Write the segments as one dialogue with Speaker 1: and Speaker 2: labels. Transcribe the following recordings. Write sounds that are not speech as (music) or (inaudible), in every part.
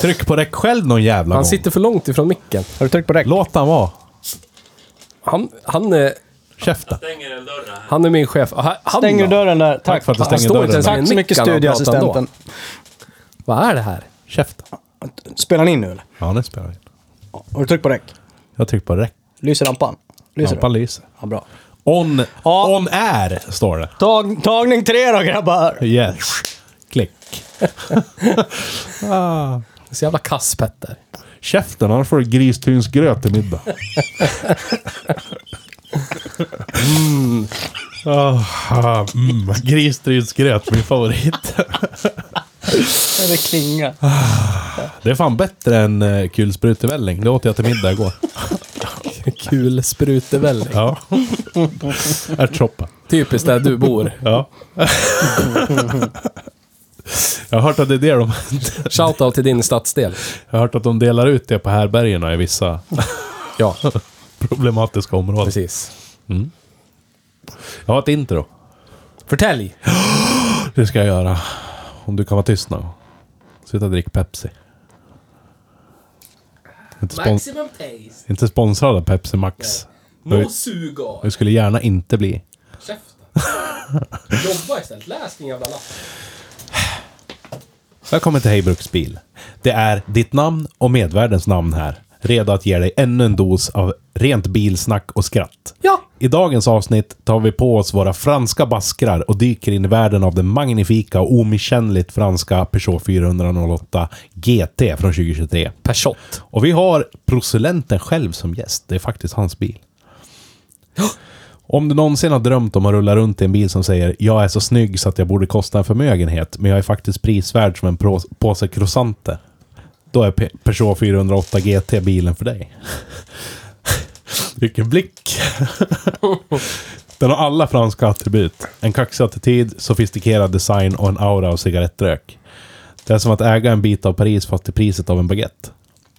Speaker 1: Tryck på räck själv någon jävla
Speaker 2: Han
Speaker 1: gång.
Speaker 2: sitter för långt ifrån micken.
Speaker 3: Har du tryckt på räck?
Speaker 1: Låt han vara.
Speaker 2: Han, han, är,
Speaker 1: Käften.
Speaker 2: han är min chef. Han, han
Speaker 3: Stänger
Speaker 2: då?
Speaker 3: dörren där.
Speaker 1: Tack
Speaker 3: Tack.
Speaker 1: för att du
Speaker 2: Han
Speaker 1: stängde
Speaker 2: står inte
Speaker 1: dörren.
Speaker 2: ens-
Speaker 1: Tack.
Speaker 3: Tack så mycket
Speaker 2: Mickan och pratar
Speaker 3: studieassistenten.
Speaker 2: Vad är det här?
Speaker 1: Käften.
Speaker 3: Spelar ni in nu eller?
Speaker 1: Ja, nu spelar vi.
Speaker 3: Har du tryckt på räck?
Speaker 1: Jag tryckte på räck.
Speaker 3: Lyser lampan? Lyser
Speaker 1: Lampan
Speaker 3: det?
Speaker 1: lyser.
Speaker 3: Ja, bra.
Speaker 1: On,
Speaker 3: Ja.
Speaker 1: on air, står det.
Speaker 3: Tag, tagning tre då grabbar!
Speaker 1: Yes. Klick. Ah.
Speaker 2: Det är så jävla kass Petter. (laughs)
Speaker 1: Käften, annars får du gristynsgröt till middag. mm. Ah, mm. Gristynsgröt, min favorit.
Speaker 3: Det klingar.
Speaker 1: Det är fan bättre än eh, kulsprutevällning. Det åt jag till middag igår.
Speaker 2: Kul sprutevälling.
Speaker 1: Ja. Ärtsoppa.
Speaker 2: Typiskt där du bor.
Speaker 1: Ja. jag har hört att det är det de...
Speaker 2: Shoutout till din stadsdel.
Speaker 1: Jag har hört att de delar ut det på härbergena i vissa
Speaker 2: Ja,
Speaker 1: problematiska områden.
Speaker 2: precis.
Speaker 1: Jag har ett intro.
Speaker 2: Förtälj!
Speaker 1: Det ska jag göra. Om du kan vara tyst nu. Sluta drick Pepsi. Inte, spons
Speaker 2: taste.
Speaker 1: inte sponsrad av Pepsi Max. No
Speaker 2: sugo.
Speaker 1: Vi skulle gärna inte bli.
Speaker 2: (laughs) Käften. Jobba istället. Läs din jävla lapp.
Speaker 1: Välkommen till Hejbruks bil. Det är ditt namn och medvärdens namn här. Redo att ge dig ännu en dos av rent bilsnack och skratt.
Speaker 2: Ja.
Speaker 1: I dagens avsnitt tar vi på oss våra franska baskrar och dyker in i världen av den magnifika och omisskännligt franska Peugeot 408 GT från 2023.
Speaker 2: Persott.
Speaker 1: Och vi har prosellenten själv som gäst. Det är faktiskt hans bil. Om du någonsin har drömt om att rulla runt i en bil som säger “Jag är så snygg så att jag borde kosta en förmögenhet, men jag är faktiskt prisvärd som en prå- påse croissanter”. Då är Pe- Peugeot 408 GT bilen för dig. (laughs) Vilken blick! Den har alla franska attribut. En kaxig attityd, sofistikerad design och en aura av cigarettrök. Det är som att äga en bit av Paris fast till priset av en baguette.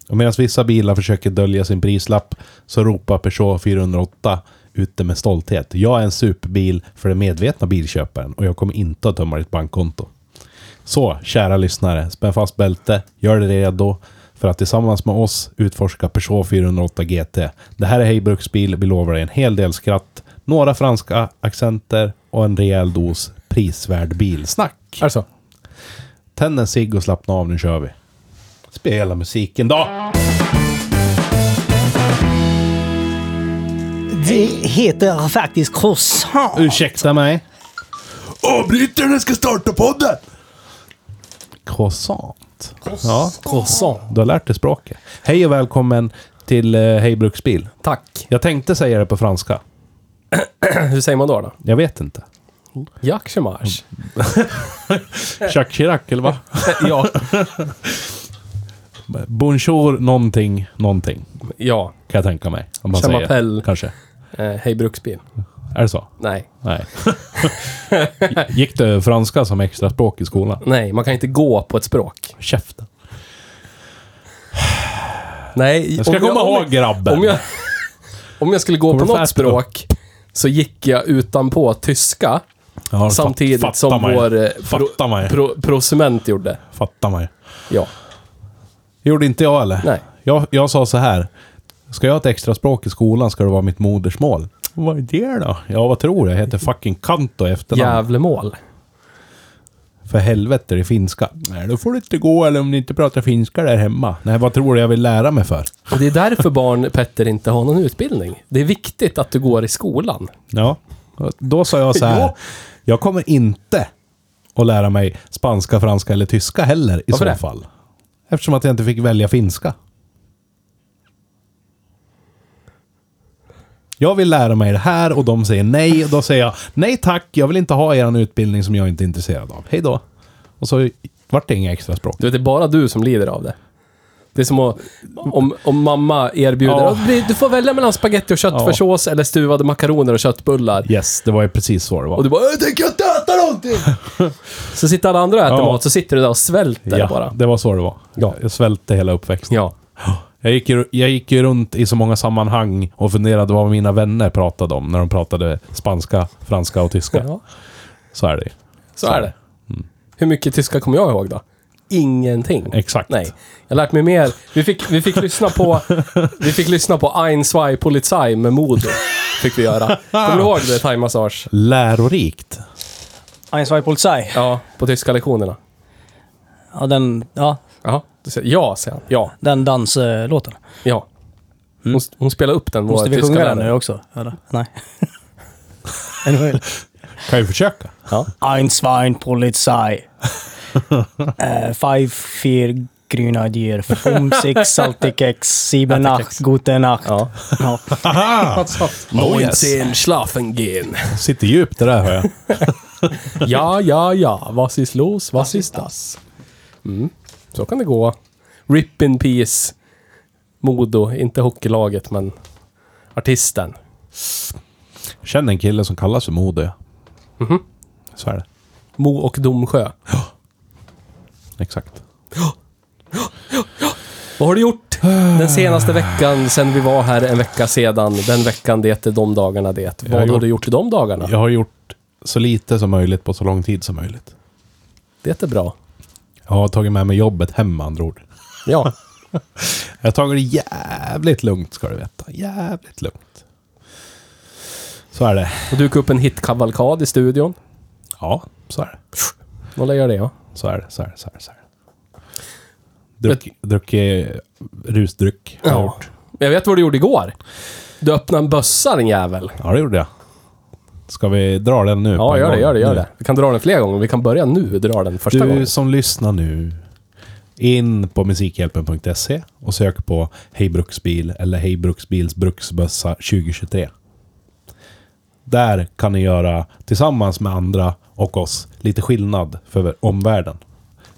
Speaker 1: Och medan vissa bilar försöker dölja sin prislapp så ropar Peugeot 408 ut det med stolthet. Jag är en superbil för den medvetna bilköparen och jag kommer inte att tömma ditt bankkonto. Så, kära lyssnare, spänn fast bälte, gör dig redo för att tillsammans med oss utforska Peugeot 408 GT. Det här är Hej Bruksbil, vi lovar dig en hel del skratt, några franska accenter och en rejäl dos prisvärd bilsnack.
Speaker 2: Alltså.
Speaker 1: Tänd en cigg och slappna av, nu kör vi. Spela musiken då!
Speaker 3: Det heter faktiskt croissant.
Speaker 1: Ursäkta mig. Avbrytaren ska starta podden! Croissant. Ja,
Speaker 2: Croissant.
Speaker 1: du har lärt dig språket. Hej och välkommen till eh, Hej Bruksbil.
Speaker 2: Tack.
Speaker 1: Jag tänkte säga det på franska.
Speaker 2: Hur säger man då? då?
Speaker 1: Jag vet inte.
Speaker 2: Jacques Chemage.
Speaker 1: Jacques Chirac, eller va?
Speaker 2: Eh. ja.
Speaker 1: (laughs) Bonjour någonting, någonting.
Speaker 2: Ja.
Speaker 1: Kan jag tänka mig. Om man
Speaker 2: Je
Speaker 1: säger.
Speaker 2: m'appelle.
Speaker 1: Kanske.
Speaker 2: Eh, hej bruksbil.
Speaker 1: Är det så?
Speaker 2: Nej. (laughs)
Speaker 1: Nej. Gick du franska som extra språk i skolan?
Speaker 2: Nej, man kan inte gå på ett språk.
Speaker 1: Käften.
Speaker 2: Nej.
Speaker 1: Jag ska
Speaker 2: om jag-
Speaker 1: komma
Speaker 2: om jag-
Speaker 1: ihåg grabben.
Speaker 2: Om jag, (laughs) om jag skulle gå
Speaker 1: Kommer
Speaker 2: på
Speaker 1: du
Speaker 2: något
Speaker 1: fast
Speaker 2: språk så gick jag utanpå tyska
Speaker 1: Ja, det
Speaker 2: samtidigt
Speaker 1: fatt-
Speaker 2: som
Speaker 1: fattar
Speaker 2: vår
Speaker 1: Man
Speaker 2: eh,
Speaker 1: ju. Fattar man ju.
Speaker 2: pro, prosument gjorde.
Speaker 1: Fattar man ju.
Speaker 2: Ja.
Speaker 1: Gjorde inte jag eller?
Speaker 2: Nej.
Speaker 1: Jag, jag sa så här. Ska jag ha ett extra språk i skolan ska det vara mitt modersmål. Vad är det då? Ja, vad tror du? Jag heter fucking Kanto i efternamn.
Speaker 2: Gävlemål.
Speaker 1: För helvete, det är finska. Nej, då får du inte gå eller om ni inte pratar finska där hemma. Nej, vad tror du jag vill lära mig för?
Speaker 2: Och det
Speaker 1: (laughs)
Speaker 2: är därför barn Petter inte har någon utbildning. Det är viktigt att du går i skolan.
Speaker 1: Ja. Då sa jag så här.
Speaker 2: Ja.
Speaker 1: Jag kommer inte att lära mig spanska, franska eller tyska heller i
Speaker 2: Varför
Speaker 1: så
Speaker 2: det?
Speaker 1: fall. Eftersom att jag inte fick välja finska. Jag vill lära mig det här och de säger nej. Och då säger jag nej tack, jag vill inte ha er utbildning som jag inte är intresserad av. Hej då. Och så vart det inga extra språk.
Speaker 2: Du vet, det är bara du som lider av det. Det är som att, om, om mamma erbjuder...
Speaker 1: Ja.
Speaker 2: "Ja, Du du får välja mellan spaghetti och köttfärssås eller stuvade makaroner och köttbullar.
Speaker 1: Yes, det var ju precis så det var.
Speaker 2: Och du bara "Jag tänker inte äta någonting!
Speaker 1: (laughs)
Speaker 2: så sitter alla andra och äter
Speaker 1: Ja.
Speaker 2: mat, så sitter du där och svälter
Speaker 1: ja,
Speaker 2: bara.
Speaker 1: det var så det var.
Speaker 2: Ja.
Speaker 1: Jag svälte hela uppväxten.
Speaker 2: Ja.
Speaker 1: Jag gick, ju, jag gick ju runt i så många sammanhang och funderade vad mina vänner pratade om när de pratade spanska, franska och tyska.
Speaker 2: ja.
Speaker 1: Så är det ju.
Speaker 2: Så är det. Hur mycket tyska kommer jag ihåg då? Ingenting.
Speaker 1: Exakt.
Speaker 2: Nej. Jag har lärt mig mer. Vi fick, vi fick lyssna på... Vi fick lyssna på Ein, zwei, Polizei med Modo. Fick vi göra. Kommer du ihåg det? Thaimassage.
Speaker 1: Lärorikt.
Speaker 3: Ein, zwei, Polizei.
Speaker 2: Ja, på tyska lektionerna.
Speaker 3: Ja, den, ja,
Speaker 2: Jaha. Du säger- Ja, säger han. Ja.
Speaker 3: den danslåten.
Speaker 2: Ja. Hon, hon spelar upp den, vår
Speaker 3: Måste vi
Speaker 2: tyska
Speaker 3: sjunga den nu
Speaker 2: lärare.
Speaker 3: också? Eller? Nej. (laughs) Anyway.
Speaker 1: Kan ju försöka.
Speaker 2: Ja.
Speaker 3: Ein, zwei, (laughs) Polizei. uh, five, vier, Grenadier. (laughs) Fünf, sechs, Saltikex. Sieben, acht, gute Nacht.
Speaker 2: Ja.
Speaker 3: Ja.
Speaker 1: Aha! Oh, yes.
Speaker 2: Neunzehn schlafen gehen.
Speaker 1: Sitter djupt det där hör jag.
Speaker 2: Ja, ja, ja. Was ist los? Was ist das? Mm. Så kan det gå. Rip in peace. Modo. Inte hockeylaget, men artisten.
Speaker 1: Känner en kille som kallas för Modo. ja. Så är det.
Speaker 2: Mo och Domsjö.
Speaker 1: Exakt.
Speaker 2: Vad har du gjort den senaste veckan sen vi var här en vecka sedan? Den veckan det, är de dagarna det.
Speaker 1: har
Speaker 2: Vad har
Speaker 1: gjort-
Speaker 2: du gjort de dagarna?
Speaker 1: Jag har gjort så lite som möjligt på så lång tid som möjligt.
Speaker 2: Det är bra.
Speaker 1: Jag har tagit med mig jobbet hem med andra ord.
Speaker 2: Ja.
Speaker 1: Jag har tagit det jävligt lugnt ska du veta. Jävligt lugnt. Så är det.
Speaker 2: Och dukade upp en hitkavalkad i studion.
Speaker 1: Ja, så är det.
Speaker 2: Vad gör det, ja.
Speaker 1: Så är det, så är det, så är det. Så är det. Druck, druckit rusdryck. har jag
Speaker 2: Ja.
Speaker 1: gjort.
Speaker 2: Men Jag vet vad du gjorde igår. Du öppnade en bössa din jävel.
Speaker 1: ja, det gjorde jag. Ska vi dra den nu? på
Speaker 2: Ja,
Speaker 1: en
Speaker 2: gör det,
Speaker 1: gång?
Speaker 2: gör det, gör
Speaker 1: Nu.
Speaker 2: det. Vi kan dra den flera gånger. Vi kan börja nu dra den första
Speaker 1: du
Speaker 2: gången.
Speaker 1: som lyssnar nu, in på musikhjälpen.se och sök på Hej Bruksbil eller Hej Bruksbils bruksbössa 2023. Där kan ni göra, tillsammans med andra och oss, lite skillnad för omvärlden.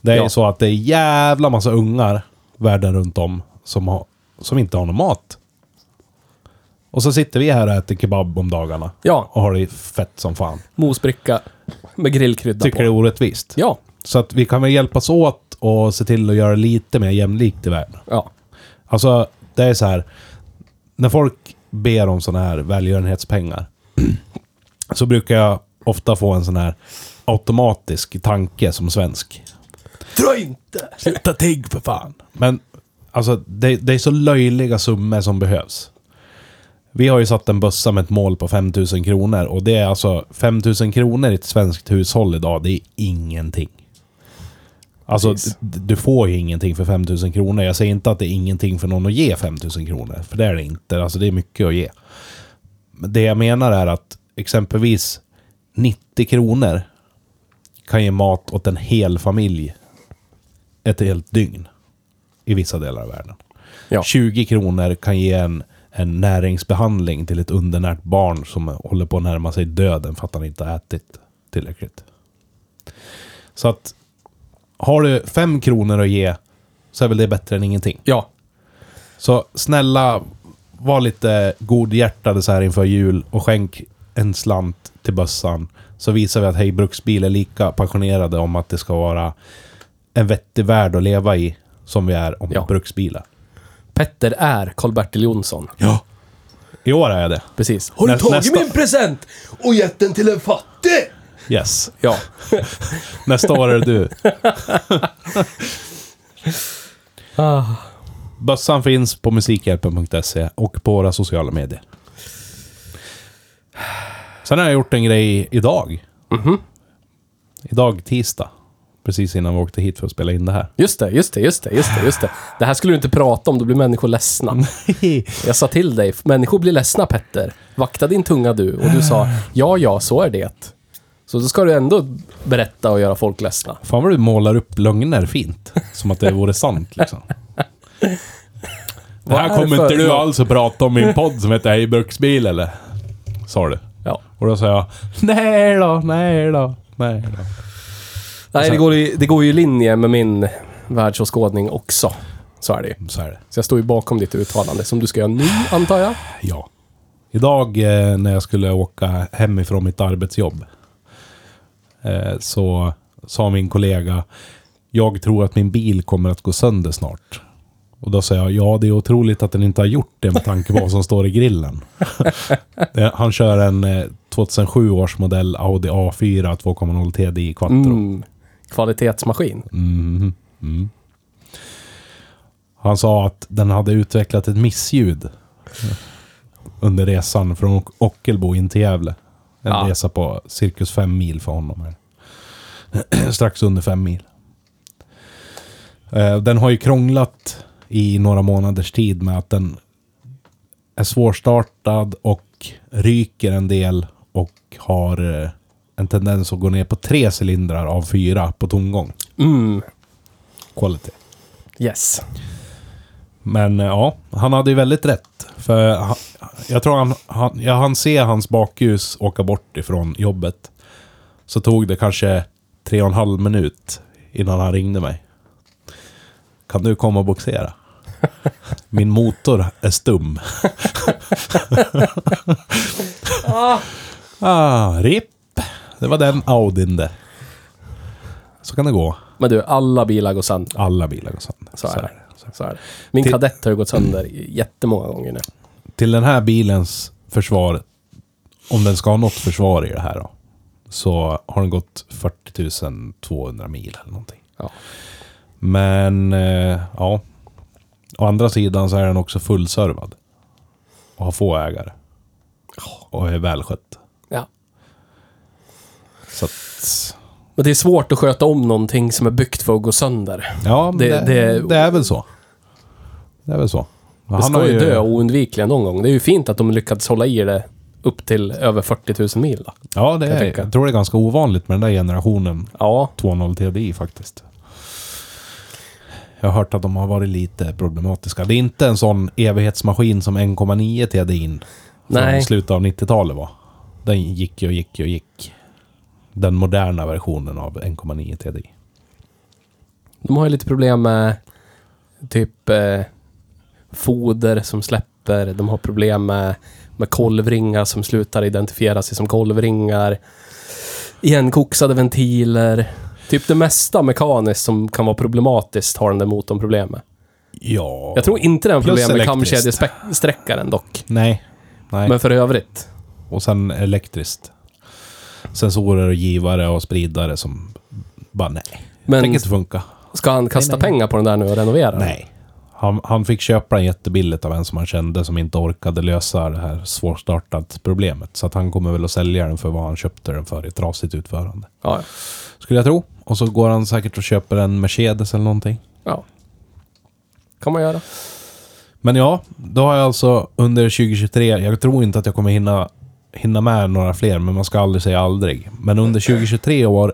Speaker 1: Det är ju
Speaker 2: Ja.
Speaker 1: så att det är jävla massa ungar världen runt om som, har, som inte har någon mat. Och så sitter vi här och äter kebab om dagarna.
Speaker 2: Ja,
Speaker 1: Och har det fett som fan.
Speaker 2: mosbricka med grillkrydda
Speaker 1: Tycker det är
Speaker 2: på.
Speaker 1: orättvist.
Speaker 2: Ja,
Speaker 1: Så att vi kan väl hjälpas åt och se till att göra lite mer jämlikt i världen.
Speaker 2: ja.
Speaker 1: Alltså, det är så här. När folk ber om sådana här välgörenhetspengar (clears throat) så brukar jag ofta få en sån här automatisk tanke som svensk.
Speaker 2: Dra inte!
Speaker 1: Sluta tigg för fan! Men alltså, det, det är så löjliga summor som behövs. Vi har ju satt en bössa med ett mål på 5 000 kronor och det är alltså 5 000 kronor i ett svenskt hushåll idag, det är ingenting. Alltså,
Speaker 2: Precis.
Speaker 1: d- du får ju ingenting för 5 000 kronor. Jag säger inte att det är ingenting för någon att ge 5 000 kronor, för det är det inte. Alltså, det är mycket att ge. Men det jag menar är att exempelvis 90 kronor kan ge mat åt en hel familj ett helt dygn i vissa delar av världen.
Speaker 2: Ja.
Speaker 1: 20 kronor kan ge en, en näringsbehandling till ett undernärt barn som håller på att närma sig döden för att han inte har ätit tillräckligt. Så att har du 5 kronor att ge så är väl det bättre än ingenting.
Speaker 2: Ja,
Speaker 1: Så snälla, var lite godhjärtade så här inför jul och skänk en slant till bössan. Så visar vi att Hej Bruksbil är lika passionerade om att det ska vara en vettig värld att leva i som vi är om
Speaker 2: Ja.
Speaker 1: bruksbilar.
Speaker 2: Petter är Karl-Bertil Jonsson.
Speaker 1: Ja. I år är jag det.
Speaker 2: Precis. Har
Speaker 1: Nä- nästa-
Speaker 2: present och gett den till en fattig?
Speaker 1: Yes.
Speaker 2: Ja.
Speaker 1: Nästa år är det du.
Speaker 2: (laughs) Ah.
Speaker 1: Bössan finns på musikhjälpen.se och på våra sociala medier. Sen har jag gjort en grej idag.
Speaker 2: Mhm.
Speaker 1: Idag tisdag. Precis innan vi åkte hit för att spela in det
Speaker 2: (laughs)
Speaker 1: här.
Speaker 2: Just det, just det, just det, just det, just det. Det här skulle du inte prata om, då blir människor ledsna. Jag sa till dig, människor blir ledsna Petter. Vakta din tunga du. Och du sa, ja, ja, så är det. Så då ska du ändå berätta och göra folk ledsna.
Speaker 1: Fan vad du målar upp lögner fint. Som att det vore sant liksom. Det här
Speaker 2: Vad är
Speaker 1: kommer
Speaker 2: för-
Speaker 1: inte du alls att prata om i en podd som heter Hej Bruksbil eller? Sa du.
Speaker 2: Ja.
Speaker 1: Och då sa jag Nej då, nej då, nej då.
Speaker 2: Nej, det går, i, det går ju i linje med min världsåskådning också. Så är det ju.
Speaker 1: Så är det.
Speaker 2: Så jag står ju bakom ditt uttalande som du ska göra nu, antar jag.
Speaker 1: Ja. Idag eh, när jag skulle åka hemifrån mitt arbetsjobb eh, så sa min kollega Jag tror att min bil kommer att gå sönder snart. Och då sa jag ja, det är otroligt att den inte har gjort det med tanke på vad som står i grillen. (laughs) Eh, Han kör en eh, 2007 års modell Audi A4 2.0 TDI Quattro.
Speaker 2: Mm. Kvalitetsmaskin.
Speaker 1: Han sa att den hade utvecklat ett missljud under resan från Ock- Ockelbo in till Gävle. En
Speaker 2: Ja.
Speaker 1: resa på cirkus fem mil för honom. Här. (clears throat) Strax under fem mil. Eh, Den har ju krånglat i några månaders tid med att den är svårstartad och ryker en del och har eh, en tendens att gå ner på tre cylindrar av fyra på tomgång.
Speaker 2: Mm.
Speaker 1: Quality.
Speaker 2: Yes.
Speaker 1: Men eh, ja, han hade ju väldigt rätt. För han, jag tror han, han, jag hann se hans bakljus åka bort ifrån jobbet. Så tog det kanske tre och en halv minut innan han ringde mig. Kan du komma och
Speaker 2: (laughs)
Speaker 1: boxera? Min motor är stum. ah, RIP. Det var den Audin det. Så kan det gå.
Speaker 2: Men du, alla bilar går sönder.
Speaker 1: Alla bilar går sönder.
Speaker 2: Så är det.
Speaker 1: Så
Speaker 2: Så är det. Min
Speaker 1: Till-
Speaker 2: kadett har ju gått sönder jättemånga gånger nu.
Speaker 1: till den här bilens försvar, om den ska ha något försvar i det här då, så har den gått 40 200 mil eller någonting.
Speaker 2: Ja.
Speaker 1: Men eh, ja, å andra sidan så är den också fullservad. Och har få ägare. Och är välskött.
Speaker 2: ja.
Speaker 1: Så att,
Speaker 2: Men det är svårt att sköta om någonting som är byggt för att gå sönder.
Speaker 1: ja, men
Speaker 2: Det-
Speaker 1: det, det,
Speaker 2: det-
Speaker 1: är väl så. Det är väl så.
Speaker 2: Det ska ju dö oundvikligen någon gång. Det är ju fint att de lyckats hålla i det upp till över 40 000 mil. Då.
Speaker 1: Ja, det
Speaker 2: jag
Speaker 1: är,
Speaker 2: tänka.
Speaker 1: jag tror det är ganska ovanligt med den där generationen
Speaker 2: Ja,
Speaker 1: 2.0 TDI faktiskt. Jag har hört att de har varit lite problematiska. Det är inte en sån evighetsmaskin som 1.9 TDI från
Speaker 2: Nej.
Speaker 1: slutet av 90-talet var. Den gick ju och gick ju och gick. Den moderna versionen av 1.9 TDI.
Speaker 2: de har ju lite problem med typ eh, foder som släpper. De har problem med, med kolvringar som slutar identifiera sig som kolvringar. Igenkoksade ventiler. Typ det mesta mekaniskt som kan vara problematiskt har den där motorn problem med.
Speaker 1: Ja...
Speaker 2: Jag tror inte den har
Speaker 1: Plus
Speaker 2: problem med
Speaker 1: elektriskt.
Speaker 2: kamkedjesträckaren dock.
Speaker 1: Nej. Nej.
Speaker 2: Men för övrigt.
Speaker 1: Och sen elektriskt. Sensorer och givare och spridare som bara nej.
Speaker 2: Men-
Speaker 1: tänker inte funka.
Speaker 2: Ska han kasta pengar på den där nu och renovera den?
Speaker 1: Nej. Han, han fick köpa den jättebilligt av en som han kände som inte orkade lösa det här svårstartat problemet. Så att han kommer väl att sälja den för vad han köpte den för i ett trasigt utförande.
Speaker 2: Ja, ja.
Speaker 1: Skulle jag tro. Och så går han säkert och köper en Mercedes eller någonting.
Speaker 2: ja. Kan man göra.
Speaker 1: Men ja, då har jag alltså under 2023, jag tror inte att jag kommer hinna, hinna med några fler, men man ska aldrig säga aldrig. Men under 2023 år,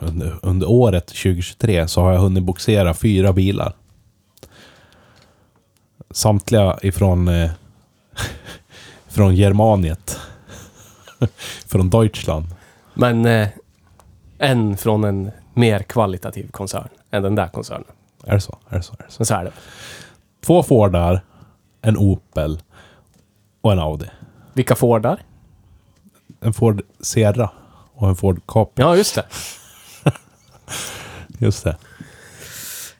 Speaker 1: under, under året 2023 så har jag hunnit boxera fyra bilar. Samtliga ifrån eh, (laughs) från Germaniet. (laughs) från Deutschland.
Speaker 2: Men eh, en från en mer kvalitativ koncern än den där koncernen.
Speaker 1: Är det så? Är det så? Är det så?
Speaker 2: Men så är det.
Speaker 1: Två Fordar, en Opel och en Audi.
Speaker 2: Vilka Fordar?
Speaker 1: En Ford Sierra och en Ford Capri.
Speaker 2: Ja, just det.
Speaker 1: Just det.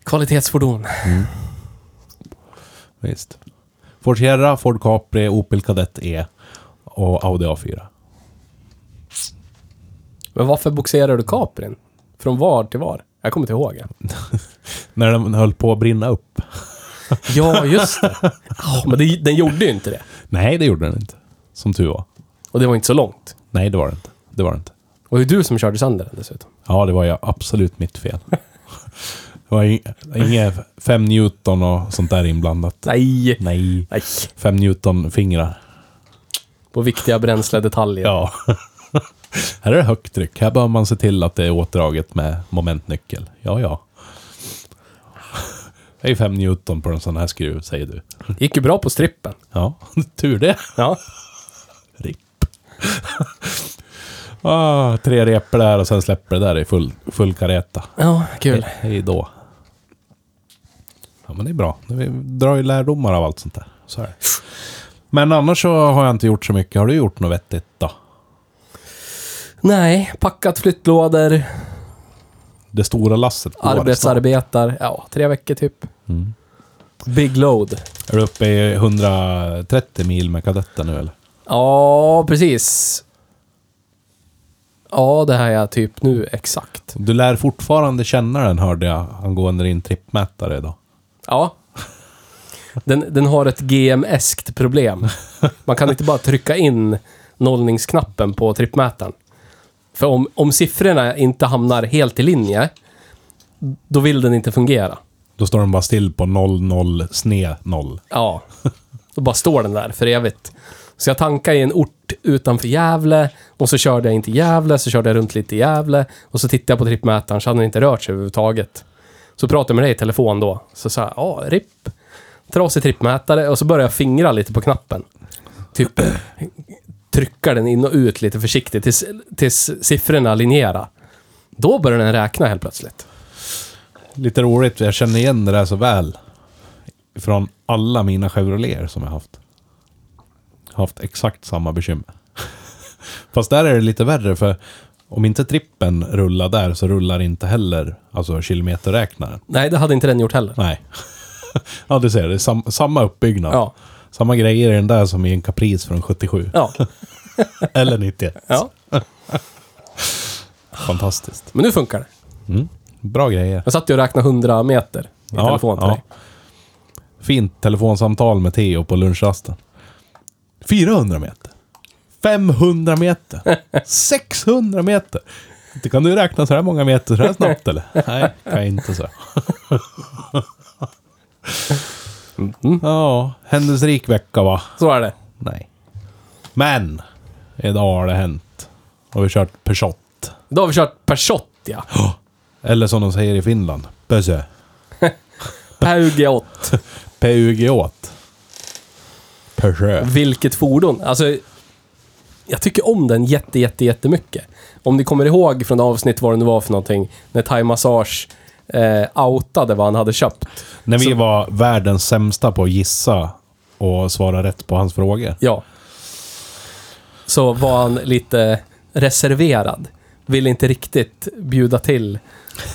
Speaker 2: Kvalitetsfordon.
Speaker 1: Visst. Ford Sierra, Ford Capri, Opel Kadett E och Audi A4.
Speaker 2: Men varför boxerar du Caprin? Från var till var? Jag kommer inte ihåg. än.
Speaker 1: När den höll på att brinna upp.
Speaker 2: Ja, just det. Ja, (laughs) men det, den gjorde ju inte det.
Speaker 1: Nej, det gjorde den inte. Som tur var.
Speaker 2: Och det var inte så långt.
Speaker 1: Nej, det var det inte. Det var det inte.
Speaker 2: Och det är du som körde sönder den dessutom.
Speaker 1: Ja, det var ju absolut mitt fel. (laughs) Det var ing- inga 5 Newton och sånt där inblandat.
Speaker 2: Nej!
Speaker 1: Nej.
Speaker 2: Nej.
Speaker 1: 5 Newton fingrar.
Speaker 2: På viktiga bränsledetaljer.
Speaker 1: Ja. (laughs) Här är det högt tryck. Här bör man se till att det är åtdraget med momentnyckel. Ja, ja. Det är ju 5 Newton på en sån här skruv, säger du.
Speaker 2: Gick ju bra på strippen.
Speaker 1: Ja, (laughs) tur det.
Speaker 2: Ja.
Speaker 1: Ripp. (laughs) ah, tre repor där och sen släpper det där i full, full kareta.
Speaker 2: Ja, kul.
Speaker 1: Hej då. Ja, men det är bra. Vi drar ju lärdomar av allt sånt där. Så är det. Men annars så har jag inte gjort så mycket. Har du gjort något vettigt då?
Speaker 2: Nej, packat flyttlådor,
Speaker 1: Det stora lasset går snart.
Speaker 2: arbetsarbetar. Ja, tre veckor typ. Big load.
Speaker 1: Är du uppe i 130 mil med kadetten nu eller?
Speaker 2: Ja, precis. Ja, det här är typ nu exakt.
Speaker 1: Du lär fortfarande känna den hörde jag angående din trippmätare idag.
Speaker 2: Ja. Den, den har ett GM-eskt problem. Man kan inte bara trycka in nollningsknappen på trippmätaren. För om, om siffrorna inte hamnar helt i linje, då vill den inte fungera.
Speaker 1: Då står den bara still på 00 sne 0.
Speaker 2: Ja. Då bara står den där för evigt. Så jag tankade i en ort utanför Gävle och så körde jag in till Gävle, så körde jag runt lite i Gävle och så tittade jag på trippmätaren så hade den inte rört sig överhuvudtaget. Så pratade jag med dig i telefon då. Så sa jag, ja, RIP. Trasig trippmätare och så började jag fingra lite på knappen. Typ trycka den in och ut lite försiktigt tills, tills siffrorna linjera. Då började den räkna helt plötsligt.
Speaker 1: Lite roligt, jag känner igen det där så väl. Från alla mina Chevroleter som jag haft. Haft exakt samma bekymmer. (laughs) Fast där är det lite värre för om inte trippen rullar där så rullar inte heller alltså kilometerräknaren.
Speaker 2: Nej, det hade inte den gjort heller.
Speaker 1: Nej. (laughs) ja, du ser, det är sam- samma uppbyggnad.
Speaker 2: Ja.
Speaker 1: Samma grejer i den där som i en Caprice från 77.
Speaker 2: Ja.
Speaker 1: Eller 91.
Speaker 2: ja.
Speaker 1: Fantastiskt.
Speaker 2: Men nu funkar det.
Speaker 1: Bra grejer.
Speaker 2: Jag satt ju och räknade 100 meter i
Speaker 1: Ja,
Speaker 2: telefon till
Speaker 1: ja.
Speaker 2: dig.
Speaker 1: Fint telefonsamtal med Theo på lunchrasten. 400 meter. 500 meter. 600 meter. Inte kan du räkna så här många meter så här snabbt eller? Nej, kan jag inte så. (laughs) Ja, händelserik vecka va?
Speaker 2: Så är det.
Speaker 1: Nej. Men! Idag har det hänt. Har vi kört Peugeot.
Speaker 2: Då har vi kört Peugeot, ja.
Speaker 1: Eller som de säger i Finland, Peugeot.
Speaker 2: Peugeot.
Speaker 1: Peugeot. Peugeot.
Speaker 2: Vilket fordon. Alltså, jag tycker om den jätte, jätte, jättemycket. Om ni kommer ihåg från avsnitt vad det nu var för någonting, när Thai Massage eh, outade vad han hade köpt.
Speaker 1: När vi
Speaker 2: Så-
Speaker 1: var världens sämsta på att gissa och svara rätt på hans frågor.
Speaker 2: Ja. Så var han lite reserverad. Ville inte riktigt bjuda till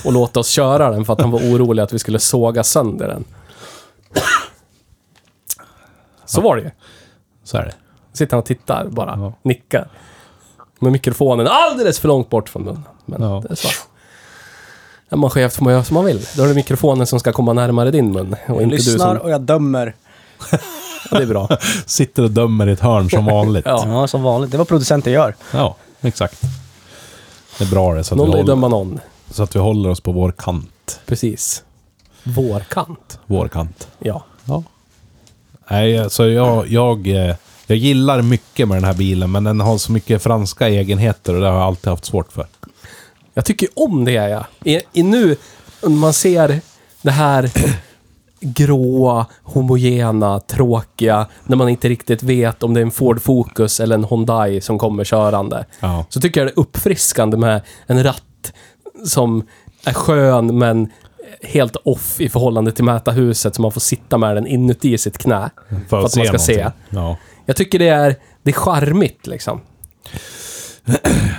Speaker 2: och låta oss köra den för att han var orolig att vi skulle såga sönder den. Så var det ju.
Speaker 1: Så är det.
Speaker 2: Sitter han och tittar bara.
Speaker 1: Ja.
Speaker 2: Nickar. Med mikrofonen alldeles för långt bort från munnen. Men
Speaker 1: Ja.
Speaker 2: det är så. Är man chef får man göra som man vill. Då är det mikrofonen som ska komma närmare din mun. Och
Speaker 3: Jag
Speaker 2: inte du
Speaker 3: lyssnar
Speaker 2: som...
Speaker 3: och jag dömer.
Speaker 2: Ja, det är bra.
Speaker 1: Sitter och dömer i ett hörn
Speaker 2: (laughs)
Speaker 1: som vanligt.
Speaker 2: Ja.
Speaker 3: Ja, som vanligt. Det är vad producenter gör.
Speaker 1: Ja, exakt. Det är bra det, så att, vi
Speaker 2: (laughs) Någon lär ju
Speaker 1: håller,
Speaker 2: döma någon.
Speaker 1: så att vi håller oss på vår kant.
Speaker 2: Precis. Vårkant.
Speaker 1: Vår kant.
Speaker 2: Ja.
Speaker 1: Ja. Nej, alltså jag, jag, eh, jag gillar mycket med den här bilen, men den har så mycket franska egenheter och det har jag alltid haft svårt för.
Speaker 2: Jag tycker om det, ja. I, i nu, när man ser det här (clears throat) gråa, homogena, tråkiga, när man inte riktigt vet om det är en Ford Focus eller en Hyundai som kommer körande.
Speaker 1: Ja.
Speaker 2: Så tycker jag det är uppfriskande med en ratt som är skön men helt off i förhållande till mätarhuset så man får sitta med den inuti sitt knä. För att, man ska se.
Speaker 1: någonting. Ja.
Speaker 2: Jag tycker det är, det är charmigt liksom.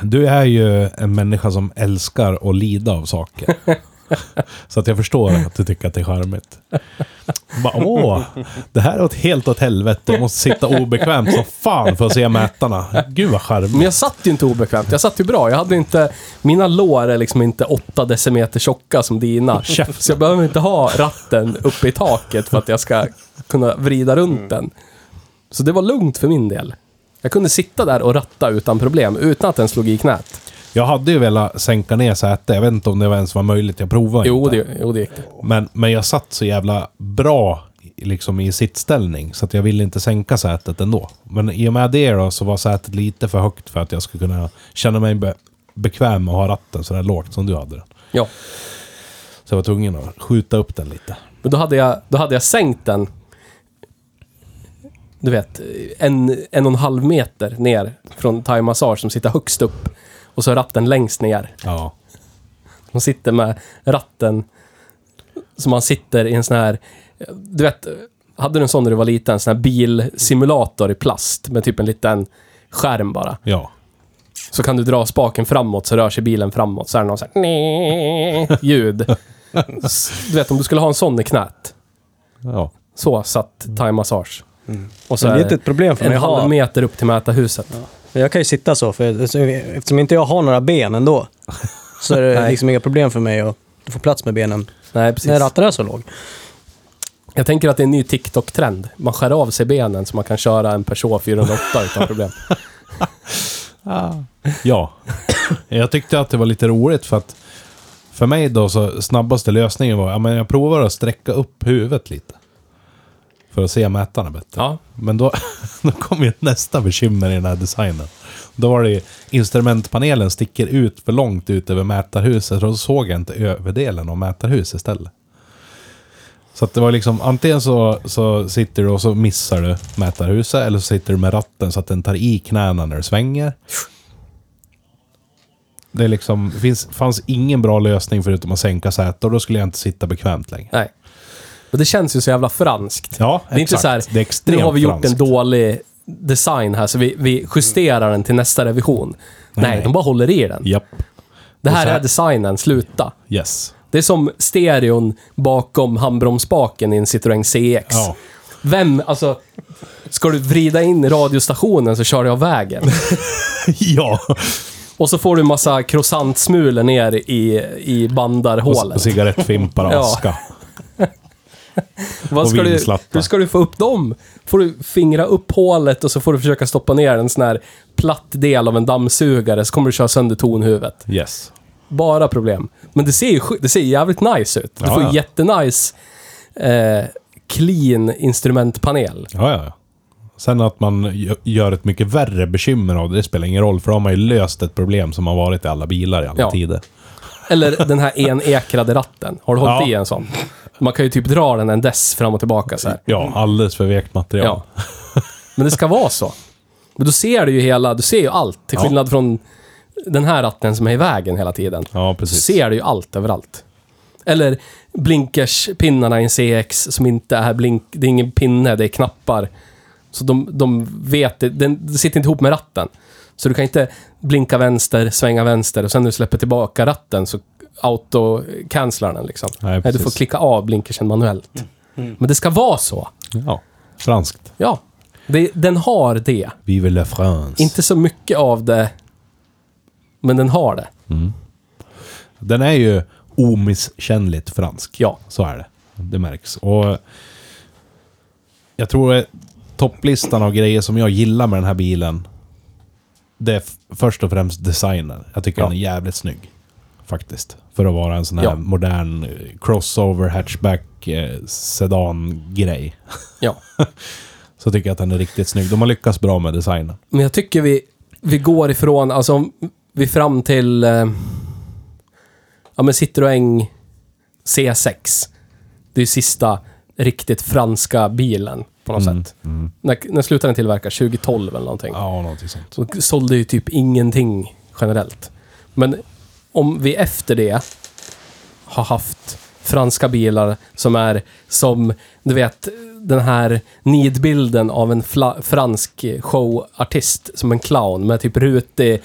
Speaker 1: Du är ju en människa som älskar att lida av
Speaker 2: (laughs)
Speaker 1: saker. Så att jag förstår att du tycker att det är charmigt. Bara, Åh, det här är åt helt åt helvete. Jag måste sitta obekvämt som fan för att se mätarna. Gud vad
Speaker 2: Men
Speaker 1: charmigt.
Speaker 2: jag satt ju inte obekvämt. Jag satt ju bra. Jag hade inte... Mina lår är liksom inte 8 decimeter tjocka som dina. Så jag behöver inte ha ratten uppe i taket för att jag ska kunna vrida runt den. Så det var lugnt för min del. Jag kunde sitta där och ratta utan problem, utan att den slog i knät.
Speaker 1: Jag hade ju velat sänka ner sätet. Jag vet inte om det var ens var möjligt. Jag provade
Speaker 2: Jo,
Speaker 1: inte.
Speaker 2: det, jo, det gick det.
Speaker 1: Men, men jag satt så jävla bra i- liksom i sittställning så att jag ville inte sänka sätet ändå. Men i och med det då så var sätet lite för högt för att jag skulle kunna känna mig be- bekväm med att ha ratten så där lågt som du hade den.
Speaker 2: Ja.
Speaker 1: Så Så jag var tvungen att skjuta upp den lite.
Speaker 2: Men då hade jag, då hade jag sänkt den. Du vet, en, en och en halv meter ner från Thai Massage som sitter högst upp. Och så är ratten längst ner.
Speaker 1: Ja.
Speaker 2: De sitter med ratten som man sitter i en sån här... Du vet, hade du en sån när du var liten? En sån här bilsimulator i plast med typ en liten skärm bara.
Speaker 1: Ja.
Speaker 2: Så kan du dra spaken framåt så rör sig bilen framåt. Så är det någon sån här "Nee" (laughs) ljud. S- Du vet om du skulle ha en sån i knät.
Speaker 1: Ja.
Speaker 2: Så satt Thai Massage. Och så
Speaker 3: Mm. Men det är
Speaker 2: är
Speaker 3: inte
Speaker 2: det
Speaker 3: ett problem för
Speaker 2: en
Speaker 3: mig. Jag,
Speaker 2: halv
Speaker 3: har,
Speaker 2: meter upp till mätarhuset.
Speaker 3: jag kan ju sitta så, för eftersom inte jag har några ben ändå, så är det (laughs)
Speaker 2: Nej.
Speaker 3: liksom inga problem för mig att få plats med benen
Speaker 2: Nej, precis.
Speaker 3: när ratten är så låg.
Speaker 2: Jag tänker att det är en ny TikTok-trend. Man skär av sig benen så man kan köra en Peugeot 408 utan problem.
Speaker 1: Ja. (coughs) Jag tyckte att det var lite roligt för att för mig då så snabbaste lösningen var ja, men jag provar att sträcka upp huvudet lite. För att se mätarna bättre.
Speaker 2: Ja.
Speaker 1: Men då, (laughs) då kom ju nästa bekymmer i den här designen. Då var det ju instrumentpanelen sticker ut för långt ut över mätarhuset. Och då såg jag inte överdelen av mätarhuset istället. Så att det var liksom, antingen så, så sitter du och så missar du mätarhuset. Eller så sitter du med ratten så att den tar i knäna när du svänger. Det är liksom, finns, fanns ingen bra lösning förutom att sänka sätet. Och då skulle jag inte sitta bekvämt längre.
Speaker 2: Nej. Och det känns ju så jävla franskt.
Speaker 1: Ja,
Speaker 2: det är inte
Speaker 1: exakt.
Speaker 2: så här,
Speaker 1: Det är extremt
Speaker 2: nu har vi gjort
Speaker 1: franskt. Mm.
Speaker 2: en dålig design här så vi, vi justerar den till nästa revision. Nej,
Speaker 1: nej.
Speaker 2: de bara håller i den.
Speaker 1: Japp.
Speaker 2: Det här,
Speaker 1: Och så här-
Speaker 2: är designen, sluta.
Speaker 1: Yes.
Speaker 2: Det är som stereon bakom handbromsspaken i en Citroën CX.
Speaker 1: Ja.
Speaker 2: Vem, alltså, ska du vrida in radiostationen så kör jag
Speaker 1: (laughs)
Speaker 2: av vägen.
Speaker 1: ja.
Speaker 2: Och så får du massa croissantsmulor ner i, i bandarhålen.
Speaker 1: Och cigarettfimpar och
Speaker 2: (laughs) Ja.
Speaker 1: aska.
Speaker 2: Vad
Speaker 1: och
Speaker 2: ska du,
Speaker 1: vinslappar.
Speaker 2: hur ska du få upp dem? Får du fingra upp hålet och så får du försöka stoppa ner en sån här platt del av en dammsugare så kommer du köra sönder tonhuvudet.
Speaker 1: Yes.
Speaker 2: Bara problem. Men det ser ju sj- det ser jävligt nice ut. Du
Speaker 1: Ja,
Speaker 2: får
Speaker 1: ja.
Speaker 2: jättenice eh, clean instrumentpanel.
Speaker 1: Ja, ja, ja. Sen att man gö- gör ett mycket värre bekymmer av det, det spelar ingen roll. För då har man ju löst ett problem som har varit i alla bilar i alla
Speaker 2: Ja.
Speaker 1: tider.
Speaker 2: Eller den här enekrade ratten. Har du hållit
Speaker 1: Ja.
Speaker 2: i en sån? Man kan ju typ dra den en dess fram och tillbaka så här.
Speaker 1: Ja, alldeles för vekt material.
Speaker 2: Ja. Men det ska vara så. Men då ser du ju hela, du ser ju allt. Till
Speaker 1: Ja.
Speaker 2: skillnad från den här ratten som är i vägen hela tiden.
Speaker 1: Ja,
Speaker 2: Så
Speaker 1: precis.
Speaker 2: ser du ju allt överallt. Eller blinkerspinnarna i en CX som inte är blink... Det är ingen pinne, det är knappar. Så de, de vet det. Den det sitter inte ihop med ratten. Så du kan inte blinka vänster, svänga vänster och sen när du släpper tillbaka ratten så auto-cancelar den liksom.
Speaker 1: Nej,
Speaker 2: Nej, du
Speaker 1: precis.
Speaker 2: får klicka av blinkersen manuellt. Men det ska vara så.
Speaker 1: Ja. Franskt.
Speaker 2: Ja. Det, den har det.
Speaker 1: Vive la France.
Speaker 2: Inte så mycket av det, men den har det.
Speaker 1: Den är ju omisskännligt fransk.
Speaker 2: Ja.
Speaker 1: Så är det. Det märks. Och jag tror att topplistan av grejer som jag gillar med den här bilen. Det är f- först och främst designen. Jag tycker
Speaker 2: Ja.
Speaker 1: den är jävligt snygg. Faktiskt. För att vara en sån här
Speaker 2: Ja.
Speaker 1: modern eh, crossover hatchback eh, sedan-grej.
Speaker 2: Ja.
Speaker 1: Så tycker jag att den är riktigt snygg. De har lyckats bra med designen.
Speaker 2: Men jag tycker vi, vi går ifrån, alltså om vi fram till eh, ja, men Citroën C6. Det är sista riktigt franska bilen på något sätt. När, när slutade den tillverkas? 2012 eller någonting.
Speaker 1: Ja, någonting sånt.
Speaker 2: Så sålde ju typ ingenting generellt. Men om vi efter det har haft franska bilar som är som, du vet, den här nidbilden av en fla- fransk showartist som en clown med typ rutig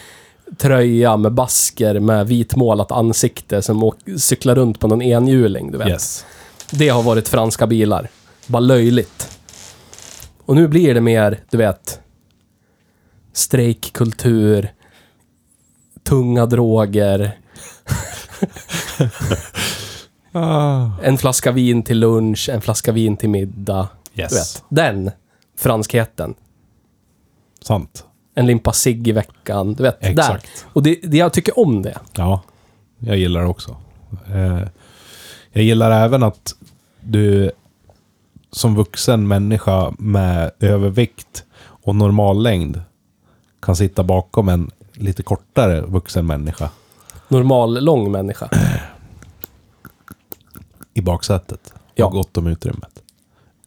Speaker 2: tröja med basker med vitmålat ansikte som åk- cyklar runt på någon enhjuling, du vet.
Speaker 1: Yes.
Speaker 2: Det har varit franska bilar. Bara löjligt. Och nu blir det mer, du vet, strejkkultur, tunga droger, en flaska vin till lunch, en flaska vin till middag.
Speaker 1: Yes.
Speaker 2: Du vet, den franskheten.
Speaker 1: Sant.
Speaker 2: En limpa cigg i veckan. Du vet, där.
Speaker 1: Exakt.
Speaker 2: Och det, det, jag tycker om det.
Speaker 1: Ja, jag gillar det också. Eh, jag gillar även att du som vuxen människa med övervikt och normallängd kan sitta bakom en lite kortare vuxen människa.
Speaker 2: Normal, lång människa.
Speaker 1: i baksätet.
Speaker 2: Ja.
Speaker 1: Och gott om utrymmet.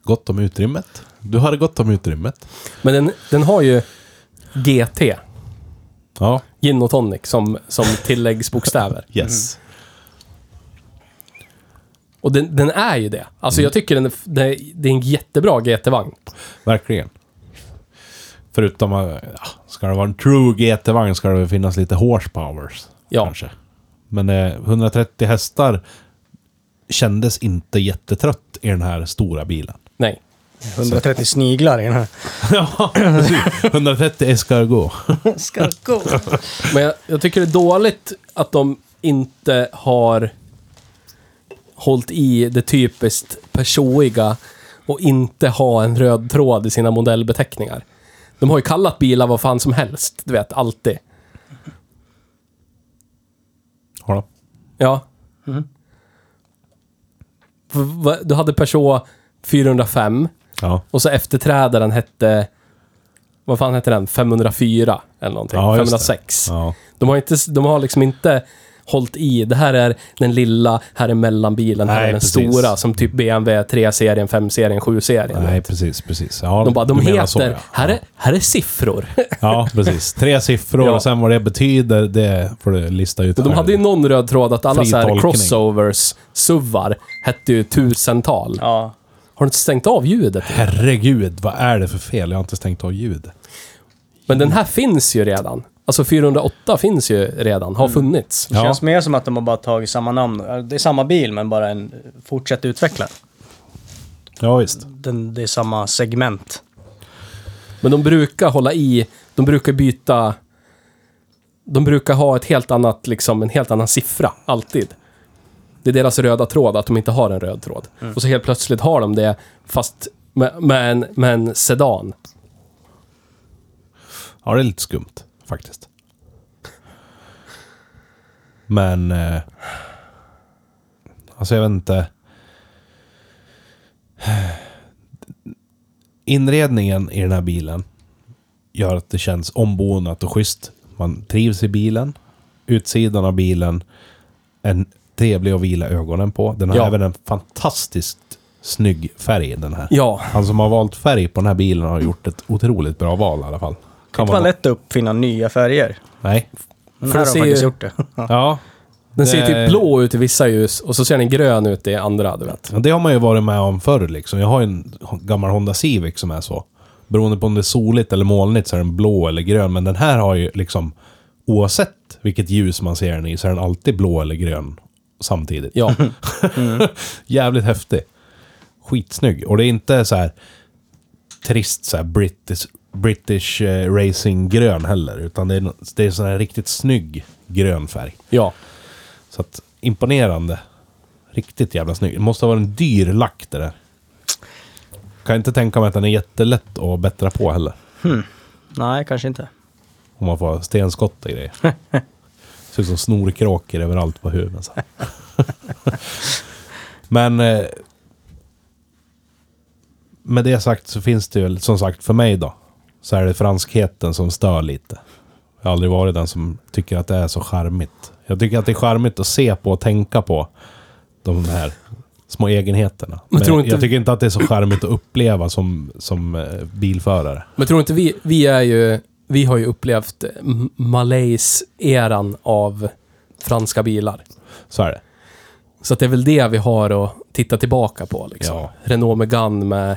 Speaker 1: Gott om utrymmet? Du hade gott om utrymmet.
Speaker 2: Men den, den har ju GT,
Speaker 1: Ja,
Speaker 2: gin och tonic, som, som tilläggsbokstäver.
Speaker 1: yes.
Speaker 2: Och den, den är ju det. Alltså jag tycker den är, f- det, är- det är en jättebra GT-vagn.
Speaker 1: Verkligen. Förutom att, ja, ska det vara en true GT-vagn ska det väl finnas lite horsepowers.
Speaker 2: Ja.
Speaker 1: Kanske. Men eh, 130 hästar kändes inte jättetrött i den här stora
Speaker 2: (laughs)
Speaker 1: bilen.
Speaker 2: Nej.
Speaker 3: 130 sniglar i den här.
Speaker 1: Ja, precis. 130 escargot.
Speaker 3: Ska gå.
Speaker 2: Men jag, jag tycker det är dåligt att de inte har hållit i det typiskt personliga och inte ha en röd tråd i sina modellbeteckningar. De har ju kallat bilar vad fan som helst, du vet, alltid.
Speaker 1: Har de?
Speaker 2: Ja. V- va- Du hade Peugeot 405
Speaker 1: Ja.
Speaker 2: och så efterträdaren hette... Vad fan hette den? 504 eller någonting.
Speaker 1: Ja, just det.
Speaker 2: 506.
Speaker 1: ja.
Speaker 2: De har, inte, de har liksom inte hållit i. Det här är den lilla, här är mellanbilen, här
Speaker 1: Nej,
Speaker 2: är den
Speaker 1: precis.
Speaker 2: stora. Som typ BMW 3-serien, 5-serien, 7-serien.
Speaker 1: Nej, precis, precis. Ja,
Speaker 2: De bara, de
Speaker 1: du menar
Speaker 2: heter...
Speaker 1: så, ja.
Speaker 2: här, är, här är siffror.
Speaker 1: Ja, precis. Tre siffror
Speaker 2: Ja.
Speaker 1: och sen vad det betyder, det får du lista ut.
Speaker 2: De
Speaker 1: här.
Speaker 2: hade ju någon röd tråd att alla
Speaker 1: Fri
Speaker 2: så här
Speaker 1: tolkning.
Speaker 2: crossovers, suvar, hette ju tusental.
Speaker 3: Ja.
Speaker 2: Har du inte stängt av ljudet?
Speaker 1: Herregud, vad är det för fel? Jag har inte stängt av ljud.
Speaker 2: Men den här finns ju redan. Alltså 408 finns ju redan,
Speaker 1: Mm.
Speaker 2: har funnits.
Speaker 3: Det
Speaker 1: Ja.
Speaker 3: känns mer som att de har bara tagit samma namn. Äh, Det är samma bil men bara en fortsatt utveckla.
Speaker 1: Ja, visst.
Speaker 3: Den, det är samma segment.
Speaker 2: Men de brukar hålla i, de brukar byta... De brukar ha ett helt annat, liksom, en helt annan siffra, alltid. Det är deras röda tråd, att de inte har en röd tråd. Och så helt plötsligt har de det, fast med, med, en, med en sedan.
Speaker 1: Ja, det är lite skumt faktiskt. Men... Eh, alltså jag vet inte. Inredningen i den här bilen gör att det känns ombonat och schysst. Man trivs i bilen. Utsidan av bilen är trevlig att vila ögonen på. Den har
Speaker 2: Ja.
Speaker 1: även en fantastiskt snygg färg den här.
Speaker 2: Ja.
Speaker 1: Han som har valt färg på den här bilen har gjort ett otroligt bra val i alla fall. Kan
Speaker 3: Det var
Speaker 1: man-
Speaker 3: lätt att uppfinna nya färger.
Speaker 1: Nej.
Speaker 3: Den
Speaker 2: För
Speaker 3: här
Speaker 2: det
Speaker 3: har
Speaker 2: ser
Speaker 3: faktiskt
Speaker 2: ju-
Speaker 3: gjort det. (laughs)
Speaker 1: Ja. Eh,
Speaker 2: Den ser ju
Speaker 1: Det-
Speaker 2: typ blå ut i vissa ljus och så ser den grön ut i andra, du vet.
Speaker 1: Ja, Det har man ju varit med om förr liksom. Jag har ju en gammal Honda Civic som är så. Beroende på om det är soligt eller molnigt så är den blå eller grön. Men den här har ju liksom oavsett vilket ljus man ser den i så är den alltid blå eller grön samtidigt.
Speaker 2: Ja.
Speaker 1: Jävligt häftig. Skitsnygg. Och det är inte så här trist så här British, British eh, racing grön heller. Utan det är, no- det är sån här riktigt snygg grön färg.
Speaker 2: ja.
Speaker 1: Så att imponerande. Riktigt jävla snygg. Det måste ha varit en dyr lack det där. Kan inte tänka mig att den är jättelätt att bättra på heller.
Speaker 3: Nej, kanske inte.
Speaker 1: Om man får stenskott och
Speaker 2: (laughs)
Speaker 1: grejer. Ser ut som snorkråkor överallt på huven. Så här. (laughs) Men eh, med det sagt så finns det ju som sagt för mig då. Så är det franskheten som stör lite. Jag har aldrig varit den som tycker att det är så charmigt. Jag tycker att det är charmigt att se på och tänka på de här små egenheterna.
Speaker 2: Men
Speaker 1: Men
Speaker 2: tror inte-
Speaker 1: jag tycker inte att det är så charmigt att uppleva som, som eh, bilförare.
Speaker 2: Men tror inte vi, vi är ju, vi har ju upplevt M- Malays-eran av franska bilar.
Speaker 1: Så är det.
Speaker 2: Så att det är väl det vi har att titta tillbaka på. Liksom.
Speaker 1: Ja.
Speaker 2: Renault Megane med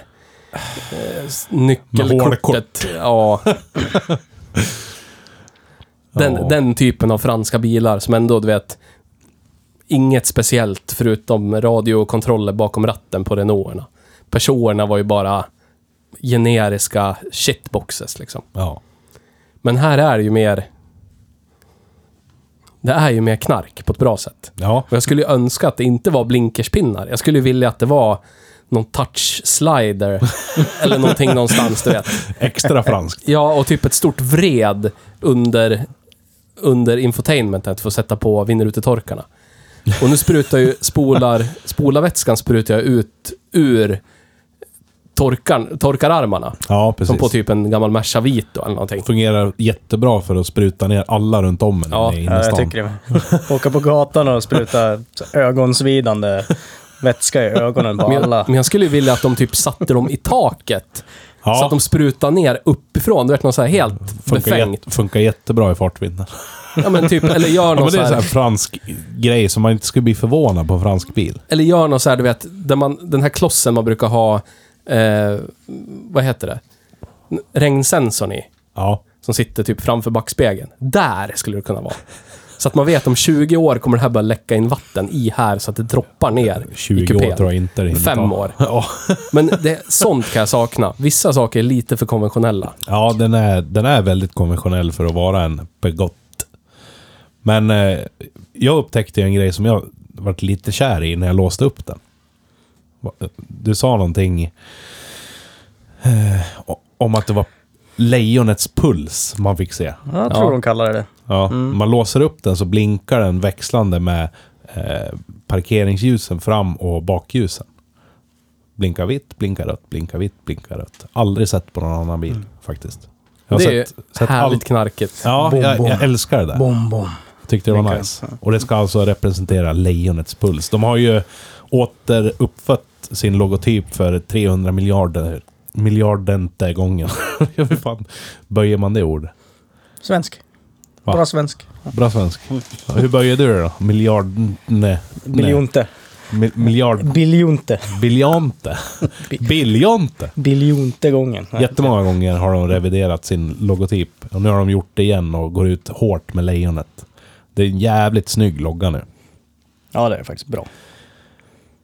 Speaker 2: eh, s-
Speaker 1: Med
Speaker 2: nyckelkortet.
Speaker 1: hålkort. (laughs)
Speaker 2: Ja. den,
Speaker 1: Ja.
Speaker 2: den typen av franska bilar som ändå, du vet, inget speciellt förutom radiokontroller bakom ratten på Renaulterna. Peugeoterna var ju bara generiska shitboxes liksom.
Speaker 1: Ja.
Speaker 2: Men här är det ju mer... Det är ju mer knark på ett bra sätt.
Speaker 1: Ja.
Speaker 2: Och jag skulle ju önska att det inte var blinkerspinnar. Jag skulle ju vilja att det var någon touch-slider eller någonting någonstans, du vet.
Speaker 1: Extra franskt.
Speaker 2: Ja, och typ ett stort vred under, under infotainmentet för att sätta på vinrutetorkarna. Och nu sprutar ju spolar, spolarvätskan sprutar jag ut ur torkar, torkararmarna.
Speaker 1: Ja, precis.
Speaker 2: Som på typ en gammal Merca Vito eller någonting.
Speaker 1: fungerar jättebra för att spruta ner alla runt om en i
Speaker 2: Ja,
Speaker 3: Ja, jag (laughs)
Speaker 1: innerstan.
Speaker 3: tycker det. Åka på gatan och spruta ögonsvidande vätska i ögonen på
Speaker 2: Men jag,
Speaker 3: alla.
Speaker 2: men jag skulle ju vilja att de typ satte dem i taket.
Speaker 1: Ja.
Speaker 2: Så att de sprutar ner uppifrån. Det vart något så här helt
Speaker 1: Funkar,
Speaker 2: befängt.
Speaker 1: jätte, funkar jättebra i fartvinden.
Speaker 2: Ja, men typ, eller gör
Speaker 1: Ja, men
Speaker 2: något
Speaker 1: det
Speaker 2: så
Speaker 1: är en
Speaker 2: här,
Speaker 1: sån här fransk grej som man inte skulle bli förvånad på en fransk bil.
Speaker 2: Eller gör något så här, du vet, där man, den här klossen man brukar ha, eh, vad heter det? N- Regnsensorn i.
Speaker 1: Ja.
Speaker 2: Som sitter typ framför backspegeln. Där skulle det kunna vara. Så att man vet om 20 år kommer det här börja läcka in vatten i här så att det droppar ner i
Speaker 1: 20 år
Speaker 2: kupén.
Speaker 1: tror jag inte det hinner
Speaker 2: Fem
Speaker 1: ta.
Speaker 2: år.
Speaker 1: (laughs) Ja.
Speaker 2: Men det, sånt kan jag sakna. Vissa saker är lite för konventionella.
Speaker 1: Ja, den är, den är väldigt konventionell för att vara en Peugeot. Men eh, jag upptäckte ju en grej som jag varit lite kär i när jag låste upp den. Va- Du sa någonting eh, o- om att det var lejonets puls man fick se.
Speaker 3: Jag tror
Speaker 2: Ja.
Speaker 3: de kallar det det.
Speaker 1: Ja, Man låser upp den så blinkar den växlande med eh, parkeringsljusen fram och bakljusen. Blinka vitt, blinka rött, blinka vitt, blinka rött. Aldrig sett på någon annan bil faktiskt. Jag har
Speaker 2: det är
Speaker 1: sett,
Speaker 2: ju
Speaker 1: sett
Speaker 2: härligt
Speaker 1: all...
Speaker 2: knarket.
Speaker 1: Ja,
Speaker 3: Bom,
Speaker 1: jag,
Speaker 3: bom.
Speaker 1: jag älskar det där.
Speaker 3: Bom, bom.
Speaker 1: Tyckte det var
Speaker 3: Blinkar.
Speaker 1: nice. Och det ska alltså representera lejonets puls. De har ju återuppfött sin logotyp för 300 miljarder miljardente gången. (laughs) Hur fan böjer man det ordet?
Speaker 3: Svensk.
Speaker 1: Va?
Speaker 3: Bara svensk.
Speaker 1: Bra svensk. Hur böjer du det då? Miljard... Ne, ne,
Speaker 3: Biljonte.
Speaker 1: mi, miljard...
Speaker 3: Biljonte.
Speaker 1: Biljonte. Biljonte!
Speaker 3: Biljonte gången.
Speaker 1: Jättemånga gånger har de reviderat sin logotyp. Och nu har de gjort det igen och går ut hårt med lejonet. Det är en jävligt snygg logga nu.
Speaker 3: Ja, det är faktiskt bra.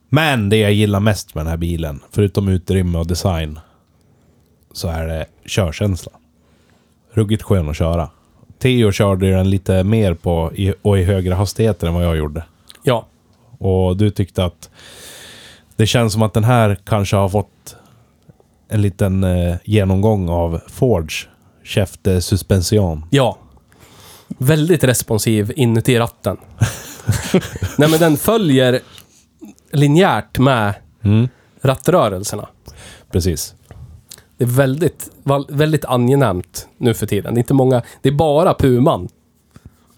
Speaker 1: Men det jag gillar mest med den här bilen, förutom utrymme och design, så är det körkänslan. Ruggigt skön att köra. Theo körde ju den lite mer på i, och i högre hastigheter än vad jag gjorde.
Speaker 2: Ja.
Speaker 1: Och du tyckte att det känns som att den här kanske har fått en liten eh, genomgång av Fords käfte suspension.
Speaker 2: Ja. Väldigt responsiv
Speaker 1: (laughs)
Speaker 2: inuti ratten. Nej, men den följer linjärt med
Speaker 1: Mm.
Speaker 2: rattrörelserna.
Speaker 1: Precis.
Speaker 2: Det är väldigt, val- väldigt angenämt nu för tiden. Det är inte många, det är bara Puman.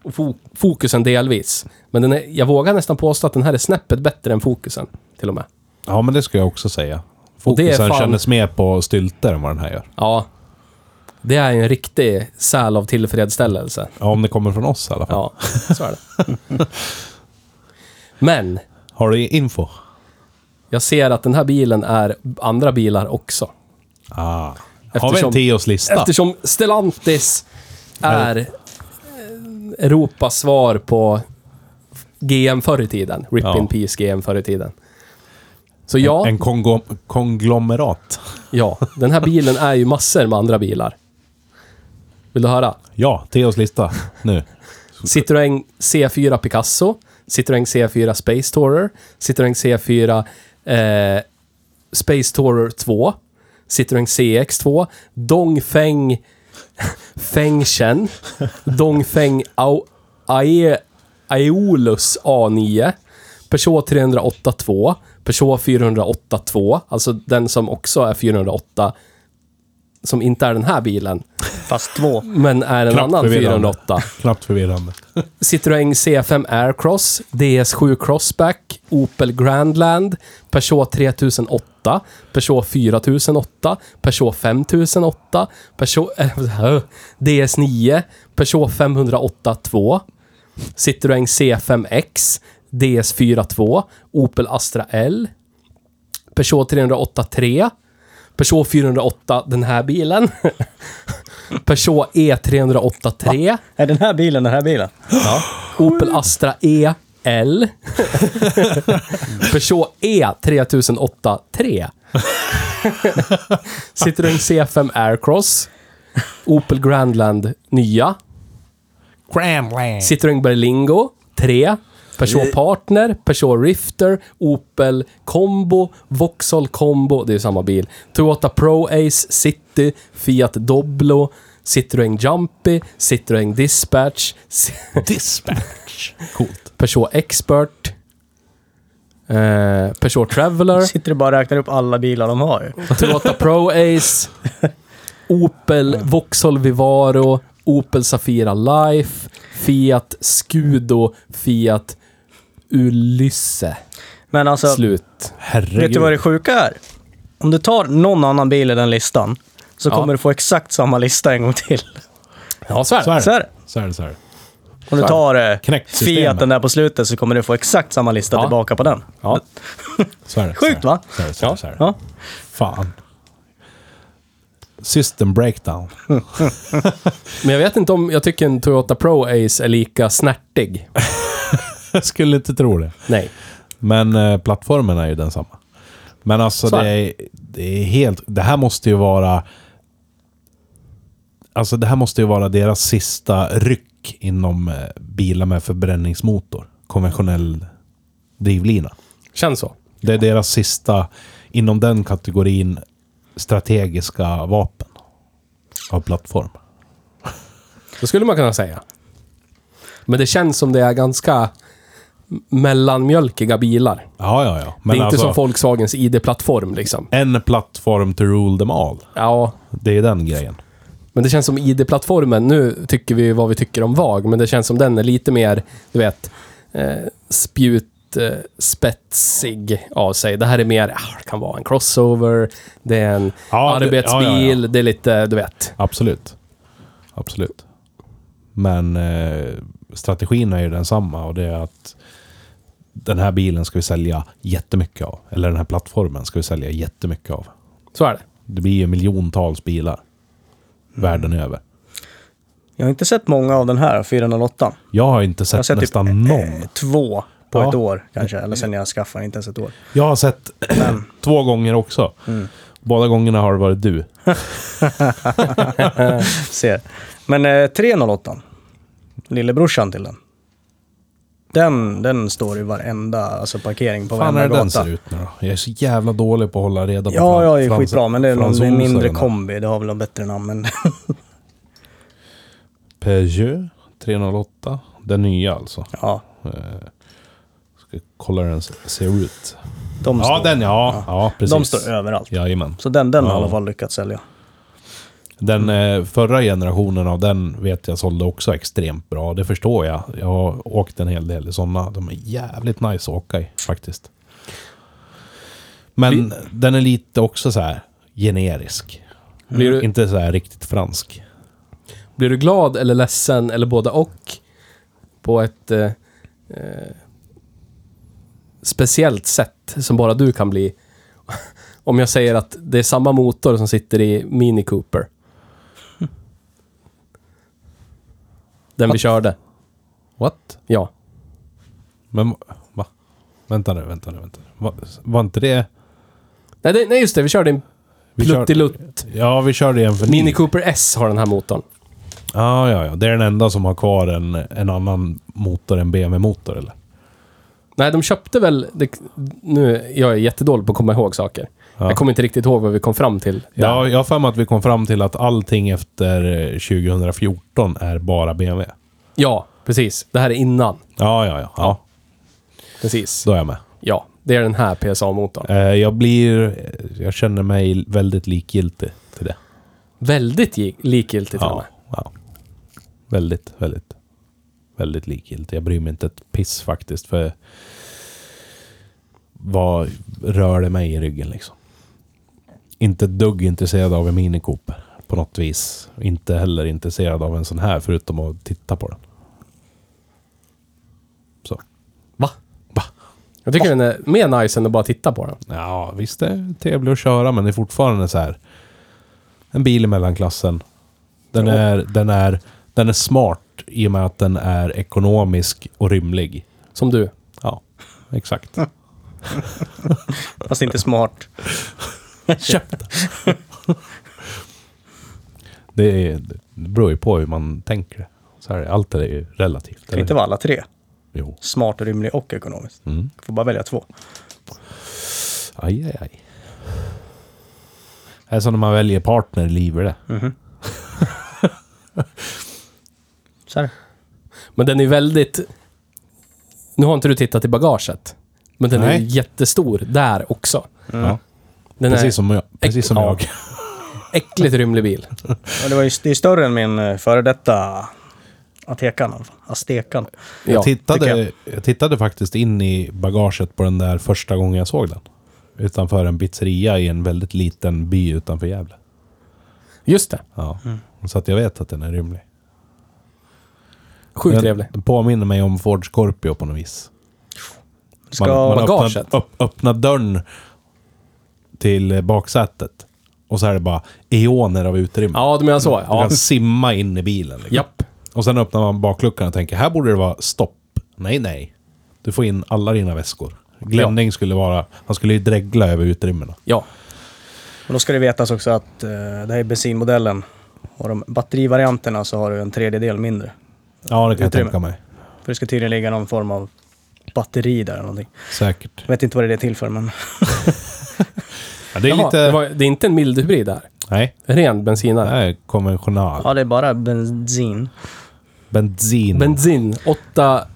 Speaker 2: Och fo- fokusen delvis. Men den är, jag vågar nästan påstå att den här är snäppet bättre än fokusen. Till och med.
Speaker 1: Ja, men det ska jag också säga.
Speaker 2: Och det är
Speaker 1: Fokusen
Speaker 2: fan-
Speaker 1: kändes mer på stylter än vad den här gör.
Speaker 2: Ja. Det är en riktig säl av tillfredsställelse.
Speaker 1: Ja, om det kommer från oss i alla fall.
Speaker 2: Ja, (laughs) så är det. Men,
Speaker 1: Har du info?
Speaker 2: jag ser att den här bilen är andra bilar också.
Speaker 1: Ah. Har vi en
Speaker 2: Eftersom-
Speaker 1: Theos lista?
Speaker 2: Eftersom Stellantis är eh, Europas svar på GM förr i tiden. RIP
Speaker 1: Ja.
Speaker 2: in Peace GM förr i tiden. Så ja,
Speaker 1: En kongo- konglomerat.
Speaker 2: ja, den här bilen är ju massor med andra bilar. Vill du höra?
Speaker 1: Ja, Theos lista. Nu.
Speaker 2: Mm. Citroën C4 Picasso, Citroën C4 Space Tourer, Citroën C4 eh, Space Tourer 2, Citroën CX2, Dongfeng (laughs) Fengchen, Dongfeng Au, Ae, Aeolus A9, Peugeot 308 2, Peugeot 408 2, alltså den som också är 408 som inte är den här bilen,
Speaker 3: Fast två.
Speaker 2: men är en
Speaker 1: Knappt
Speaker 2: annan
Speaker 1: förvirrande.
Speaker 2: 408.
Speaker 1: Knappt förvirrande.
Speaker 2: Citroën C5 Aircross, DS7 Crossback, Opel Grandland, Peugeot 3008, Peugeot 4008, Peugeot 5008, Peugeot, eh, (laughs) DS9, Peugeot 508 2, Citroën C5X, DS4 2, Opel Astra L, Peugeot 308 3, Peugeot 408, den här bilen, (laughs) Peugeot E E308 3,
Speaker 3: Är den här bilen den här bilen?
Speaker 2: Opel Astra E L. Peugeot E 3008 3. Citroën C5 Aircross. Opel Grandland nya. Citroën Berlingo 3. Peugeot Partner, Peugeot Rifter, Opel Combo, Vauxhall Combo, det är ju samma bil. Toyota Pro Ace, City, Fiat Doblo, Citroën Jumpy, Citroën Dispatch, (laughs)
Speaker 1: Dispatch. Coolt.
Speaker 2: Peugeot Expert. Eh, Peugeot Traveler.
Speaker 3: Sitter du bara och räknar upp alla bilar de har ju.
Speaker 2: Toyota Pro Ace. Opel Vauxhall Vivaro. Opel Safira Life. Fiat Scudo. Fiat Ulysse.
Speaker 3: Men alltså,
Speaker 2: Slut.
Speaker 1: Herregud.
Speaker 3: vet du vad det sjuka är? Om du tar någon annan bil i den listan så
Speaker 2: Ja.
Speaker 3: kommer du få exakt samma lista en gång till. (laughs)
Speaker 2: Ja, så är
Speaker 1: Så är det.
Speaker 2: det.
Speaker 3: Så är det.
Speaker 1: Så är det, så är det.
Speaker 3: Om du tar eh,
Speaker 1: Knäckt systemet.
Speaker 3: Fiaten där på slutet så kommer du få exakt samma lista
Speaker 2: Ja.
Speaker 3: tillbaka på den.
Speaker 2: Ja.
Speaker 1: Så är det.
Speaker 3: Sjukt,
Speaker 1: så är det.
Speaker 3: va?
Speaker 1: Så är det, så är det, så är det.
Speaker 3: Ja.
Speaker 1: Fan. System breakdown. (laughs)
Speaker 2: Men jag vet inte om jag tycker en Toyota Pro Ace är lika snärtig.
Speaker 1: Jag skulle inte tro det.
Speaker 2: Nej.
Speaker 1: Men eh, plattformen är ju densamma. Men alltså
Speaker 2: Så är
Speaker 1: det är, det är helt... Det här måste ju vara... Alltså det här måste ju vara deras sista ryck inom eh, bilar med förbränningsmotor. Konventionell drivlina.
Speaker 2: Känns så.
Speaker 1: Det är deras sista, inom den kategorin, strategiska vapen. Av plattform.
Speaker 2: Det skulle man kunna säga. Men det känns som det är ganska mellanmjölkiga bilar.
Speaker 1: Ja, ja, ja.
Speaker 2: det är
Speaker 1: alltså,
Speaker 2: inte som Volkswagens ID-plattform liksom.
Speaker 1: En plattform to rule them all.
Speaker 2: Ja,
Speaker 1: Det är den grejen.
Speaker 2: Men det känns som ID-plattformen, nu tycker vi ju vad vi tycker om VAG, men det känns som den är lite mer, du vet, eh, spjut, eh, spetsig av sig. Det här är mer, ah, det kan vara en crossover, det är en
Speaker 1: Ja, det-
Speaker 2: arbetsbil,
Speaker 1: ja, ja, ja.
Speaker 2: det är lite, du vet.
Speaker 1: Absolut. Absolut. Men eh, strategin är ju densamma och det är att den här bilen ska vi sälja jättemycket av. Eller den här plattformen ska vi sälja jättemycket av.
Speaker 2: Så är det.
Speaker 1: Det blir ju miljontals bilar.
Speaker 3: Mm.
Speaker 1: Världen över.
Speaker 3: Jag har inte sett många av den här 408.
Speaker 1: Jag har inte sett,
Speaker 3: Jag har sett typ-
Speaker 1: nästan någon.
Speaker 3: Två på
Speaker 1: Ja.
Speaker 3: ett år kanske, eller sen jag skaffade, inte ens ett år.
Speaker 1: Jag har sett (clears throat) två gånger också.
Speaker 3: Mm.
Speaker 1: Båda gångerna har det varit du.
Speaker 3: Ser. Men eh, 308, lillebrorsan till den. Den, den står i varenda alltså parkering på
Speaker 1: fan
Speaker 3: varenda
Speaker 1: är det
Speaker 3: gata.
Speaker 1: den ser ut nu då? Jag är så jävla dålig på att hålla reda på
Speaker 3: Ja,
Speaker 1: fran-
Speaker 3: ja, det är
Speaker 1: frans-
Speaker 3: skitbra, men det är någon det är en mindre
Speaker 1: fransoserna.
Speaker 3: kombi. Det har väl något bättre namn, men (laughs)
Speaker 1: Peugeot 308. Den nya alltså.
Speaker 3: ja.
Speaker 1: Ska kolla hur den ser ut.
Speaker 3: De
Speaker 1: Ja,
Speaker 3: står,
Speaker 1: den ja. Ja, precis.
Speaker 3: de står överallt.
Speaker 1: Jajamän.
Speaker 3: Så den, den har
Speaker 1: Ja.
Speaker 3: i alla fall lyckats sälja.
Speaker 1: Den eh, förra generationen av den vet jag sålde också extremt bra. Det förstår jag. Jag har åkt en hel del i sådana. De är jävligt nice att åka i faktiskt. Men den är lite också så här generisk.
Speaker 2: Blir du,
Speaker 1: Mm. Inte så här riktigt fransk.
Speaker 2: blir du glad eller ledsen eller både och på ett eh, eh, speciellt sätt som bara du kan bli? (laughs) Om jag säger att det är samma motor som sitter i
Speaker 1: (laughs)
Speaker 2: Mini Cooper. Den vi körde.
Speaker 1: What?
Speaker 2: Ja.
Speaker 1: Men va? Vänta nu, vänta nu, vänta nu. Va, var inte det...
Speaker 2: Nej, det, nej just det. Vi körde en
Speaker 1: Vi körde-
Speaker 2: Pluttilutt.
Speaker 1: Ja, vi körde igen för
Speaker 2: Mini Cooper S har den här motorn.
Speaker 1: Ja, ja, ja. Det är den enda som har kvar en, en annan motor än BMW-motor, eller?
Speaker 2: Nej, de köpte väl... Det, nu, jag är jättedålig på att komma ihåg saker.
Speaker 1: Ja.
Speaker 2: Jag kommer inte riktigt ihåg vad vi kom fram till. där.
Speaker 1: Ja, jag har för mig att vi kom fram till att allting efter eh, 2014 är bara BMW.
Speaker 2: ja, precis. Det här är innan.
Speaker 1: Ja, ja, ja. ja
Speaker 2: Precis.
Speaker 1: då är jag med.
Speaker 2: Ja, det är den här PSA-motorn.
Speaker 1: Eh, Jag blir... eh, Jag känner mig väldigt likgiltig till det.
Speaker 2: Väldigt gi- likgiltig till och
Speaker 1: Ja,
Speaker 2: med.
Speaker 1: ja. Väldigt, väldigt. Väldigt likgiltig. Jag bryr mig inte ett piss faktiskt, för... Vad rör det mig i ryggen liksom? Inte ett dugg intresserad av en Mini Cooper på något vis. Inte heller intresserad av en sån här, förutom att titta på den. Så.
Speaker 2: Va? Jag tycker den är mer nice än att bara titta på den.
Speaker 1: Ja, visst det är trevligt att köra, men det är fortfarande så här. En bil i mellanklassen. Den, är, den, är, den är smart i och med att den är ekonomisk och rymlig.
Speaker 2: Som du.
Speaker 1: Ja, exakt.
Speaker 3: Fast
Speaker 1: (laughs)
Speaker 3: inte smart.
Speaker 1: Köpt! det, är, det beror ju på hur man tänker. Så här, allt är ju relativt.
Speaker 3: Kan inte vara alla tre.
Speaker 1: Jo.
Speaker 3: Smart, rymlig och ekonomisk.
Speaker 1: Mm.
Speaker 3: Får bara välja två.
Speaker 1: Aj, aj, aj. Det är som när man väljer partner i livet det.
Speaker 3: (laughs) Så här.
Speaker 2: Men den är väldigt... Nu har inte du tittat i bagaget. Men den är
Speaker 1: Nej.
Speaker 2: jättestor där också.
Speaker 1: Ja.
Speaker 2: Den är
Speaker 1: Precis som jag. Precis som
Speaker 2: Ja.
Speaker 1: jag.
Speaker 2: äckligt rymlig bil.
Speaker 3: Och det, var ju, det är större än min eh, före detta Atekan i alla fall. Aztekan.
Speaker 2: Ja,
Speaker 1: jag, tittade,
Speaker 3: tycker
Speaker 1: jag. tittade faktiskt in i bagaget på den där första gången jag såg den. Utanför en pizzeria i en väldigt liten by utanför Gävle.
Speaker 2: just det.
Speaker 1: Ja. Så att jag vet att den är rymlig.
Speaker 2: Sjukt
Speaker 1: Den-
Speaker 2: trevlig.
Speaker 1: Den påminner mig om Ford Scorpio på något vis.
Speaker 3: Ska,
Speaker 1: Man, man öppnar,
Speaker 2: Bagaget.
Speaker 1: upp, öppnar dörren till eh, baksätet. Och så är det bara eoner av utrymme.
Speaker 2: Ja, du menar så.
Speaker 1: Du
Speaker 2: Ja.
Speaker 1: kan simma in i bilen. Liksom.
Speaker 2: Japp.
Speaker 1: Och sen öppnar man bakluckan och tänker, här borde det vara stopp. Nej, nej. Du får in alla dina väskor. Glänning skulle vara... Han skulle ju dregla över utrymmena.
Speaker 2: Ja.
Speaker 3: men då ska det vetas också att eh, det här är bensinmodellen. Och de batterivarianterna så har du en tredjedel mindre.
Speaker 1: Ja, det kan
Speaker 3: Utrymme.
Speaker 1: jag tänka mig.
Speaker 3: För det ska tydligen ligga någon form av batteri där eller någonting.
Speaker 1: Säkert.
Speaker 3: Jag vet inte vad det är till för, men
Speaker 1: Ja, det är
Speaker 2: Jaha,
Speaker 1: lite...
Speaker 2: det, var, det är inte en mild hybrid där.
Speaker 1: Nej,
Speaker 2: Ren bensinare.
Speaker 1: det här är konventional.
Speaker 3: ja, det är bara bensin.
Speaker 1: Bensin.
Speaker 2: Bensin. Åtta,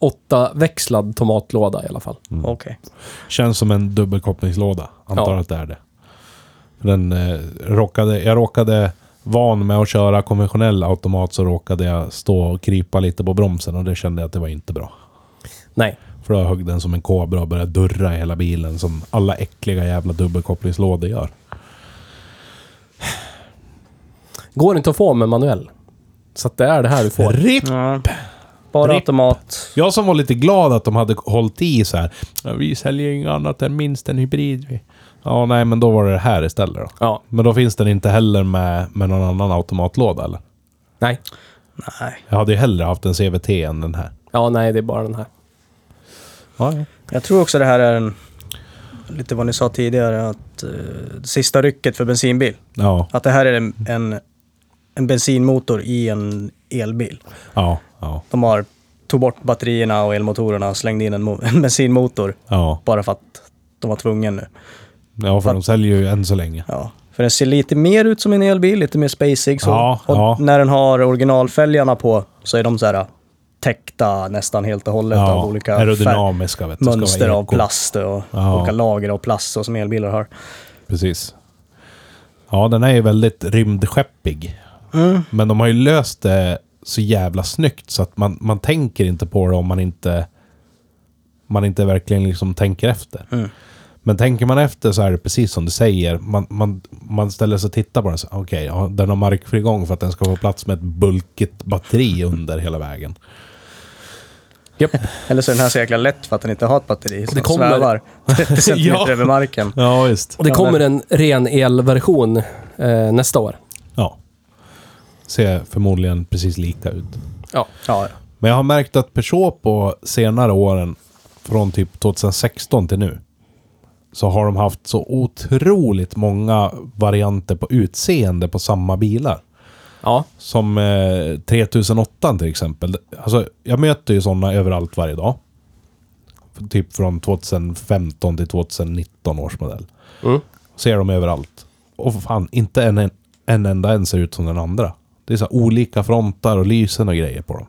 Speaker 2: åtta växlad tomatlåda i alla fall.
Speaker 3: Okej.
Speaker 1: Känns som en dubbelkopplingslåda. Antar
Speaker 2: Ja.
Speaker 1: att det är det. För Den, eh, råkade, jag råkade... Van med att köra konventionell automat så råkade jag stå och krypa lite på bromsen och det kände jag att det var inte bra.
Speaker 2: Nej.
Speaker 1: För då högg den som en kobra och började durra i hela bilen som alla äckliga jävla dubbelkopplingslådor gör.
Speaker 2: Går inte att få med manuell. Så att det är det här du får.
Speaker 1: RIP!
Speaker 3: Ja. Bara
Speaker 1: Ripp.
Speaker 3: automat.
Speaker 1: Jag som var lite glad att de hade hållit i så här. "Ja, Vi säljer ju inget annat än minst en hybrid. vi." Ja, nej, men då var det det här istället då.
Speaker 2: Ja.
Speaker 1: Men då finns den inte heller med, med någon annan automatlåda eller?
Speaker 2: Nej.
Speaker 3: Nej,
Speaker 1: Jag hade ju hellre haft en CVT än den här.
Speaker 2: Ja, nej, det är bara den här.
Speaker 1: Ja, ja.
Speaker 3: jag tror också det här är en... Lite vad ni sa tidigare, att eh, sista rycket för bensinbil.
Speaker 1: Ja,
Speaker 3: Att det här är en, en, en bensinmotor i en elbil.
Speaker 1: ja, ja.
Speaker 3: De har tog bort batterierna och elmotorerna och slängde in en, mo- (laughs) en bensinmotor
Speaker 1: Ja,
Speaker 3: bara för att de var tvungna nu.
Speaker 1: ja för de säljer ju än så länge.
Speaker 3: Ja. För den ser lite mer ut som en elbil, lite mer spacig. Så.
Speaker 1: Ja,
Speaker 3: och
Speaker 1: ja.
Speaker 3: när den har originalfälgarna på så är de så här äh, täckta nästan helt och hållet av
Speaker 1: Ja,
Speaker 3: olika färg-
Speaker 1: aerodynamiska vet du. ska vara
Speaker 3: mönster av
Speaker 1: eko.
Speaker 3: plast och
Speaker 1: Ja.
Speaker 3: olika lager av plast så som elbilar har.
Speaker 1: Precis. Ja, den är ju väldigt rymdskeppig. Men de har ju löst det så jävla snyggt så att man, man tänker inte på det om man inte, man inte verkligen liksom tänker efter. Men tänker man efter så är det precis som du säger. Man, man, man ställer sig och tittar på den. så, Okej, ja, den har markfrigång för att den ska få plats med ett bulkigt batteri under hela vägen.
Speaker 2: Japp.
Speaker 3: Eller så är den här så jäkla lätt för att den inte har ett batteri. Så
Speaker 2: det
Speaker 3: den
Speaker 1: (laughs)
Speaker 2: kommer-
Speaker 3: svävar 30 centimeter
Speaker 1: Ja.
Speaker 3: över marken.
Speaker 1: Ja, just.
Speaker 2: Och det kommer en ren elversion eh, nästa år.
Speaker 1: Ja. Ser förmodligen precis lika ut.
Speaker 2: Ja.
Speaker 3: Ja,
Speaker 1: Men jag har märkt att Peugeot på senare åren, från typ 2016 till nu, så har de haft så otroligt många varianter på utseende på samma bilar.
Speaker 2: Ja.
Speaker 1: Som eh, 3008 till exempel. Alltså, jag möter ju sådana överallt varje dag. F- Typ från 2015 till 2019 års modell.
Speaker 2: Mm.
Speaker 1: Ser dem överallt. Och fan, inte en, en, en enda en ser ut som den andra. Det är så här olika frontar och lysen och grejer på dem.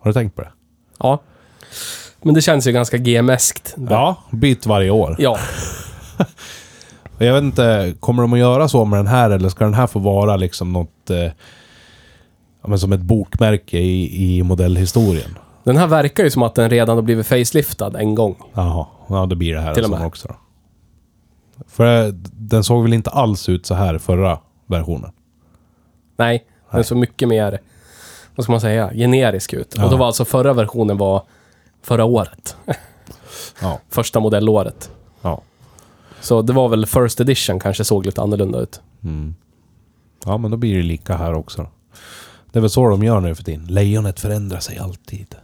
Speaker 1: Har du tänkt på det?
Speaker 2: ja. Men det känns ju ganska GMeskt.
Speaker 1: Ja, byt varje år.
Speaker 2: Ja.
Speaker 1: Jag vet inte, kommer de att göra så med den här eller ska den här få vara liksom något... Eh, ja, men som ett bokmärke i, i modellhistorien?
Speaker 2: Den här verkar ju som att den redan har blivit faceliftad en gång.
Speaker 1: Jaha, ja det blir det här
Speaker 2: Till och
Speaker 1: alltså
Speaker 2: med.
Speaker 1: också då. För eh, den såg väl inte alls ut så här förra versionen?
Speaker 2: Nej, den såg mycket mer, vad ska man säga, generisk ut.
Speaker 1: Ja.
Speaker 2: Och då var alltså förra versionen var förra året.
Speaker 1: Ja.
Speaker 2: Första modellåret.
Speaker 1: Ja,
Speaker 2: Så det var väl first edition kanske såg lite annorlunda ut.
Speaker 1: Mm. ja men då blir det lika här också. Då. Det är väl så de gör nu för tiden. Lejonet förändrar sig alltid.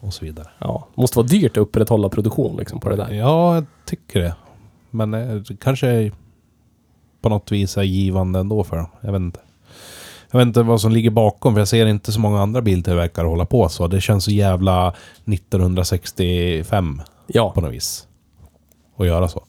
Speaker 1: Och så vidare.
Speaker 2: Ja. Måste vara dyrt att upprätthålla produktion liksom på det där.
Speaker 1: Ja, jag tycker det. Men eh, det kanske är på något vis är givande ändå för dem. Jag vet inte. Jag vet inte vad som ligger bakom, för jag ser inte så många andra biltillverkare hålla på så. Det känns så jävla 1965
Speaker 2: Ja.
Speaker 1: på något vis. Att göra så.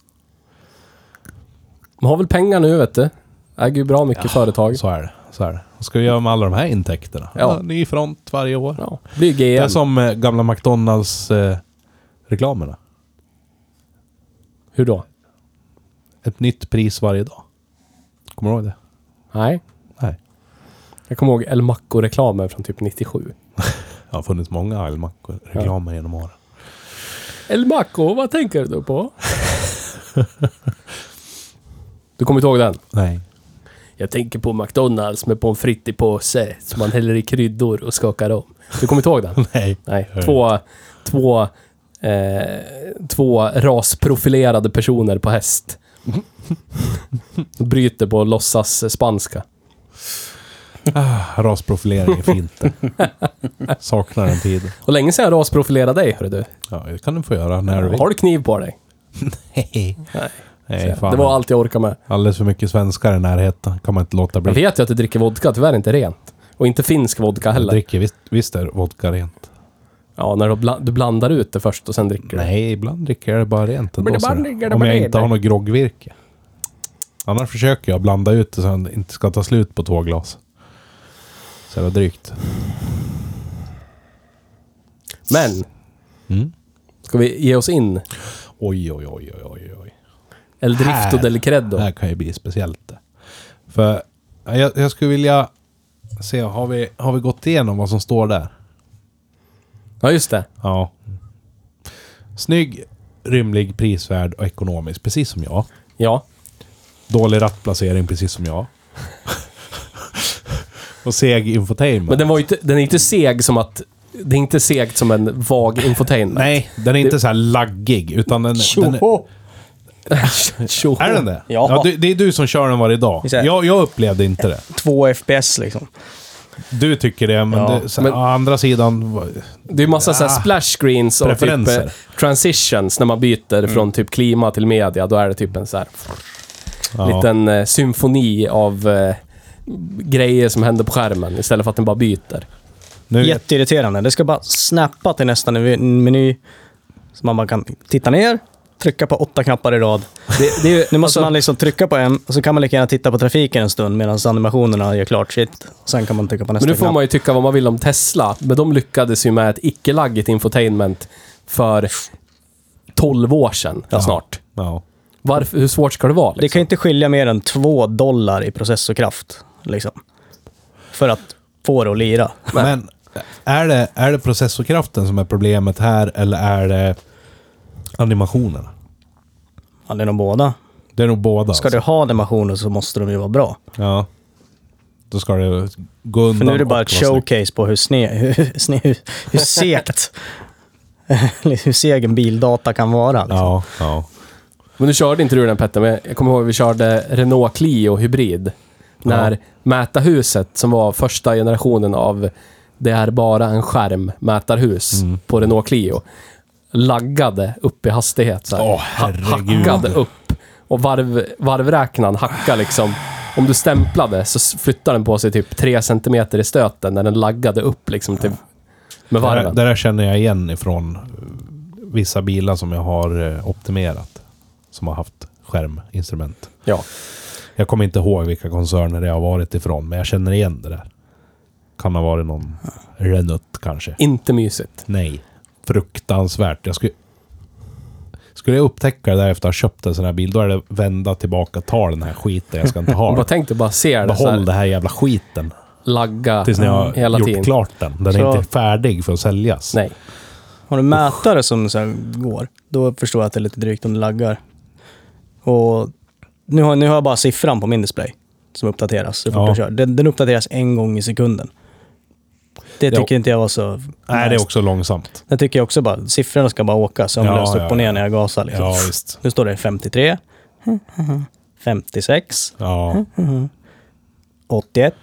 Speaker 2: Man har väl pengar nu vet du. Äger ju bra mycket företag.
Speaker 1: Så är det. Så är det. Vad ska vi göra med alla de här intäkterna?
Speaker 2: Ja.
Speaker 1: Ja. ny front varje år.
Speaker 2: Ja. Blir
Speaker 1: Det är
Speaker 2: GM.
Speaker 1: som eh, gamla eh, McDonalds-reklamerna.
Speaker 2: Hur då?
Speaker 1: Ett nytt pris varje dag. Kommer du ihåg det?
Speaker 2: Nej.
Speaker 1: Nej.
Speaker 2: Jag kommer ihåg El Maco-reklamen från typ 97.
Speaker 1: Det har funnits många Almaco-reklamer genom åren.
Speaker 2: El Maco, vad tänker du på? (laughs) du kommer inte ihåg den?
Speaker 1: Nej.
Speaker 2: Jag tänker på McDonalds med pommes frites i påse som man häller i kryddor och skakar om. Du kommer inte ihåg den?
Speaker 1: Nej.
Speaker 2: Nej. Två, två, eh, två rasprofilerade personer
Speaker 1: (laughs)
Speaker 2: på häst. Bryter på låtsas spanska.
Speaker 1: Ah, Rasprofilering är fint det. Saknar den tiden.
Speaker 2: Och länge sedan jag rasprofilerade dig, hörru du.
Speaker 1: Ja, det kan du få göra när du vill.
Speaker 2: Har du kniv på dig?
Speaker 1: Nej. Nej, fan.
Speaker 2: Det var allt jag orkade med.
Speaker 1: Alldeles för mycket svenskar i närheten. Kan man inte låta
Speaker 2: Jag
Speaker 1: bli.
Speaker 2: vet ju att du dricker vodka, tyvärr inte rent. Och inte finsk vodka
Speaker 1: Jag
Speaker 2: heller.
Speaker 1: dricker visst, visst är vodka rent.
Speaker 2: Ja, när du, bla- du blandar ut det först och sen dricker du.
Speaker 1: Nej, ibland dricker jag det bara rent ändå.
Speaker 2: Men ibland
Speaker 1: så.
Speaker 2: dricker du
Speaker 1: Om
Speaker 2: bara
Speaker 1: jag
Speaker 2: det
Speaker 1: inte
Speaker 2: där.
Speaker 1: har något groggvirke. Annars försöker jag blanda ut det så att det inte ska ta slut på två glas. Så det var drygt.
Speaker 2: Men!
Speaker 1: Mm.
Speaker 2: Ska vi ge oss in?
Speaker 1: Oj, oj, oj, oj, oj, oj.
Speaker 2: El Drift och
Speaker 1: Här.
Speaker 2: Del Credo.
Speaker 1: Det här kan ju bli speciellt. det. För ja, jag, jag skulle vilja se, har vi, har vi gått igenom vad som står där?
Speaker 2: Ja, just det.
Speaker 1: Ja. Snygg, rymlig, prisvärd och ekonomisk, precis som jag.
Speaker 2: Ja.
Speaker 1: Dålig rattplacering, precis som jag. (laughs) och seg infotainment.
Speaker 2: Men den, var ju inte, den är inte seg som att... Det är inte segt som en vag infotainment.
Speaker 1: Nej, den är inte så här laggig, utan den... den är,
Speaker 3: Tjoho!
Speaker 2: Tjo.
Speaker 1: är den det?
Speaker 3: Ja.
Speaker 1: du, det är du som kör den varje dag.
Speaker 3: Exakt.
Speaker 1: Jag, jag upplevde inte det.
Speaker 3: Två FPS liksom.
Speaker 1: Du tycker det, men,
Speaker 3: Ja.
Speaker 1: det, så,
Speaker 2: Men-
Speaker 1: å andra sidan... vad-
Speaker 2: Det är ju massa så här
Speaker 1: Ah.
Speaker 2: splash screens och typ
Speaker 1: Preferenser. Mm.
Speaker 2: eh, transitions när man byter från typ klima till media. Då är det typ en så här
Speaker 1: Ja.
Speaker 2: liten eh, symfoni av eh, grejer som händer på skärmen istället för att den bara byter.
Speaker 1: Nu,
Speaker 3: Jätteirriterande. Det ska bara snappa till nästa ny- meny. Så man bara kan titta ner, trycka på åtta knappar i rad.
Speaker 2: Det, det är ju,
Speaker 3: Nu måste
Speaker 2: alltså,
Speaker 3: man liksom trycka på en och så kan man lika gärna titta på trafiken en stund medan animationerna gör klart sitt. Sen kan man trycka på nästa
Speaker 2: men nu får
Speaker 3: knapp.
Speaker 2: man ju tycka vad man vill om Tesla, men de lyckades ju med ett icke-laggigt infotainment för 12 år sedan snart.
Speaker 1: ja.
Speaker 2: Varför, hur svårt ska det vara?
Speaker 3: Det
Speaker 2: Liksom?
Speaker 3: kan ju inte skilja mer än två dollar i processorkraft. Liksom. För att få det att lira.
Speaker 1: Men är det, är det processorkraften som är problemet här eller är det animationerna?
Speaker 3: Ja, det är nog båda.
Speaker 1: Det är nog båda.
Speaker 3: Ska du ha animationer så måste de ju vara bra.
Speaker 1: alltså. Ja. Då ska det gå undan.
Speaker 3: För nu är det bara
Speaker 1: och
Speaker 3: ett
Speaker 1: vara snyggt.
Speaker 3: showcase på hur sne... Hur, (laughs) sne, hur, hur segt... (laughs) hur seg en bildata kan vara. Liksom.
Speaker 1: Ja, ja.
Speaker 2: Men nu körde inte du den Petter, men jag kommer ihåg vi körde Renault Clio hybrid. När mätarhuset, som var första generationen av det är bara en skärm mätarhus
Speaker 1: Mm.
Speaker 2: på Renault Clio, laggade upp i hastighet. Så här.
Speaker 1: Åh,
Speaker 2: Ha-
Speaker 1: herregud.
Speaker 2: hackade upp. Och varv, varvräknaren hackade liksom. Om du stämplade så s- flyttade den på sig typ 3 centimeter i stöten när den laggade upp liksom till, med
Speaker 1: Det, där,
Speaker 2: varven.
Speaker 1: det där känner jag igen ifrån eh, vissa bilar som jag har eh, optimerat. Som har haft skärminstrument.
Speaker 2: Ja.
Speaker 1: Jag kommer inte ihåg vilka koncerner det har varit ifrån, men jag känner igen det där. Kan ha varit någon Renault kanske.
Speaker 2: Inte mysigt.
Speaker 1: Nej. Fruktansvärt. Jag skulle... Skulle jag upptäcka det där efter att ha köpt en sån här bil, då är det vända tillbaka, ta den här skiten, jag ska inte ha
Speaker 2: (laughs) Bara
Speaker 1: den.
Speaker 2: tänk dig bara se det, så
Speaker 1: Behåll
Speaker 2: här,
Speaker 1: den här jävla skiten.
Speaker 2: lagga Mm.
Speaker 1: Tills ni har
Speaker 2: hela
Speaker 1: gjort
Speaker 2: tiden.
Speaker 1: klart den. Den är
Speaker 3: Så-
Speaker 1: inte färdig för att säljas.
Speaker 2: Nej.
Speaker 3: Har du mätare som så här går, då förstår jag att det är lite drygt om det laggar. Och nu har, nu har jag bara siffran på min display som uppdateras så fort
Speaker 1: Ja.
Speaker 3: jag kör. Den, den uppdateras en gång i sekunden. Det
Speaker 1: Jo.
Speaker 3: tycker inte jag var så...
Speaker 1: Nej, det är också långsamt.
Speaker 3: Det tycker jag också bara. Siffrorna ska bara åka sömlöst
Speaker 1: Ja, ja,
Speaker 3: upp och ner
Speaker 1: ja.
Speaker 3: när jag gasar. Liksom.
Speaker 1: Ja, visst.
Speaker 3: Nu står det (laughs) 53, 56,
Speaker 2: (laughs)
Speaker 1: Ja.
Speaker 3: 81.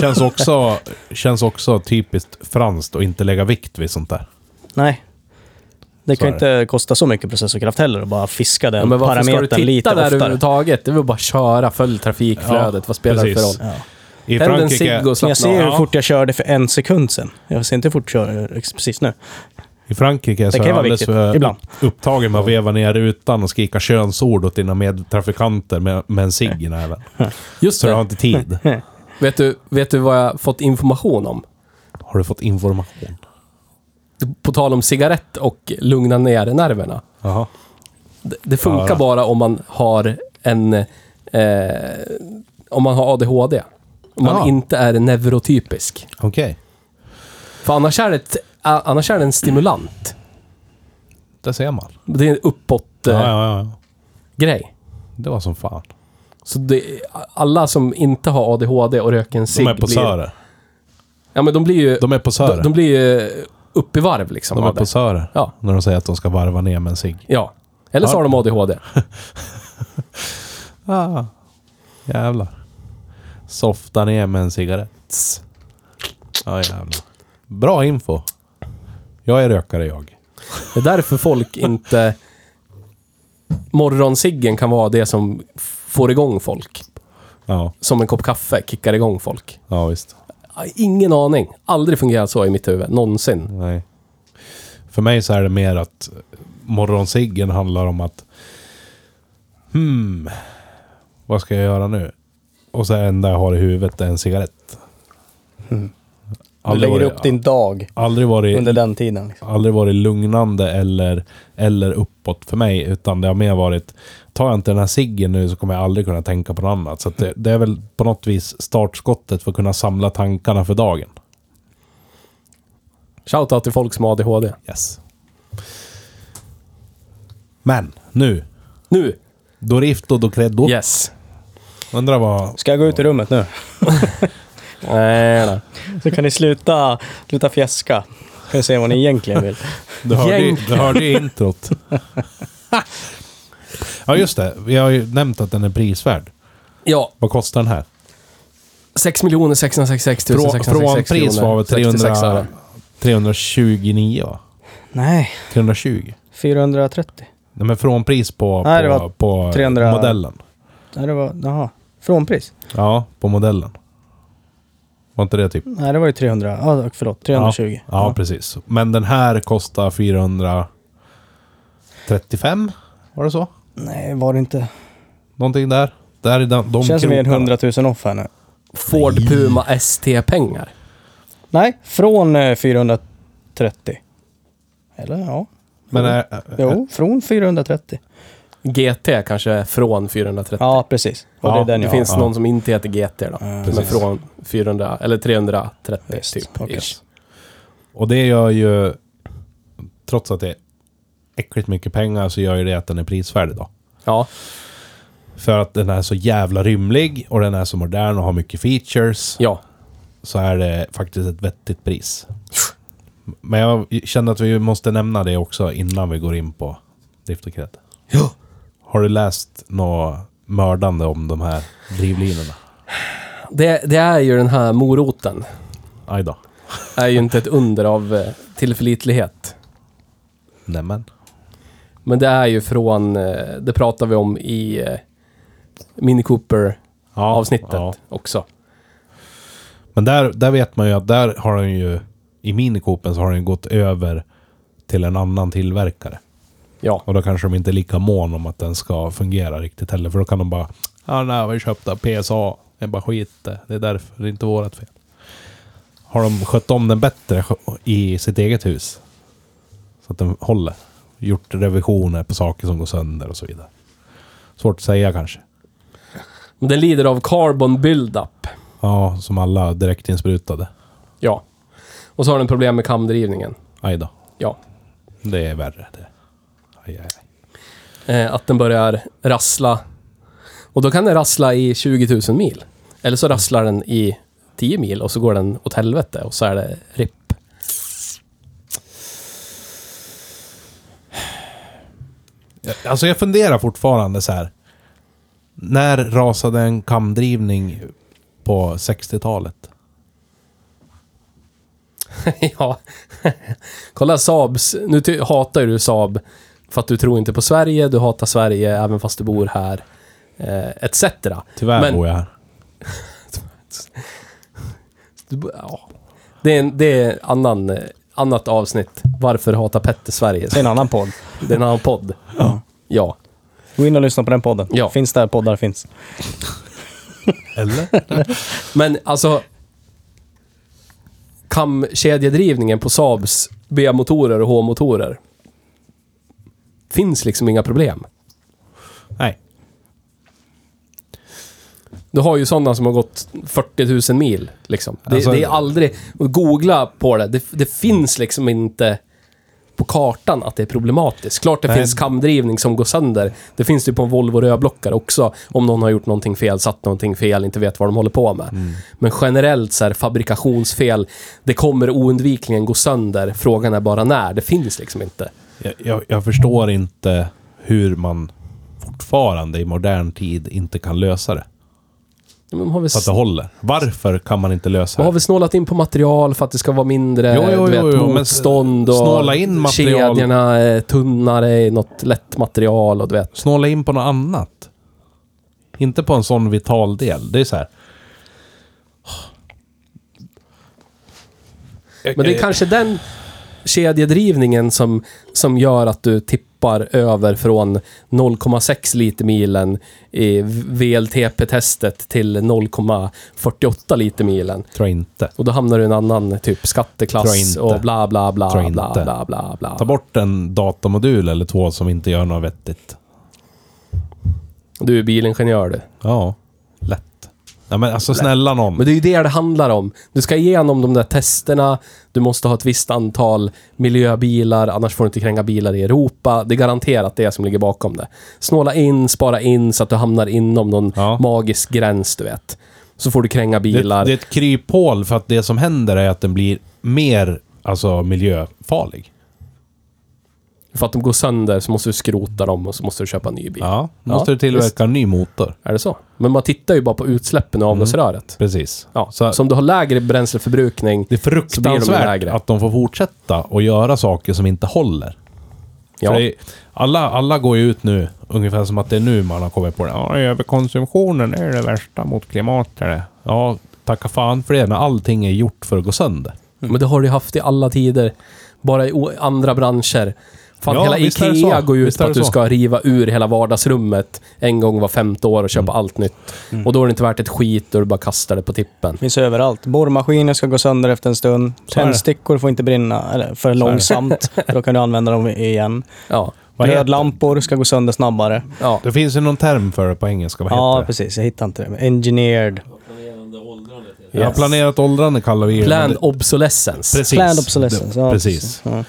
Speaker 1: Känns också, känns också typiskt franskt att inte lägga vikt vid sånt där.
Speaker 3: Nej. Det
Speaker 1: Så
Speaker 3: kan ju
Speaker 1: är det.
Speaker 3: inte kosta så mycket processorkraft heller att bara fiska
Speaker 2: Ja,
Speaker 3: den
Speaker 2: men varför ska du
Speaker 3: parametern
Speaker 2: titta
Speaker 3: lite
Speaker 2: där
Speaker 3: oftare.
Speaker 2: överhuvudtaget? Det är väl bara att köra, följ trafikflödet. Vad spelar det för
Speaker 1: precis.
Speaker 2: roll?
Speaker 1: I
Speaker 2: Tänd en cigg
Speaker 1: Frankrike,
Speaker 2: och
Speaker 3: Men jag ser
Speaker 2: slappna
Speaker 3: ju
Speaker 2: av.
Speaker 3: hur fort jag körde för en sekund sen. Jag ser inte hur fort jag kör liksom, precis nu.
Speaker 1: i Frankrike så
Speaker 3: kan
Speaker 1: är
Speaker 3: ju
Speaker 1: jag
Speaker 3: vara
Speaker 1: alldeles
Speaker 3: viktigt,
Speaker 1: för
Speaker 3: ibland.
Speaker 1: upptagen med att veva ner rutan och skrika könsord åt dina medtrafikanter med, med en cigg i näven.
Speaker 2: Just
Speaker 1: Så du har
Speaker 2: det.
Speaker 1: inte tid.
Speaker 2: Vet du, vet du vad jag fått information om?
Speaker 1: Har du fått information?
Speaker 2: På tal om cigarett och lugna ner nerverna.
Speaker 1: Jaha.
Speaker 2: Det, det funkar
Speaker 1: Ja.
Speaker 2: bara om man har en... Eh, om man har ADHD. Om man
Speaker 1: Ja.
Speaker 2: inte är neurotypisk.
Speaker 1: Okej.
Speaker 2: För annars är det, ett, a- annars är det en stimulant.
Speaker 1: Det ser man.
Speaker 2: Det är en eh, uppåt-grej.
Speaker 1: Ja, ja, ja. Det var som fan.
Speaker 2: Så det, alla som inte har ADHD och röker en cigg
Speaker 1: De är
Speaker 2: blir,
Speaker 1: posörer.
Speaker 2: ja, men de blir ju
Speaker 1: De är
Speaker 2: de,
Speaker 1: posörer.
Speaker 2: de blir ju upp i varv liksom.
Speaker 1: De är
Speaker 2: av det.
Speaker 1: posörer.
Speaker 2: Ja.
Speaker 1: När de säger att de ska varva ner med en cigg.
Speaker 2: ja. Eller så
Speaker 1: Ja.
Speaker 2: har de ADHD.
Speaker 1: Ah, jävlar. Softa ner med en cigarett. Ja, jävlar. Bra info. Jag är rökare jag.
Speaker 2: Det är
Speaker 1: (laughs)
Speaker 2: därför folk inte... Morgonsiggen kan vara det som f- får igång folk.
Speaker 1: Ja,
Speaker 2: Som en kopp kaffe kickar igång folk.
Speaker 1: ja visst.
Speaker 2: Ingen aning. Aldrig fungerat så i mitt huvud. Någonsin.
Speaker 1: Nej. För mig så är det mer att morgonsiggen handlar om att Hmm, vad ska jag göra nu? Och så är det enda jag har i huvudet är en cigarett.
Speaker 3: Mm. Du
Speaker 1: Aldrig
Speaker 3: lägger
Speaker 1: varit-
Speaker 3: upp din dag
Speaker 1: Aldrig varit
Speaker 3: under den tiden. Liksom.
Speaker 1: aldrig varit lugnande eller, eller uppåt för mig. Utan det har mer varit, tar jag inte den här ciggen nu så kommer jag aldrig kunna tänka på något annat. Så att det, det är väl på något vis startskottet för att kunna samla tankarna för dagen.
Speaker 2: Shoutout till folk som har ADHD.
Speaker 1: Yes. Men, nu.
Speaker 2: Nu!
Speaker 1: Dorifto do credo.
Speaker 2: Yes.
Speaker 1: Undrar vad...
Speaker 3: Ska jag gå ut i rummet nu?
Speaker 2: Nej, nej.
Speaker 3: Så kan ni sluta, sluta fjäska. Kan ni se vad ni egentligen vill.
Speaker 1: Du hörde, ju- du
Speaker 2: Egentligen.
Speaker 1: hörde ju introt. ja, just det. Vi har ju nämnt att den är prisvärd.
Speaker 2: Ja,
Speaker 1: Vad kostar den här?
Speaker 2: 6 666
Speaker 1: Frå-
Speaker 2: 666
Speaker 1: Från pris var väl 300,
Speaker 2: öre.
Speaker 1: 329 va?
Speaker 3: (laughs) Nej,
Speaker 1: 320?
Speaker 3: 430.
Speaker 1: Nej men från pris på,
Speaker 3: Nej, det
Speaker 1: på,
Speaker 3: var
Speaker 1: på
Speaker 3: 300.
Speaker 1: modellen.
Speaker 3: Nej, det var... Jaha. Frånpris?
Speaker 1: Ja, på modellen. Var inte det typ?
Speaker 3: Nej, det var ju 300. Ja, förlåt. 320.
Speaker 1: Ja, ja, precis. Men den här kostar 435? Var det så?
Speaker 3: Nej, var det inte.
Speaker 1: Någonting där? Där är den, de
Speaker 3: Känns som vi är en
Speaker 1: krokarna.
Speaker 3: 100 000 off här nu.
Speaker 2: Ford Puma ST-pengar.
Speaker 3: Nej, från eh, 430. Eller ja.
Speaker 1: Men eh, är, är,
Speaker 3: Jo, från 430.
Speaker 2: GT kanske är från 430.
Speaker 3: Ja, precis. Och det
Speaker 1: Ja,
Speaker 3: är den
Speaker 2: det
Speaker 3: jag
Speaker 2: finns
Speaker 1: ja.
Speaker 2: någon som inte heter GT då. Som är
Speaker 1: precis.
Speaker 2: från 400, eller 330
Speaker 3: Visst,
Speaker 2: typ.
Speaker 3: okej.
Speaker 2: ish.
Speaker 1: och det gör ju... Trots att det är äckligt mycket pengar så gör ju det att den är prisvärd idag.
Speaker 2: Ja.
Speaker 1: För att den är så jävla rymlig och den är så modern och har mycket features.
Speaker 2: ja.
Speaker 1: så är det faktiskt ett vettigt pris. Men jag kände att vi måste nämna det också innan vi går in på drift och kredit.
Speaker 2: Ja.
Speaker 1: Har du läst något mördande om de här drivlinorna?
Speaker 2: Det, det är ju den här moroten.
Speaker 1: Aj då.
Speaker 2: är ju inte ett under av eh, tillförlitlighet.
Speaker 1: Nämen.
Speaker 2: Men det är ju från, eh, det pratar vi om i eh, Mini Cooper-avsnittet
Speaker 1: Ja, ja.
Speaker 2: också.
Speaker 1: Men där, där vet man ju att där har den ju, i minikopen så har den ju gått över till en annan tillverkare.
Speaker 2: Ja.
Speaker 1: Och då kanske de inte är lika mån om att den ska fungera riktigt heller. För då kan de bara, ja nej vi köpte PSA. Det är bara skit det. Det är därför, det är inte vårat fel. Har de skött om den bättre i sitt eget hus? Så att den håller. Gjort revisioner på saker som går sönder och så vidare. Svårt att säga kanske.
Speaker 2: Men Den lider av carbon build-up.
Speaker 1: Ja, som alla direkt insprutade.
Speaker 2: Ja. Och så har den problem med kamdrivningen.
Speaker 1: Aj då.
Speaker 2: Ja.
Speaker 1: Det är värre det. Aj, aj, aj.
Speaker 2: Eh, att den börjar rassla. Och då kan den rassla i 20 000 mil. Eller så rasslar den i 10 mil och så går den åt helvete och så är det ripp. (laughs)
Speaker 1: Alltså jag funderar fortfarande så här. När rasade en kamdrivning på 60-talet?
Speaker 2: ja. Kolla Saabs. Nu ty- hatar ju du Saab för att du tror inte på Sverige. Du hatar Sverige även fast du bor här. Eh, etc.
Speaker 1: Tyvärr
Speaker 2: Men-
Speaker 1: bor jag här.
Speaker 2: Du bo- Ja. Det är, en, det är en annan, eh, annat avsnitt. Varför hatar Petter Sverige?
Speaker 3: Det är en annan podd.
Speaker 2: Det är en annan podd.
Speaker 3: Ja.
Speaker 2: Ja.
Speaker 3: Gå in och lyssna på den podden.
Speaker 2: Ja.
Speaker 3: Finns där poddar finns.
Speaker 1: Eller? (laughs)
Speaker 2: Men alltså... Kamkedjedrivningen på Saabs B-motorer och H-motorer. Finns liksom inga problem.
Speaker 1: Nej.
Speaker 2: Du har ju sådana som har gått 40 000 mil. Liksom. Det,
Speaker 1: Alltså-
Speaker 2: det är aldrig... och Googla på det. det. Det finns liksom inte på kartan att det är problematiskt. Klart det
Speaker 1: Nej.
Speaker 2: finns kamdrivning som går sönder. Det finns det ju på en Volvo rödblockare också. Om någon har gjort någonting fel, satt någonting fel, inte vet vad de håller på med.
Speaker 1: Mm.
Speaker 2: Men generellt så här, fabrikationsfel, det kommer oundvikligen gå sönder. Frågan är bara när. Det finns liksom inte.
Speaker 1: Jag, jag, jag förstår inte hur man fortfarande i modern tid inte kan lösa det.
Speaker 2: Men har vi
Speaker 1: Så att det håller. Varför kan man inte lösa
Speaker 2: Då har
Speaker 1: det?
Speaker 2: vi snålat in på material för att det ska vara mindre
Speaker 1: Jo, jo,
Speaker 2: du vet,
Speaker 1: jo, jo, men
Speaker 2: motstånd och
Speaker 1: snåla in material.
Speaker 2: kedjorna är tunnare i något lätt material och du vet.
Speaker 1: Snåla in på något annat. Inte på en sån vital del. Det är så här.
Speaker 2: Men det är
Speaker 1: Eh,
Speaker 2: kanske den kedjedrivningen som, som gör att du tippar över från 0,6 liter milen i VLTP-testet till 0,48 liter milen.
Speaker 1: Tror jag inte.
Speaker 2: Och då hamnar du i en annan typ
Speaker 1: Tror jag
Speaker 2: skatteklass
Speaker 1: inte.
Speaker 2: och bla bla bla
Speaker 1: Tror jag
Speaker 2: bla
Speaker 1: inte.
Speaker 2: bla bla bla.
Speaker 1: Ta bort en datamodul eller två som inte gör något vettigt.
Speaker 2: Du är bilingenjör du.
Speaker 1: Ja, lätt. Nej men alltså snälla någon.
Speaker 2: Men det är ju det det handlar om. Du ska igenom de där testerna, du måste ha ett visst antal miljöbilar, annars får du inte kränga bilar i Europa. Det är garanterat det som ligger bakom det. Snåla in, spara in så att du hamnar inom någon
Speaker 1: Ja.
Speaker 2: magisk gräns, du vet. Så får du kränga
Speaker 1: Det,
Speaker 2: bilar.
Speaker 1: det är ett kryphål för att det som händer är att den blir mer alltså, miljöfarlig.
Speaker 2: För att de går sönder så måste du skrota dem och så måste du köpa en ny bil.
Speaker 1: Ja, då måste du tillverka en ny motor.
Speaker 2: Är det så? Men man tittar ju bara på utsläppen i avgasröret.
Speaker 1: Precis.
Speaker 2: Ja,
Speaker 1: Mm. Så-
Speaker 2: så, om du har lägre bränsleförbrukning...
Speaker 1: Det är
Speaker 2: Så blir de
Speaker 1: fruktansvärt
Speaker 2: lägre.
Speaker 1: att de får fortsätta och göra saker som inte håller.
Speaker 2: ja.
Speaker 1: För det är, alla, alla går ju ut nu, ungefär som att det är nu man har kommit på det. Ja, överkonsumtionen är det värsta mot klimatet. Ja, tacka fan för det, men allting är gjort för att gå sönder.
Speaker 2: Mm. Men det har du haft i alla tider. Bara i o- andra branscher. Fan,
Speaker 1: Ja,
Speaker 2: hela
Speaker 1: visst är det
Speaker 2: IKEA
Speaker 1: så.
Speaker 2: går ju ut
Speaker 1: Visst
Speaker 2: på
Speaker 1: är
Speaker 2: att
Speaker 1: det
Speaker 2: du
Speaker 1: så.
Speaker 2: ska riva ur hela vardagsrummet en gång var femte år och köpa
Speaker 1: Mm.
Speaker 2: allt nytt. Och då är det inte värt ett skit och du bara kastar det på tippen.
Speaker 3: finns överallt. Borrmaskiner ska gå sönder efter en stund.
Speaker 1: är det.
Speaker 3: Tändstickor får inte brinna eller för långsamt. för då kan du använda dem igen.
Speaker 2: Ja.
Speaker 1: Vad heter det?
Speaker 3: Glödlampor ska gå sönder snabbare.
Speaker 2: ja.
Speaker 1: Det finns ju någon term för det på engelska. Vad heter
Speaker 3: Ja,
Speaker 1: det?
Speaker 3: precis. Jag hittar inte det. Engineered.
Speaker 1: Ja,
Speaker 2: Yes.
Speaker 1: planerat åldrande kallar vi det. men
Speaker 2: Planned
Speaker 1: det-
Speaker 2: obsolescence.
Speaker 1: Precis.
Speaker 3: Planned obsolescence.
Speaker 1: Det-
Speaker 3: Ja,
Speaker 1: precis.
Speaker 3: Ja. Det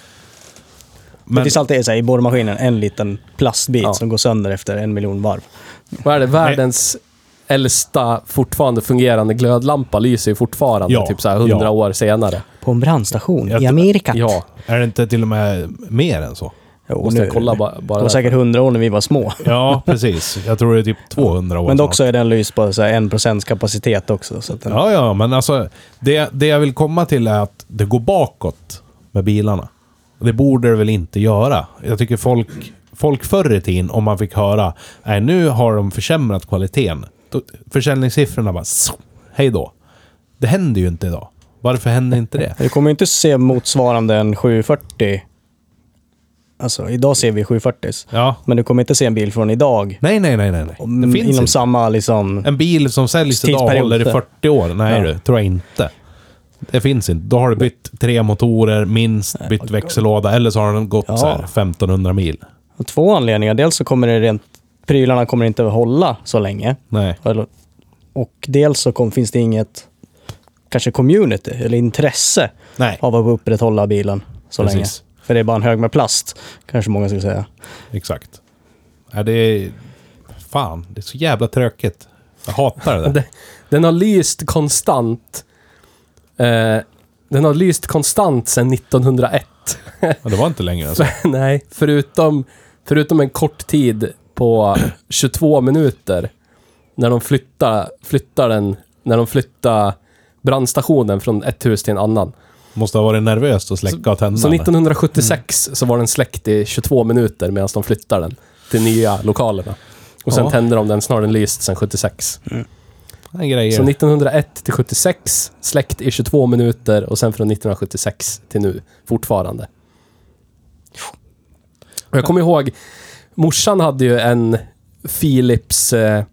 Speaker 1: Men,
Speaker 3: finns alltid så här, i borrmaskinen en liten plastbit
Speaker 2: Ja.
Speaker 3: som går sönder efter en miljon varv.
Speaker 2: Vad är det? Världens äldsta fortfarande fungerande glödlampa lyser ju fortfarande
Speaker 1: Ja,
Speaker 2: typ så här 100
Speaker 1: ja.
Speaker 2: år senare.
Speaker 3: På en brandstation
Speaker 1: Jag
Speaker 3: i
Speaker 1: tror-
Speaker 3: Amerika.
Speaker 2: Ja,
Speaker 1: är det inte till och med mer än så?
Speaker 3: Jo,
Speaker 2: måste
Speaker 3: nu-
Speaker 2: jag kolla bara.
Speaker 3: Det
Speaker 2: bara
Speaker 3: var
Speaker 2: där.
Speaker 3: säkert 100 år när vi var små.
Speaker 1: Ja, (laughs) precis. Jag tror det är typ 200 år
Speaker 3: Men
Speaker 1: snart.
Speaker 3: dock så är den lys på så här 1% kapacitet också. Så att den,
Speaker 1: Ja, ja, men alltså det, det jag vill komma till är att det går bakåt med bilarna. Det borde det väl inte göra. Jag tycker folk, folk förr i tiden, om man fick höra nej nu har de försämrat kvaliteten. Då, försäljningssiffrorna bara "Zoom, hej då. Det händer ju inte idag. Varför händer inte
Speaker 3: (laughs)
Speaker 1: det?
Speaker 3: Du kommer ju inte se motsvarande en 740. Alltså, idag ser vi 740
Speaker 1: Ja.
Speaker 3: Men du kommer inte se en bil från idag
Speaker 1: Nej, nej, nej, nej. nej. Det
Speaker 3: m-
Speaker 1: finns
Speaker 3: inom
Speaker 1: inte.
Speaker 3: samma liksom...
Speaker 1: En bil som säljs idag
Speaker 3: Tidsperiod.
Speaker 1: håller i 40 år. Nej
Speaker 3: Ja.
Speaker 1: du, tror jag inte. Det finns inte. Då har du bytt tre motorer, minst bytt växellåda eller så har den gått
Speaker 3: Ja.
Speaker 1: så här 1500 mil.
Speaker 3: Av två anledningar. Dels så kommer det rent... Prylarna kommer inte att hålla så länge.
Speaker 1: Nej.
Speaker 3: Eller- Och dels så kom, finns det inget kanske community eller intresse
Speaker 1: Nej,
Speaker 3: av att upprätthålla bilen så
Speaker 1: Precis.
Speaker 3: länge. För det är bara en hög med plast, kanske många skulle säga.
Speaker 1: exakt. Nej, det är... Fan, det är så jävla tråkigt. Jag hatar
Speaker 2: (laughs)
Speaker 1: det där.
Speaker 2: Den, den har lyst konstant. Eh, den har lyst konstant sedan 1901.
Speaker 1: Men det var inte längre
Speaker 2: (laughs)
Speaker 1: alltså.
Speaker 2: Nej, förutom, förutom en kort tid på (clears throat) 22 minuter när de flyttar, flyttar den, när de flyttar brandstationen från ett hus till en annan.
Speaker 1: Måste ha varit nervöst att släcka och tända.
Speaker 2: Så
Speaker 1: den.
Speaker 2: 1976 så var den släckt i 22 minuter medan de flyttar den till nya lokalerna. Och sen
Speaker 1: Ja.
Speaker 2: tänder de den, snarare den lyst sedan 76.
Speaker 1: Den grejer.
Speaker 2: Så 1901 till 76, släkt i 22 minuter och sen från 1976 till nu, fortfarande. Och jag kommer ihåg, morsan hade ju en Philips eh,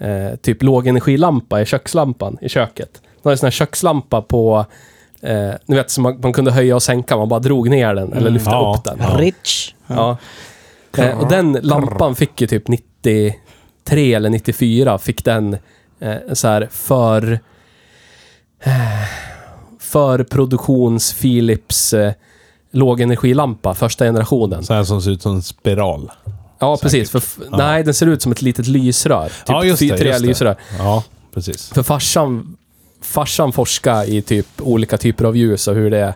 Speaker 2: eh, typ lågenergilampa i kökslampan i köket. Den hade en sån här kökslampa på, eh, ni vet, som man, man kunde höja och sänka, man bara drog ner den eller lyfte
Speaker 1: Mm. Ja.
Speaker 2: upp den.
Speaker 1: Ja.
Speaker 3: Rich.
Speaker 2: Ja. Eh, och den lampan fick ju typ 93 eller 94 fick den eh, så här för... eh, För produktions Philips eh, lågenergilampa, första generationen.
Speaker 1: Så här som ser ut som en
Speaker 2: Typ
Speaker 1: spiral.
Speaker 2: Ja, precis. För, f-
Speaker 1: Ja.
Speaker 2: Nej, den ser ut som ett litet lysrör. Typ
Speaker 1: Ja, just det,
Speaker 2: fy- tre
Speaker 1: just det.
Speaker 2: lysrör.
Speaker 1: Ja, precis.
Speaker 2: För farsan, farsan forskar i typ olika typer av ljus och hur det är,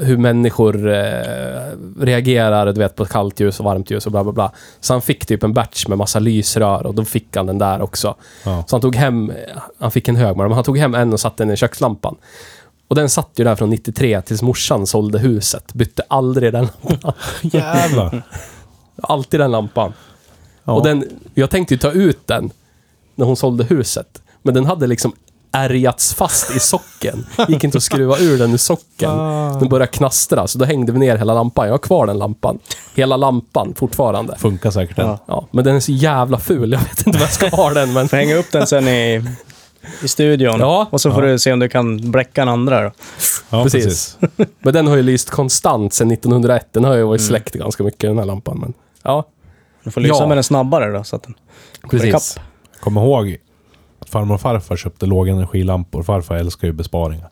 Speaker 2: hur människor eh, reagerar du vet, på kallt ljus och varmt ljus och bla bla bla. Så han fick typ en batch med massa lysrör och då fick han den där också.
Speaker 1: Ja.
Speaker 2: Så han tog hem, han fick en hög med dem, han tog hem en och satte den i kökslampan. Och den satt ju där från 93 tills morsan sålde huset. Bytte aldrig den lampan.
Speaker 1: (laughs) Jävlar.
Speaker 2: Alltid den lampan.
Speaker 1: Ja.
Speaker 2: Och den, jag tänkte ju ta ut den när hon sålde huset. Men den hade liksom ärgats fast i socken. Gick inte att skruva ur den ur socken. Den började knastra, så då hängde vi ner hela lampan. Jag har kvar den lampan. Hela lampan fortfarande.
Speaker 1: Funkar säkert den.
Speaker 3: Ja.
Speaker 2: Ja, men den är så jävla ful. Jag vet inte vad jag ska ha den, men...
Speaker 3: Får hänga upp den sen i, i studion.
Speaker 2: Ja.
Speaker 3: Och så får du se om du kan bläcka en andra då.
Speaker 1: Ja,
Speaker 2: precis. Men den har ju lyst konstant sedan 1901. Den har ju varit släckt ganska mycket, den här lampan. Men, ja,
Speaker 3: Du får lysa
Speaker 2: Ja.
Speaker 3: med den snabbare då. Så att den...
Speaker 2: precis.
Speaker 1: Kom ihåg att farmor och farfar köpte lågenergilampor. Farfar älskar ju besparingar.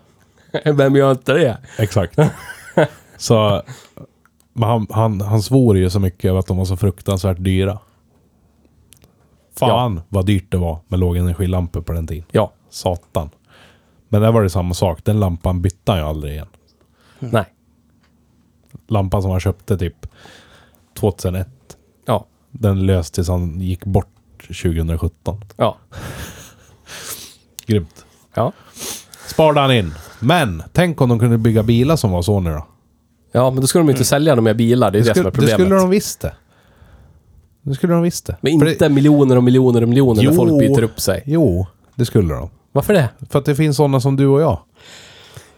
Speaker 2: (laughs) Vem gör inte det?
Speaker 1: Exakt. (laughs) så men han, han, han svor ju så mycket över att de var så fruktansvärt dyra. Fan vad dyrt det var med lågenergilampor på den tiden.
Speaker 2: Ja.
Speaker 1: Satan. Men där var det samma sak. Den lampan bytte han ju aldrig igen.
Speaker 2: Nej.
Speaker 1: Lampan som han köpte typ 2001.
Speaker 2: Ja.
Speaker 1: Den löst tills han gick bort 2017.
Speaker 2: Ja.
Speaker 1: Grymt.
Speaker 2: Ja.
Speaker 1: Sparade han in. Men tänk om de kunde bygga bilar som var så nu då.
Speaker 2: Ja, men då skulle de ju inte sälja dem mer bilar. Det är det, som
Speaker 1: skulle,
Speaker 2: är problemet.
Speaker 1: skulle de visst det. Det skulle de visst det.
Speaker 2: Men
Speaker 1: För
Speaker 2: inte
Speaker 1: det,
Speaker 2: miljoner och miljoner och miljoner
Speaker 1: Jo.
Speaker 2: när folk byter upp sig.
Speaker 1: Jo, det skulle de.
Speaker 2: Varför det?
Speaker 1: För att det finns sådana som du och jag.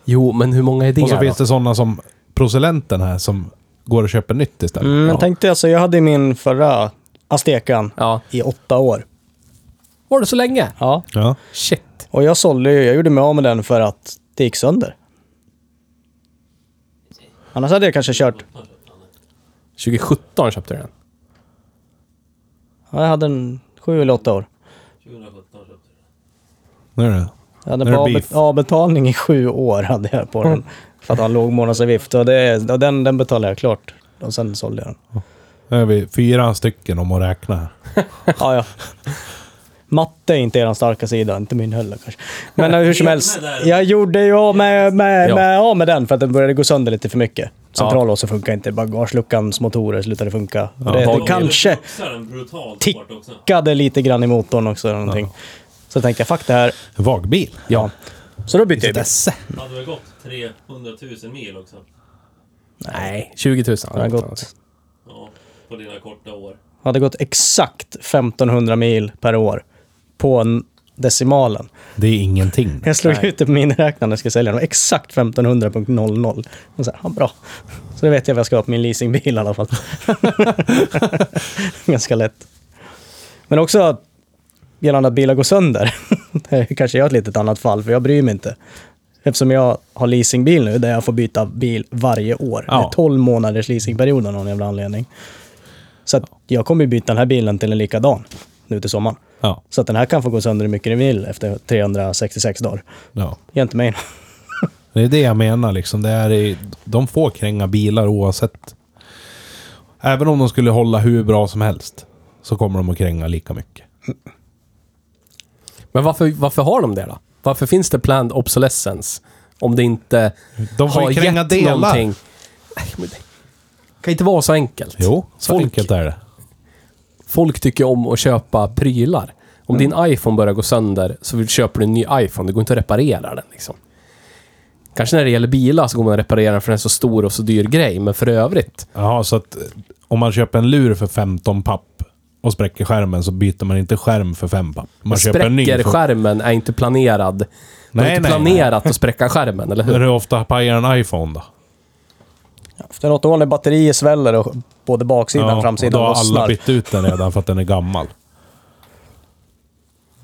Speaker 2: Jo, men hur många är det
Speaker 1: Och så
Speaker 2: då?
Speaker 1: finns det sådana som procellenten här som går och köper nytt istället.
Speaker 3: Mm,
Speaker 1: Ja.
Speaker 3: Jag tänkte alltså, jag hade min förra Astekan
Speaker 2: Ja.
Speaker 3: i åtta år.
Speaker 2: Var det så länge?
Speaker 3: Ja.
Speaker 1: Ja.
Speaker 2: Shit.
Speaker 3: Och jag sålde ju, jag gjorde mig av med den för att det gick sönder. Annars hade jag kanske kört,
Speaker 2: 2017 köpte du den.
Speaker 3: ja, jag hade en sju eller åtta år.
Speaker 1: Nu är det.
Speaker 3: Jag hade
Speaker 1: Nu är det
Speaker 3: på avbe-
Speaker 1: beef.
Speaker 3: avbetalning i sju år hade jag på den. För att ha en låg månadsavgift. Och, det, och den, den betalade jag klart. Och sen sålde jag den.
Speaker 1: Nu är vi fyra stycken om att räkna här.
Speaker 3: Ja, ja. Matte är inte er starka sida, inte min heller kanske. Men eh, hur som helst, jag gjorde ju av med, med,
Speaker 2: Ja.
Speaker 3: med, av med den för att den började gå sönder lite för mycket. Centrallåsen funkar inte, bagageluckans motorer slutade funka. det, det
Speaker 2: bak-
Speaker 3: kanske tickade lite grann i motorn också. Eller någonting. Så tänkte jag, fuck det här.
Speaker 1: En Vagbil.
Speaker 2: Ja.
Speaker 3: Så då bytte jag bil.
Speaker 1: Desse.
Speaker 4: Hade väl gått 300 000 mil också?
Speaker 2: Nej, 20 000.
Speaker 3: Det hade gått,
Speaker 4: Ja, på dina korta år.
Speaker 3: hade gått exakt 1500 mil per år på en decimalen.
Speaker 1: Det är ingenting.
Speaker 3: Jag slog
Speaker 2: Nej.
Speaker 3: ut typ det på min räknare när jag ska sälja den. Exakt 1500.00. Och så här, ja, bra. Så då vet jag vad jag ska ha på min leasingbil i alla fall. (laughs) Ganska lätt. Men också att- gällande att bilar går sönder. (laughs) det är kanske jag ett litet annat fall, för jag bryr mig inte. Eftersom jag har leasingbil nu, där jag får byta bil varje år. Det
Speaker 1: Ja.
Speaker 3: är 12 månaders leasingperiod av någon jävla anledning. Så att jag kommer ju byta den här bilen till en likadan nu till sommaren.
Speaker 1: Ja.
Speaker 3: Så att den här kan få gå sönder hur mycket den vill efter 366 dagar.
Speaker 1: ja.
Speaker 3: Ge inte mig
Speaker 1: Det är det jag menar liksom. Det är, i- de får kränga bilar oavsett. Även om de skulle hålla hur bra som helst så kommer de att kränga lika mycket.
Speaker 2: Men varför, varför har de det då? Varför finns det planned obsolescence? Om det inte
Speaker 1: De får
Speaker 2: har
Speaker 1: ju kränga
Speaker 2: gett
Speaker 1: delar.
Speaker 2: någonting. Nej, men det kan inte vara så enkelt.
Speaker 1: Jo, så
Speaker 2: Folk-
Speaker 1: enkelt är det.
Speaker 2: Folk tycker om att köpa prylar. Om
Speaker 1: Mm.
Speaker 2: din iPhone börjar gå sönder så vill- köper du en ny iPhone. Det går inte att reparera den. Liksom. Kanske när det gäller bilar så går man att reparera den för den är så stor och så dyr grej. Men för övrigt.
Speaker 1: Jaha, så att eh, om man köper en lur för 15 papp och spräcker skärmen så byter man inte skärm för 5 papp. Man köper en ny.
Speaker 2: spräcker
Speaker 1: för-
Speaker 2: skärmen är inte planerad. Det
Speaker 1: Nej,
Speaker 2: är inte
Speaker 1: nej,
Speaker 2: planerat att spräcka skärmen, eller
Speaker 1: Men
Speaker 2: hur?
Speaker 1: hur ofta pajar en iPhone då?
Speaker 3: Efter något år när batterier sväller och både baksidan och
Speaker 1: och
Speaker 3: framsidan
Speaker 1: Då har alla
Speaker 3: lossnar.
Speaker 1: bytt ut den redan för att den är gammal.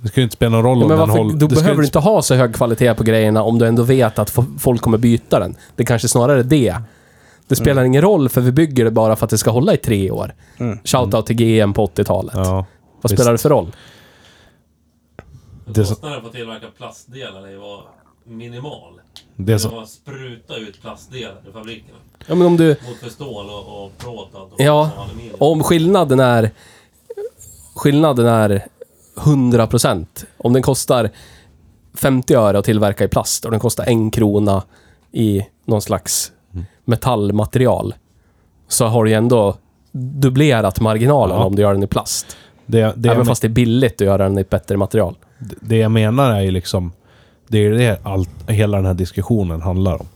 Speaker 1: Det skulle inte spela någon roll
Speaker 2: Ja,
Speaker 1: om
Speaker 2: men
Speaker 1: den
Speaker 2: varför,
Speaker 1: håller...
Speaker 2: då
Speaker 1: det
Speaker 2: behöver
Speaker 1: skulle
Speaker 2: du inte ha så hög kvalitet på grejerna om du ändå vet att fo- folk kommer byta den. Det kanske snarare är det. Det spelar
Speaker 1: Mm.
Speaker 2: ingen roll för vi bygger det bara för att det ska hålla i tre år. Shoutout till GM på 80-talet.
Speaker 1: Mm. Ja,
Speaker 2: Vad
Speaker 1: visst.
Speaker 2: spelar det för roll?
Speaker 1: Det som-
Speaker 4: Kostnaden för att tillverka plastdelar är var minimal.
Speaker 1: Det
Speaker 4: Det
Speaker 1: som,
Speaker 4: var spruta ut plastdelar i fabrikerna.
Speaker 2: Ja, men om du...
Speaker 4: Mot för stål och, och plåt och allt. och
Speaker 2: Ja,
Speaker 4: aluminium.
Speaker 2: om skillnaden är... Skillnaden är 100%. Om den kostar 50 öre att tillverka i plast och den kostar en krona i någon slags metallmaterial. Så har du ju ändå dubblerat marginalen
Speaker 1: Ja.
Speaker 2: om du gör den i plast.
Speaker 1: det, det,
Speaker 2: Även
Speaker 1: jag,
Speaker 2: fast det är billigt att göra den i ett bättre material.
Speaker 1: det jag menar är ju liksom... Det är det allt, hela den här diskussionen handlar om.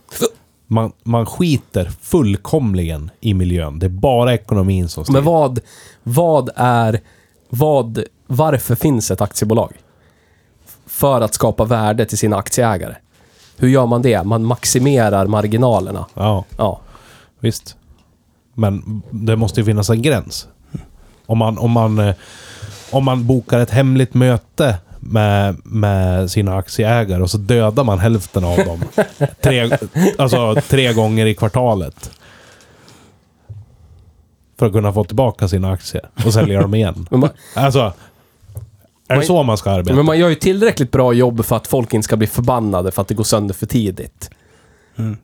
Speaker 1: Man, man skiter fullkomligen i miljön. Det är bara ekonomin som styr.
Speaker 2: Men vad, vad är... Vad, varför finns ett aktiebolag? För att skapa värde till sina aktieägare. Hur gör man det? Man maximerar marginalerna.
Speaker 1: Ja,
Speaker 2: Ja.
Speaker 1: visst. Men det måste ju finnas en gräns. Om man, om man, eh, om man bokar ett hemligt möte med, med sina aktieägare och så dödar man hälften av dem. tre, alltså tre gånger i kvartalet. För att kunna få tillbaka sina aktier och sälja dem igen.
Speaker 2: Men man,
Speaker 1: Alltså, är det så man ska arbeta?
Speaker 2: men man gör ju tillräckligt bra jobb för att folk inte ska bli förbannade för att det går sönder för tidigt.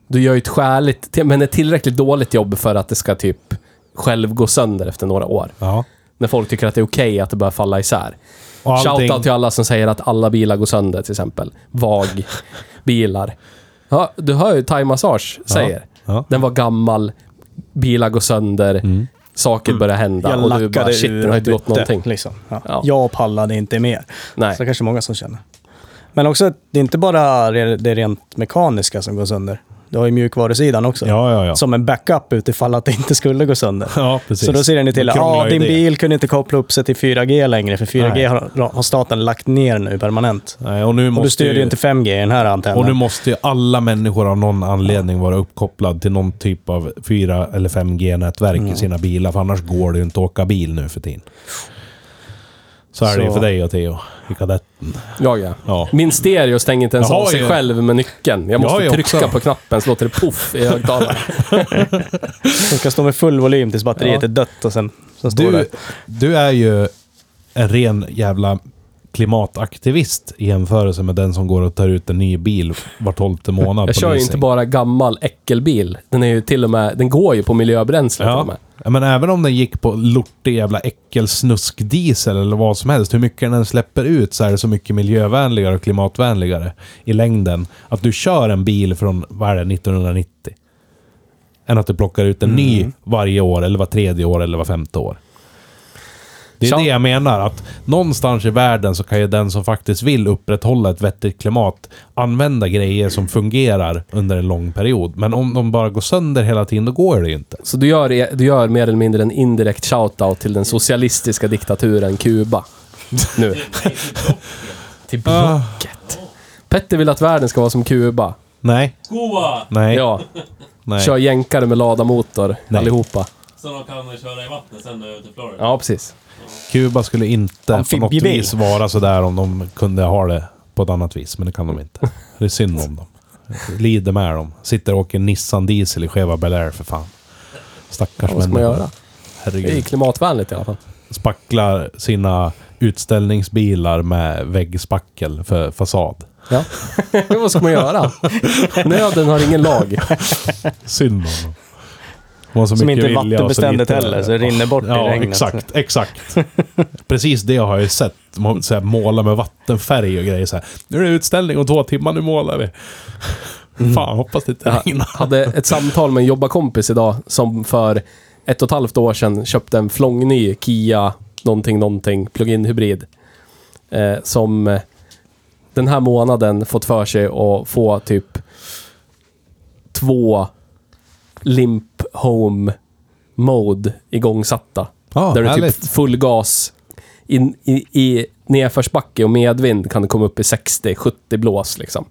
Speaker 2: Du gör ju ett skäligt, till- men ett tillräckligt dåligt jobb för att det ska typ själv gå sönder efter några år.
Speaker 1: Ja.
Speaker 2: När folk tycker att det är okej att det börjar falla isär.
Speaker 1: Och allting-
Speaker 2: Shoutout till alla som säger att alla bilar går sönder till exempel. VAG bilar. Ja, du hör ju Thai Massage säger.
Speaker 1: ja. Mm.
Speaker 2: Den var gammal, bilar går sönder, saker börjar hända
Speaker 3: Jag
Speaker 2: och du bara
Speaker 3: lackade
Speaker 2: shit,
Speaker 3: ur
Speaker 2: den har inte
Speaker 3: och
Speaker 2: gått
Speaker 3: bytte,
Speaker 2: någonting.
Speaker 3: Liksom. Ja.
Speaker 2: Ja.
Speaker 3: Jag pallade inte mer.
Speaker 2: Nej.
Speaker 3: Så kanske många som känner. Men också, att det är inte bara det det rent mekaniska som går sönder. Du har ju mjukvarusidan också.
Speaker 1: Ja, ja, ja.
Speaker 3: Som en backup utifall att det inte skulle gå sönder.
Speaker 1: Ja, precis.
Speaker 3: Så då ser ni till
Speaker 1: Då
Speaker 3: att
Speaker 1: krånglar
Speaker 3: ah,
Speaker 1: ju
Speaker 3: din
Speaker 1: det."
Speaker 3: bil kunde inte koppla upp sig till 4G längre, för 4G
Speaker 1: Nej.
Speaker 3: har, har staten lagt ner nu permanent.
Speaker 1: Nej, och nu
Speaker 3: Och du
Speaker 1: måste
Speaker 3: styr ju inte 5G i den här antennen.
Speaker 1: Och nu måste ju alla människor av någon anledning vara uppkopplad till någon typ av 4 eller 5G-nätverk
Speaker 2: Mm.
Speaker 1: i sina bilar, för annars går det ju inte att åka bil nu för tiden. Så är det ju
Speaker 3: Så.
Speaker 1: för dig och Theo i kadetten.
Speaker 2: Jag ja.
Speaker 1: Ja.
Speaker 2: Min stereo stänger inte ens
Speaker 1: Jag
Speaker 2: av
Speaker 1: har
Speaker 2: sig
Speaker 1: ju-
Speaker 2: själv med nyckeln. Jag
Speaker 1: Jag har
Speaker 2: måste
Speaker 1: ju
Speaker 2: trycka
Speaker 1: också.
Speaker 2: på knappen så låter det poff i högtalaren.
Speaker 3: Som ska stå med full volym tills batteriet
Speaker 2: Ja.
Speaker 3: är dött och sen, sen står
Speaker 1: Du,
Speaker 3: det.
Speaker 1: du är ju en ren jävla klimataktivist i jämförelse med den som går och tar ut en ny bil var tolfte månad
Speaker 2: Jag
Speaker 1: på
Speaker 2: kör ju
Speaker 1: leasing.
Speaker 2: inte bara gammal äckelbil. Den är ju till och med, den går ju på miljöbränsle till och
Speaker 1: Ja.
Speaker 2: med.
Speaker 1: ja, men även om den gick på lortig jävla äckelsnuskdiesel eller vad som helst. Hur mycket den än släpper ut så är det så mycket miljövänligare och klimatvänligare i längden. Att du kör en bil från, vad är det, 1990? Än att du plockar ut en ny varje år, eller var tredje år, eller var femte år. Det är
Speaker 2: Tja.
Speaker 1: det jag menar, att någonstans i världen så kan ju den som faktiskt vill upprätthålla ett vettigt klimat använda grejer som fungerar under en lång period. Men om de bara går sönder hela tiden, då går det ju inte.
Speaker 2: Så du gör, du gör mer eller mindre en indirekt shoutout till den socialistiska diktaturen Kuba.
Speaker 1: (laughs)
Speaker 2: Nu. till blocket. Petter vill att världen ska vara som Kuba.
Speaker 1: Nej,
Speaker 4: Goa!
Speaker 1: nej,
Speaker 2: Ja,
Speaker 1: nej.
Speaker 2: kör jänkare med ladamotor
Speaker 1: Nej.
Speaker 2: allihopa.
Speaker 4: Så de kan köra i vattnet sen när de är ute i Florida.
Speaker 2: Ja, precis.
Speaker 1: Kuba skulle inte på något
Speaker 3: Amfibiebil.
Speaker 1: vis vara sådär om de kunde ha det på ett annat vis, men det kan de inte. Det är synd om dem. Lider med dem. Sitter och åker Nissan Diesel i Cheva Bel Air för fan. Stackars
Speaker 2: Vad ska man göra? Det är ju
Speaker 1: Herregud.
Speaker 2: klimatvänligt i alla fall.
Speaker 1: Spacklar sina utställningsbilar med väggspackel för fasad.
Speaker 2: Ja. (laughs) Vad ska
Speaker 1: (laughs)
Speaker 2: man göra? Nöden har ingen lag.
Speaker 1: Synd om dem. De har så
Speaker 3: Som
Speaker 1: mycket
Speaker 3: inte är
Speaker 1: vilja och så
Speaker 3: vattenbeständigt
Speaker 1: lite-
Speaker 3: heller, så det rinner bort
Speaker 1: Ja,
Speaker 3: i regnet.
Speaker 1: exakt.
Speaker 3: (laughs)
Speaker 1: Exakt. Precis det har jag ju sett. Man så här, måla med vattenfärg och grejer så här. Nu är det utställning om två timmar, nu målar vi.
Speaker 3: Mm.
Speaker 1: Fan, hoppas det inte regnar.
Speaker 2: hade ett samtal med en jobbarkompis idag som för ett och ett halvt år sedan köpte en flångny Kia någonting någonting plug-in hybrid. Eh, som eh, den här månaden fått för sig att få typ två Limp Home Mode igångsatta.
Speaker 1: Ja,
Speaker 2: där du
Speaker 1: Ah, härligt.
Speaker 2: typ full gas in, i, i nedförsbacke och medvind kan du komma upp i 60-70 blås liksom.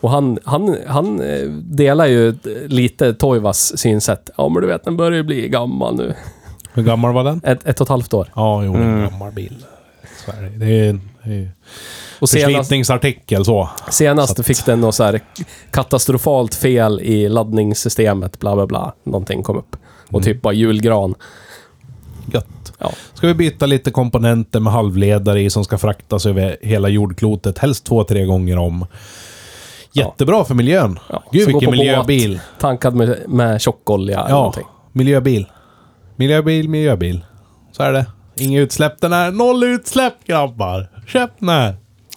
Speaker 2: Och han, han, han eh, delar ju eh, lite Toivas synsätt. Ja, men du vet, den börjar ju bli gammal nu.
Speaker 1: Hur gammal var den?
Speaker 2: Ett, ett och ett halvt år.
Speaker 1: Ja, jo,
Speaker 3: Mm.
Speaker 1: en gammal bil. Så är det. Det är en det är en
Speaker 2: Och senast,
Speaker 1: förslitningsartikel så.
Speaker 2: senast fick den något så här katastrofalt fel i
Speaker 1: Mm.
Speaker 2: laddningssystemet, bla bla bla. Någonting kom upp. Och typ bara julgran.
Speaker 1: Gött.
Speaker 2: Ja.
Speaker 1: Ska vi byta lite komponenter med halvledare i som ska fraktas över hela jordklotet, helst två, tre gånger om. Jättebra för miljön.
Speaker 2: Ja,
Speaker 1: Gud,
Speaker 2: så gå
Speaker 1: vilken
Speaker 2: på båt,
Speaker 1: miljöbil.
Speaker 2: Tankad med, med tjockolja eller
Speaker 1: Ja,
Speaker 2: någonting.
Speaker 1: miljöbil. Miljöbil, miljöbil. Så är det. Inga utsläpp den här. Noll utsläpp grabbar! Köp den här!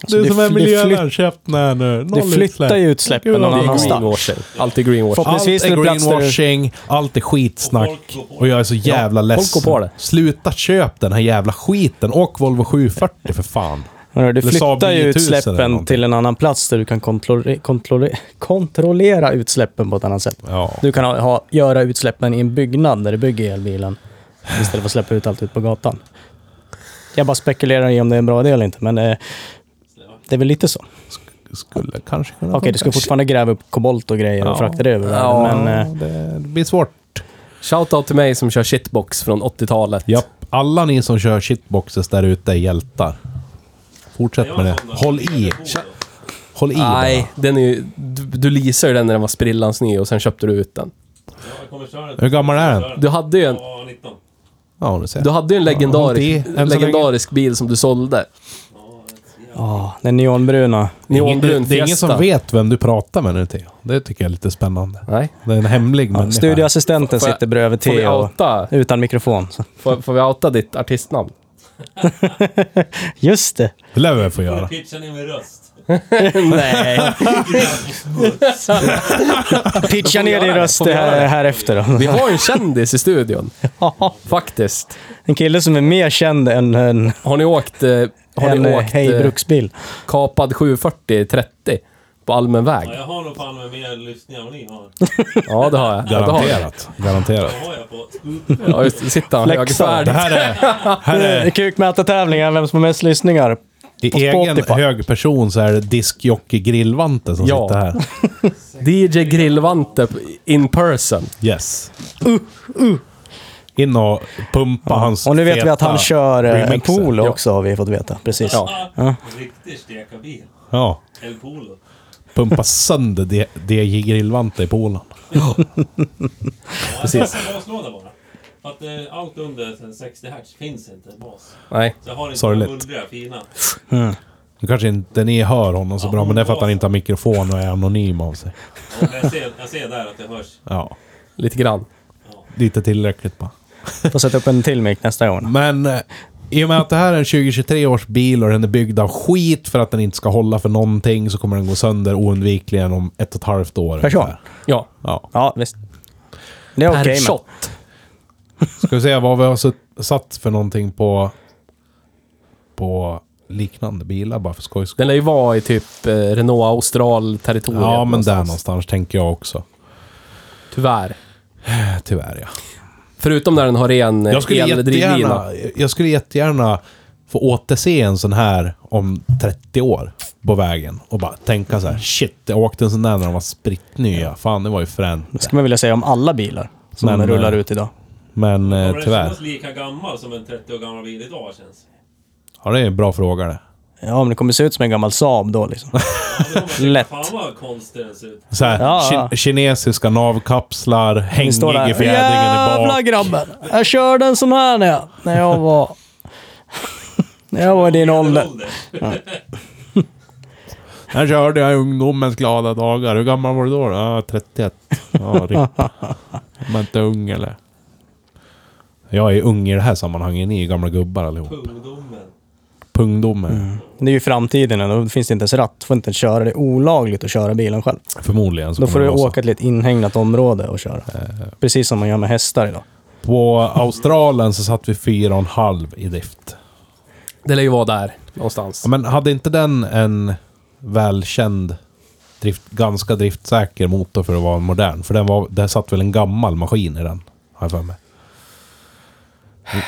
Speaker 1: du
Speaker 3: Alltså, det
Speaker 1: som är
Speaker 3: fly- det
Speaker 1: miljövän,
Speaker 3: flytt-
Speaker 1: köp den här nu. Noll
Speaker 3: det flyttar ju utsläppen
Speaker 1: Gud, vad
Speaker 3: någon
Speaker 1: bra.
Speaker 2: Det är
Speaker 3: annanstans.
Speaker 2: greenwashing. Alltid greenwashing.
Speaker 3: Folk-
Speaker 1: Allt
Speaker 3: Precis,
Speaker 1: är
Speaker 3: det är plats där du-
Speaker 1: greenwashing, allt är
Speaker 4: Och folk
Speaker 1: skitsnack.
Speaker 4: går på det.
Speaker 1: Och jag är så jävla
Speaker 2: folk
Speaker 1: ledsen.
Speaker 2: går på det.
Speaker 1: Sluta köp den här jävla skiten. Åk Volvo 740 för fan.
Speaker 3: Hörru, Du
Speaker 1: Eller Saab
Speaker 3: flyttar ju
Speaker 1: 9000 eller
Speaker 3: utsläppen
Speaker 1: någonting.
Speaker 3: till en annan plats där du kan kontrollera, kontrollera utsläppen på ett annat sätt.
Speaker 1: Ja.
Speaker 3: Du kan ha, ha, göra utsläppen i en byggnad där du bygger elbilen istället för att släppa ut allt ut på gatan. Jag bara spekulerar i om det är en bra idé eller inte, men eh, det är väl lite så. Okej,
Speaker 1: Skulle kanske kunna
Speaker 3: du ska fortfarande gräva upp kobolt och grejer och frakta det över världen,
Speaker 2: Ja.
Speaker 3: men... Eh,
Speaker 1: Ja, det blir svårt.
Speaker 2: Shoutout till mig som kör shitbox från 80-talet.
Speaker 1: Japp. Alla ni som kör shitboxes där ute är hjältar. Fortsätt med det. Håll i. Håll i.
Speaker 2: Nej, den är ju, du, du leasade den när den var sprillans ny och sen köpte du ut den.
Speaker 4: Jag kommer köra den.
Speaker 1: Hur gammal är den?
Speaker 4: Kör
Speaker 2: Du hade ju en,
Speaker 4: Ja, 19.
Speaker 1: Ja, du ser.
Speaker 2: du hade ju en
Speaker 1: Ja,
Speaker 2: legendarisk,
Speaker 1: det- än så
Speaker 2: legendarisk bil som du sålde.
Speaker 3: Ja, den neonbruna.
Speaker 2: Neonbrun
Speaker 1: det, det är ingen
Speaker 2: Fiesta.
Speaker 1: som vet vem du pratar med nu, Theo. Det tycker jag är lite spännande.
Speaker 2: Nej.
Speaker 1: Det är en hemlig människa.
Speaker 3: Studioassistenten
Speaker 2: Får jag-
Speaker 3: sitter bredvid
Speaker 2: Får vi
Speaker 3: Theo, och-
Speaker 2: outa,
Speaker 3: utan mikrofon. Så.
Speaker 2: får, får vi outa ditt artistnamn?
Speaker 3: Just det!
Speaker 1: Det lär vi väl få göra.
Speaker 4: Pitchen in med röst.
Speaker 2: Nej.
Speaker 3: Pitcha ner
Speaker 2: göra
Speaker 3: din
Speaker 2: det,
Speaker 3: röst
Speaker 2: får vi göra
Speaker 3: här,
Speaker 2: det?
Speaker 3: här efter då.
Speaker 2: Vi har en kändis
Speaker 1: (laughs)
Speaker 2: i studion. Faktiskt.
Speaker 3: En kille som är mer känd än en,
Speaker 2: Har ni åkt, eh, har
Speaker 3: en
Speaker 2: ni
Speaker 3: eh,
Speaker 2: åkt eh,
Speaker 3: Hej Bruksbil.
Speaker 2: kapad 740-30 på allmän väg?
Speaker 4: Ja, jag har nog fan med mer lyssningar än vad ni har.
Speaker 2: Ja, det har jag. Ja, det har jag.
Speaker 1: Garanterat. Garanterat.
Speaker 4: Vad har jag på Spotify?
Speaker 2: Ja, just Sitter han
Speaker 3: Flexa.
Speaker 1: Det
Speaker 2: högfärdig.
Speaker 1: här är, här är
Speaker 3: Eh, Kukmätartävlingar, vem som har mest lyssningar.
Speaker 1: i
Speaker 3: (laughs) På
Speaker 1: egen
Speaker 3: Spotify.
Speaker 1: hög person så är det diskjockey Grillvante som
Speaker 2: Ja.
Speaker 1: sitter här.
Speaker 2: DJ Grillvante in person.
Speaker 1: Yes. In och pumpa hans
Speaker 3: Uh, Och nu vet vi att han
Speaker 1: feta
Speaker 3: kör eh, en
Speaker 1: remixer.
Speaker 3: polo
Speaker 2: Ja.
Speaker 3: också har vi fått veta. Precis.
Speaker 4: Riktig stekarbil.
Speaker 1: Ja.
Speaker 4: El Polo.
Speaker 1: Pumpa sönder D- DJ Grillvante i Polen.
Speaker 4: Precis. Jag har en baslåda bara. För att eh, allt under 60 hertz finns inte bas.
Speaker 2: Nej.
Speaker 4: Så jag har inte
Speaker 1: Sorgligt.
Speaker 4: de mullriga fina.
Speaker 1: Nu kanske inte ni hör honom så bra, men det är för att han inte har mikrofon och är anonym av sig.
Speaker 4: Ja, men jag, ser, jag ser där att det hörs.
Speaker 1: Ja,
Speaker 2: Lite grann.
Speaker 1: lite tillräckligt bara.
Speaker 3: Får sätta upp en till mick nästa gång.
Speaker 1: Men eh, i och med att det här är en 2023 års bil och den är byggd av skit för att den inte ska hålla för någonting så kommer den gå sönder oundvikligen om ett och ett halvt år.
Speaker 3: Person.
Speaker 1: ungefär.
Speaker 2: Ja.
Speaker 1: Ja.
Speaker 3: Ja, visst. Det är okej
Speaker 2: Per
Speaker 3: men.
Speaker 2: shot.
Speaker 1: Ska vi se vad vi har sutt- satt för någonting på, på liknande bilar bara för skojs skull.
Speaker 2: Den lär ju vara i typ eh, Renault Austral-territoriet.
Speaker 1: Ja, men där någonstans tänker jag också.
Speaker 2: Tyvärr.
Speaker 1: Eh, Tyvärr ja.
Speaker 2: Förutom när den har ren eh,
Speaker 1: Jag skulle,
Speaker 2: eldrivlina.
Speaker 1: jättegärna, jag skulle jättegärna få återse en sån här om 30 år på vägen och bara tänka så här: shit, jag åkte en sån där när de var sprittnya. Fan, det var ju fränt.
Speaker 3: Det skulle man vilja säga om alla bilar som
Speaker 1: Men,
Speaker 3: rullar
Speaker 1: eh,
Speaker 3: ut idag.
Speaker 1: Men eh,
Speaker 4: Kommer den
Speaker 1: tyvärr.
Speaker 4: kännas lika gammal som en 30 år gammal bil idag känns?
Speaker 1: Ja, det är en bra fråga det.
Speaker 3: Ja, men det kommer se ut som en gammal Saab då liksom. Lätt.
Speaker 4: Fan vad konstig den ser ut.
Speaker 1: Så här,
Speaker 3: Ja,
Speaker 1: ki-
Speaker 3: ja.
Speaker 1: kinesiska navkapslar, hängig
Speaker 3: Det
Speaker 1: i
Speaker 3: står
Speaker 1: fjädringen
Speaker 3: där.
Speaker 1: i
Speaker 3: Jävla
Speaker 1: bak.
Speaker 3: grabben! Jag körde en sån här när jag, när jag var... När jag var i din ålder.
Speaker 1: Här körde jag i ungdomens glada dagar. Hur gammal var du då? Ja, 31. Ja, ripp. Man inte ung eller? Jag är ung i det här sammanhanget. Ni är gamla gubbar allihop.
Speaker 4: Ungdomen.
Speaker 1: Pungdomen.
Speaker 3: Det är ju framtiden och då finns det inte ens ratt. Du får inte ens köra. Det är olagligt att köra bilen själv.
Speaker 1: Förmodligen. Så
Speaker 3: Då
Speaker 1: kommer
Speaker 3: får du
Speaker 1: det vara så.
Speaker 3: åka till ett inhägnat område och köra. Precis som man gör med hästar idag.
Speaker 1: På Australien så satt vi fyra och en halv i drift.
Speaker 2: Det lär ju vara där
Speaker 1: Ja,
Speaker 2: någonstans.
Speaker 1: Men hade inte den en välkänd, drift, ganska driftsäker motor för att vara modern? För den var, där satt väl en gammal maskin i den, har jag för mig.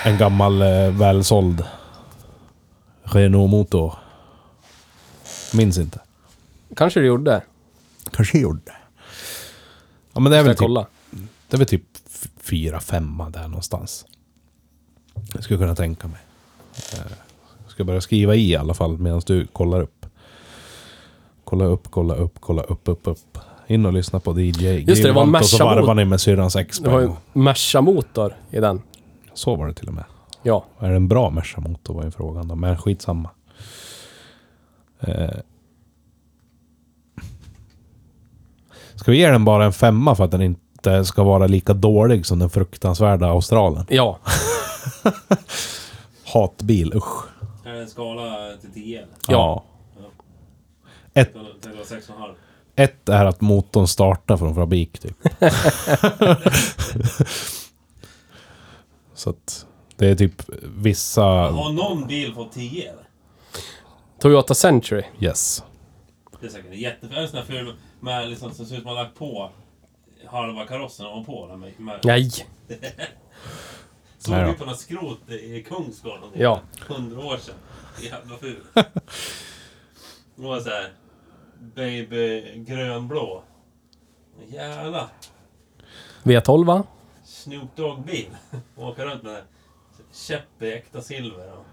Speaker 1: En gammal eh, välsåld Renault-motor. Minns inte.
Speaker 2: Kanske du gjorde.
Speaker 1: Kanske gjorde. Ja men det är
Speaker 2: Ska
Speaker 1: väl
Speaker 2: jag
Speaker 1: typ
Speaker 2: kolla?
Speaker 1: Det är väl typ f- fyra, femma där någonstans. Jag skulle kunna tänka mig. Eh, Jag ska börja skriva i i alla fall medan du kollar upp. Kolla upp, kolla upp, kolla upp, upp, upp. In och lyssna på DJ.
Speaker 2: det, det var en
Speaker 1: Och så
Speaker 2: Merca-mod.
Speaker 1: varvar ni med syrrans ex
Speaker 2: Det var ju Merca-motor i den.
Speaker 1: Så var det till och med.
Speaker 2: Ja.
Speaker 1: Är det en bra Merca-motor var ju frågan då, men skitsamma. Eh. Ska vi ge den bara en femma för att den inte ska vara lika dålig som den fruktansvärda Australen?
Speaker 2: Ja.
Speaker 1: Hatbil, usch.
Speaker 4: Är det en skala till 10 eller?
Speaker 2: Ja.
Speaker 1: Ett,
Speaker 4: Det var 6,5.
Speaker 1: ett är att motorn startar från fabrik typ. Så att det är typ vissa...
Speaker 4: Har någon bil fått 10 eller?
Speaker 2: Toyota Century.
Speaker 1: Yes.
Speaker 4: Det är säkert jättefint. En sån här ful med liksom, som ser ut som man har lagt på halva karossen ovanpå. den Med, med,
Speaker 2: Nej.
Speaker 4: Såg
Speaker 1: Nej
Speaker 4: vi
Speaker 1: då.
Speaker 4: på något skrot i Kungsgården någonting
Speaker 2: Ja.
Speaker 4: för hundra år sedan. (laughs) Jävla
Speaker 2: (laughs)
Speaker 4: ful. Det var såhär... Baby grönblå. Jävla
Speaker 2: V12 va?
Speaker 4: Snoop Dogg-bil. (laughs) Åka runt med käpp i äkta silver. Och...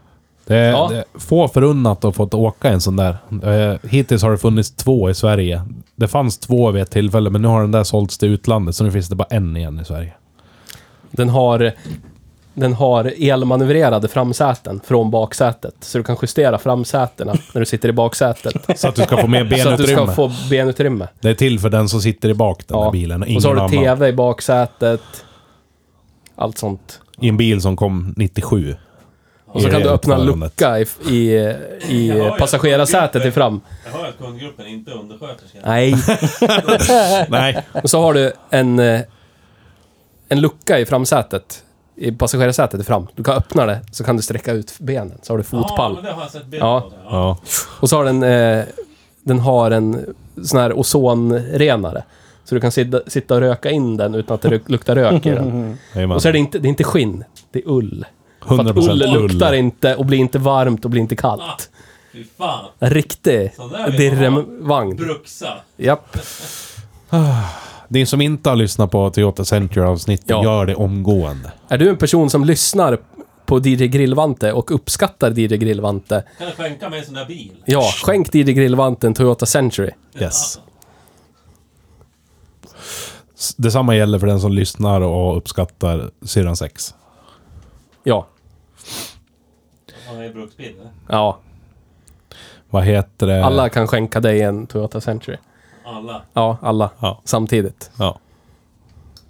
Speaker 1: Det är,
Speaker 2: Ja.
Speaker 1: det är få förunnat att fått åka en sån där. Eh, Hittills har det funnits två i Sverige. Det fanns två vid ett tillfälle, men nu har den där sålts till utlandet, så nu finns det bara en igen i Sverige.
Speaker 2: Den har, den har elmanövrerade framsäten från baksätet. Så du kan justera framsätena när du sitter i
Speaker 1: (laughs)
Speaker 2: baksätet.
Speaker 1: Så att du ska få mer
Speaker 2: (laughs) Så att du ska
Speaker 1: benutrymme.
Speaker 2: få benutrymme.
Speaker 1: Det är till för den som sitter i bak den där bilen, och
Speaker 2: Och så har
Speaker 1: ingen
Speaker 2: du
Speaker 1: annan.
Speaker 2: TV i baksätet. Allt sånt.
Speaker 1: I en bil som kom 97.
Speaker 2: Och så
Speaker 1: I
Speaker 2: kan du öppna en
Speaker 1: utförandet.
Speaker 2: lucka i, i, i passagerarsätet i fram.
Speaker 4: Jag hör att kundgruppen inte är undersköterska.
Speaker 2: Nej.
Speaker 1: (laughs) Nej.
Speaker 2: Och så har du en, eh, en lucka i framsätet. I passagerarsätet i fram. Du kan öppna det, så kan du sträcka ut benen. Så har du
Speaker 4: Ja,
Speaker 2: fotpall.
Speaker 4: men det har jag sett bild
Speaker 2: Ja.
Speaker 4: på. Det. Ja.
Speaker 1: Ja.
Speaker 2: Och så har den, eh, den har en sån här ozonrenare. Så du kan sitta, sitta och röka in den utan att det luk- luktar rök i den.
Speaker 1: Jajamän.
Speaker 2: Och så är det inte, det är inte skinn, det är ull. För
Speaker 1: 100%
Speaker 2: att ull luktar
Speaker 1: ull.
Speaker 2: inte och blir inte varmt och blir inte
Speaker 4: Ah,
Speaker 2: kallt.
Speaker 4: fy fan.
Speaker 2: En riktig
Speaker 4: Sån där vill man ha.
Speaker 2: dirrevagn.
Speaker 4: Bruxa.
Speaker 2: Japp.
Speaker 1: Ni som inte har lyssnat på Toyota Century-avsnittet,
Speaker 2: Ja.
Speaker 1: gör det omgående.
Speaker 2: Är du en person som lyssnar på DJ Grillvante och uppskattar DJ Grillvante?
Speaker 4: Kan du skänka mig en sån där bil?
Speaker 2: Ja, skänk DJ Grillvante en Toyota Century.
Speaker 1: Yes. S- Detsamma gäller för den som lyssnar och uppskattar syrran 6.
Speaker 2: Ja.
Speaker 4: (laughs) Ja, det är bruksbil eller?
Speaker 2: Ja.
Speaker 1: Vad heter det?
Speaker 2: Alla kan skänka dig en Toyota Century.
Speaker 4: Alla.
Speaker 2: Ja, alla.
Speaker 1: Ja.
Speaker 2: Samtidigt.
Speaker 1: Ja.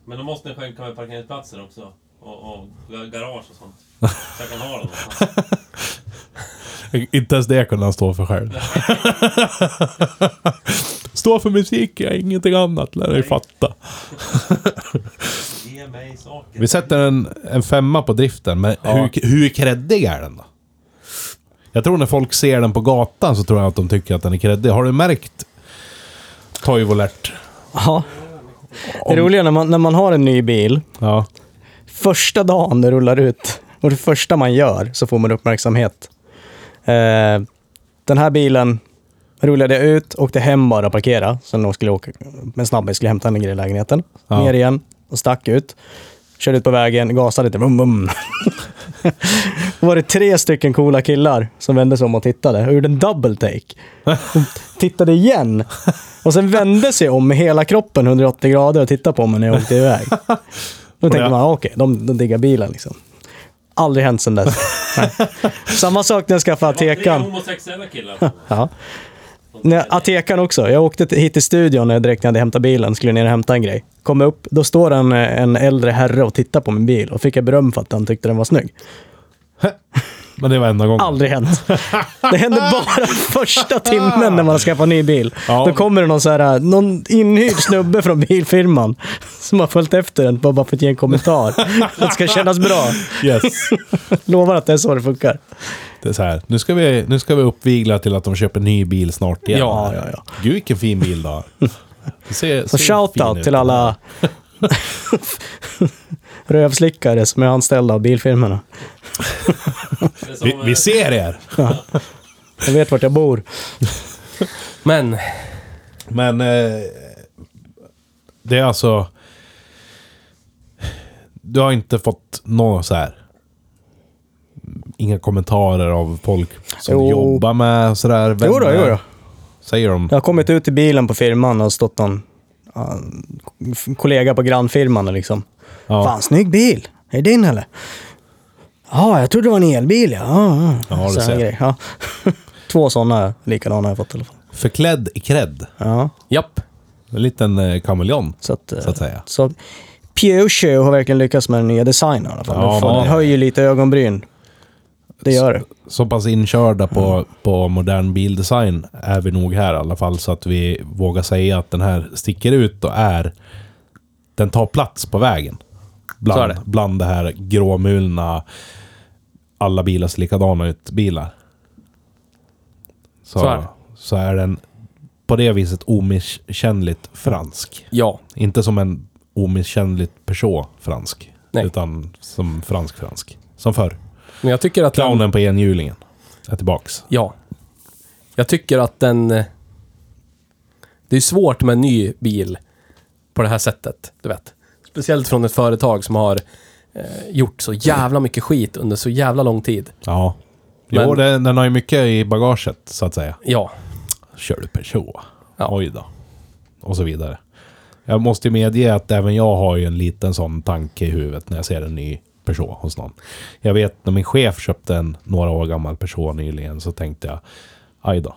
Speaker 4: Men då måste ni skänka mig parkeringsplatser också. Och, och ga- garage och sånt. Så jag kan ha dem. någonstans.
Speaker 1: Inte ens det kunde han stå för själv. (laughs) stå för musik, jag ingenting annat. Lär dig fatta.
Speaker 4: Ge mig saker.
Speaker 1: Vi sätter en, en femma på driften, men hur, hur kreddig är den då? Jag tror när folk ser den på gatan så tror jag att de tycker att den är kreddig. Har du märkt Toivolert?
Speaker 3: Ja. Det roliga när man, när man har en ny bil,
Speaker 1: Ja.
Speaker 3: första dagen det rullar ut och det första man gör så får man uppmärksamhet. Eh, den här bilen rullade jag ut, åkte hem bara och parkera. Sen då skulle jag åka med en snabbis, skulle hämta en grej i lägenheten.
Speaker 1: Ja.
Speaker 3: Ner igen och stack ut. Körde ut på vägen, gasade lite. Bum, bum. Då var det tre stycken coola killar som vände sig om och tittade och gjorde en double take. De tittade igen. Och sen vände sig om med hela kroppen 180 grader och tittade på mig när jag åkte iväg. Då tänkte man, ah, okej, de, de diggar bilen liksom. Aldrig hänt sedan dess. Nej. Samma sak när jag skaffade
Speaker 4: Det var tre
Speaker 3: Atekan.
Speaker 4: homosexuella killar.
Speaker 3: Ja. Nej, Atekan också. Jag åkte till- hit till studion eh, direkt när jag hade hämtat bilen. Skulle ner och hämta en grej. Kom upp, då står en, eh, en äldre herre och tittar på min bil. Och fick jag beröm för att han tyckte den var snygg.
Speaker 1: Men det var enda gången.
Speaker 3: Aldrig hänt.
Speaker 1: (laughs)
Speaker 3: Det händer bara första timmen när man har skaffat ny bil.
Speaker 1: Ja.
Speaker 3: Då kommer det någon, så här, någon inhyrd snubbe från bilfirman som har följt efter den bara för att ge
Speaker 1: (laughs)
Speaker 3: en kommentar. Det ska kännas bra.
Speaker 1: Yes.
Speaker 3: Lovar att det är så det funkar.
Speaker 1: Det är så här, nu ska vi, nu ska vi uppvigla till att de köper ny bil snart igen.
Speaker 3: Ja, ja, ja.
Speaker 1: Gud vilken fin bil
Speaker 3: (laughs)
Speaker 1: då. Det Ser,
Speaker 3: Så shoutout till alla (laughs) rövslickare som är anställda av bilfirmorna.
Speaker 4: Det är som,
Speaker 1: Vi, vi
Speaker 4: eh,
Speaker 1: ser er!
Speaker 3: Jag vet vart jag bor.
Speaker 2: Men,
Speaker 1: Men eh, det är alltså... Du har inte fått några så här... Inga kommentarer av folk som
Speaker 3: Jo.
Speaker 1: jobbar med och sådär.
Speaker 3: Jo då,
Speaker 1: vänner?
Speaker 3: jo då.
Speaker 1: Säger de.
Speaker 3: Jag har kommit ut i bilen på firman och stått någon ja, f- kollega på grannfirman och liksom.
Speaker 1: Ja.
Speaker 3: Fan, snygg bil. Är det din eller? Ja, jag trodde det var en elbil ja. ja,
Speaker 1: Ja, du
Speaker 3: Sån här
Speaker 1: ser.
Speaker 3: grej, ja. (laughs) Två sådana likadana har jag fått i alla fall.
Speaker 1: Förklädd i cred.
Speaker 3: Ja,
Speaker 2: Japp.
Speaker 1: En liten eh, kameleont,
Speaker 3: så att... eh,
Speaker 1: så att säga.
Speaker 3: Så Peugeot har verkligen lyckats med den nya designen i alla fall.
Speaker 1: Ja,
Speaker 3: Den får-
Speaker 1: men-
Speaker 3: den höjer lite ögonbryn. Det gör det.
Speaker 1: Så pass inkörda
Speaker 2: Mm.
Speaker 1: på, på modern bildesign är vi nog här i alla fall. Så att vi vågar säga att den här sticker ut och är... Den tar plats på vägen.
Speaker 2: Så är
Speaker 1: Bland
Speaker 2: det.
Speaker 1: det. bland det här gråmulna, alla bilar ser likadana ut bilar. Så,
Speaker 2: Så
Speaker 1: så,
Speaker 2: är
Speaker 1: är
Speaker 2: det.
Speaker 1: den på det viset omisskännligt fransk.
Speaker 2: Ja.
Speaker 1: Inte som en omisskännligt Peugeot fransk.
Speaker 2: Nej.
Speaker 1: Utan som fransk fransk. Som förr.
Speaker 2: Men jag tycker att... den-
Speaker 1: Clownen på enhjulingen är tillbaks.
Speaker 2: Ja. Jag tycker att den... eh, Det är svårt med en ny bil på det här sättet, du vet. Speciellt från ett företag som har eh, gjort så jävla mycket skit under så jävla lång tid.
Speaker 1: Ja.
Speaker 2: Men-
Speaker 1: Jo, den, den har ju mycket i bagaget, så att säga.
Speaker 2: Ja.
Speaker 1: Kör du Peugeot?
Speaker 2: Ja.
Speaker 1: Oj då. Och så vidare. Jag måste ju medge att även jag har ju en liten sån tanke i huvudet när jag ser en ny Peugeot hos någon. Jag vet när min chef köpte en några år gammal Peugeot nyligen så tänkte jag, aj då.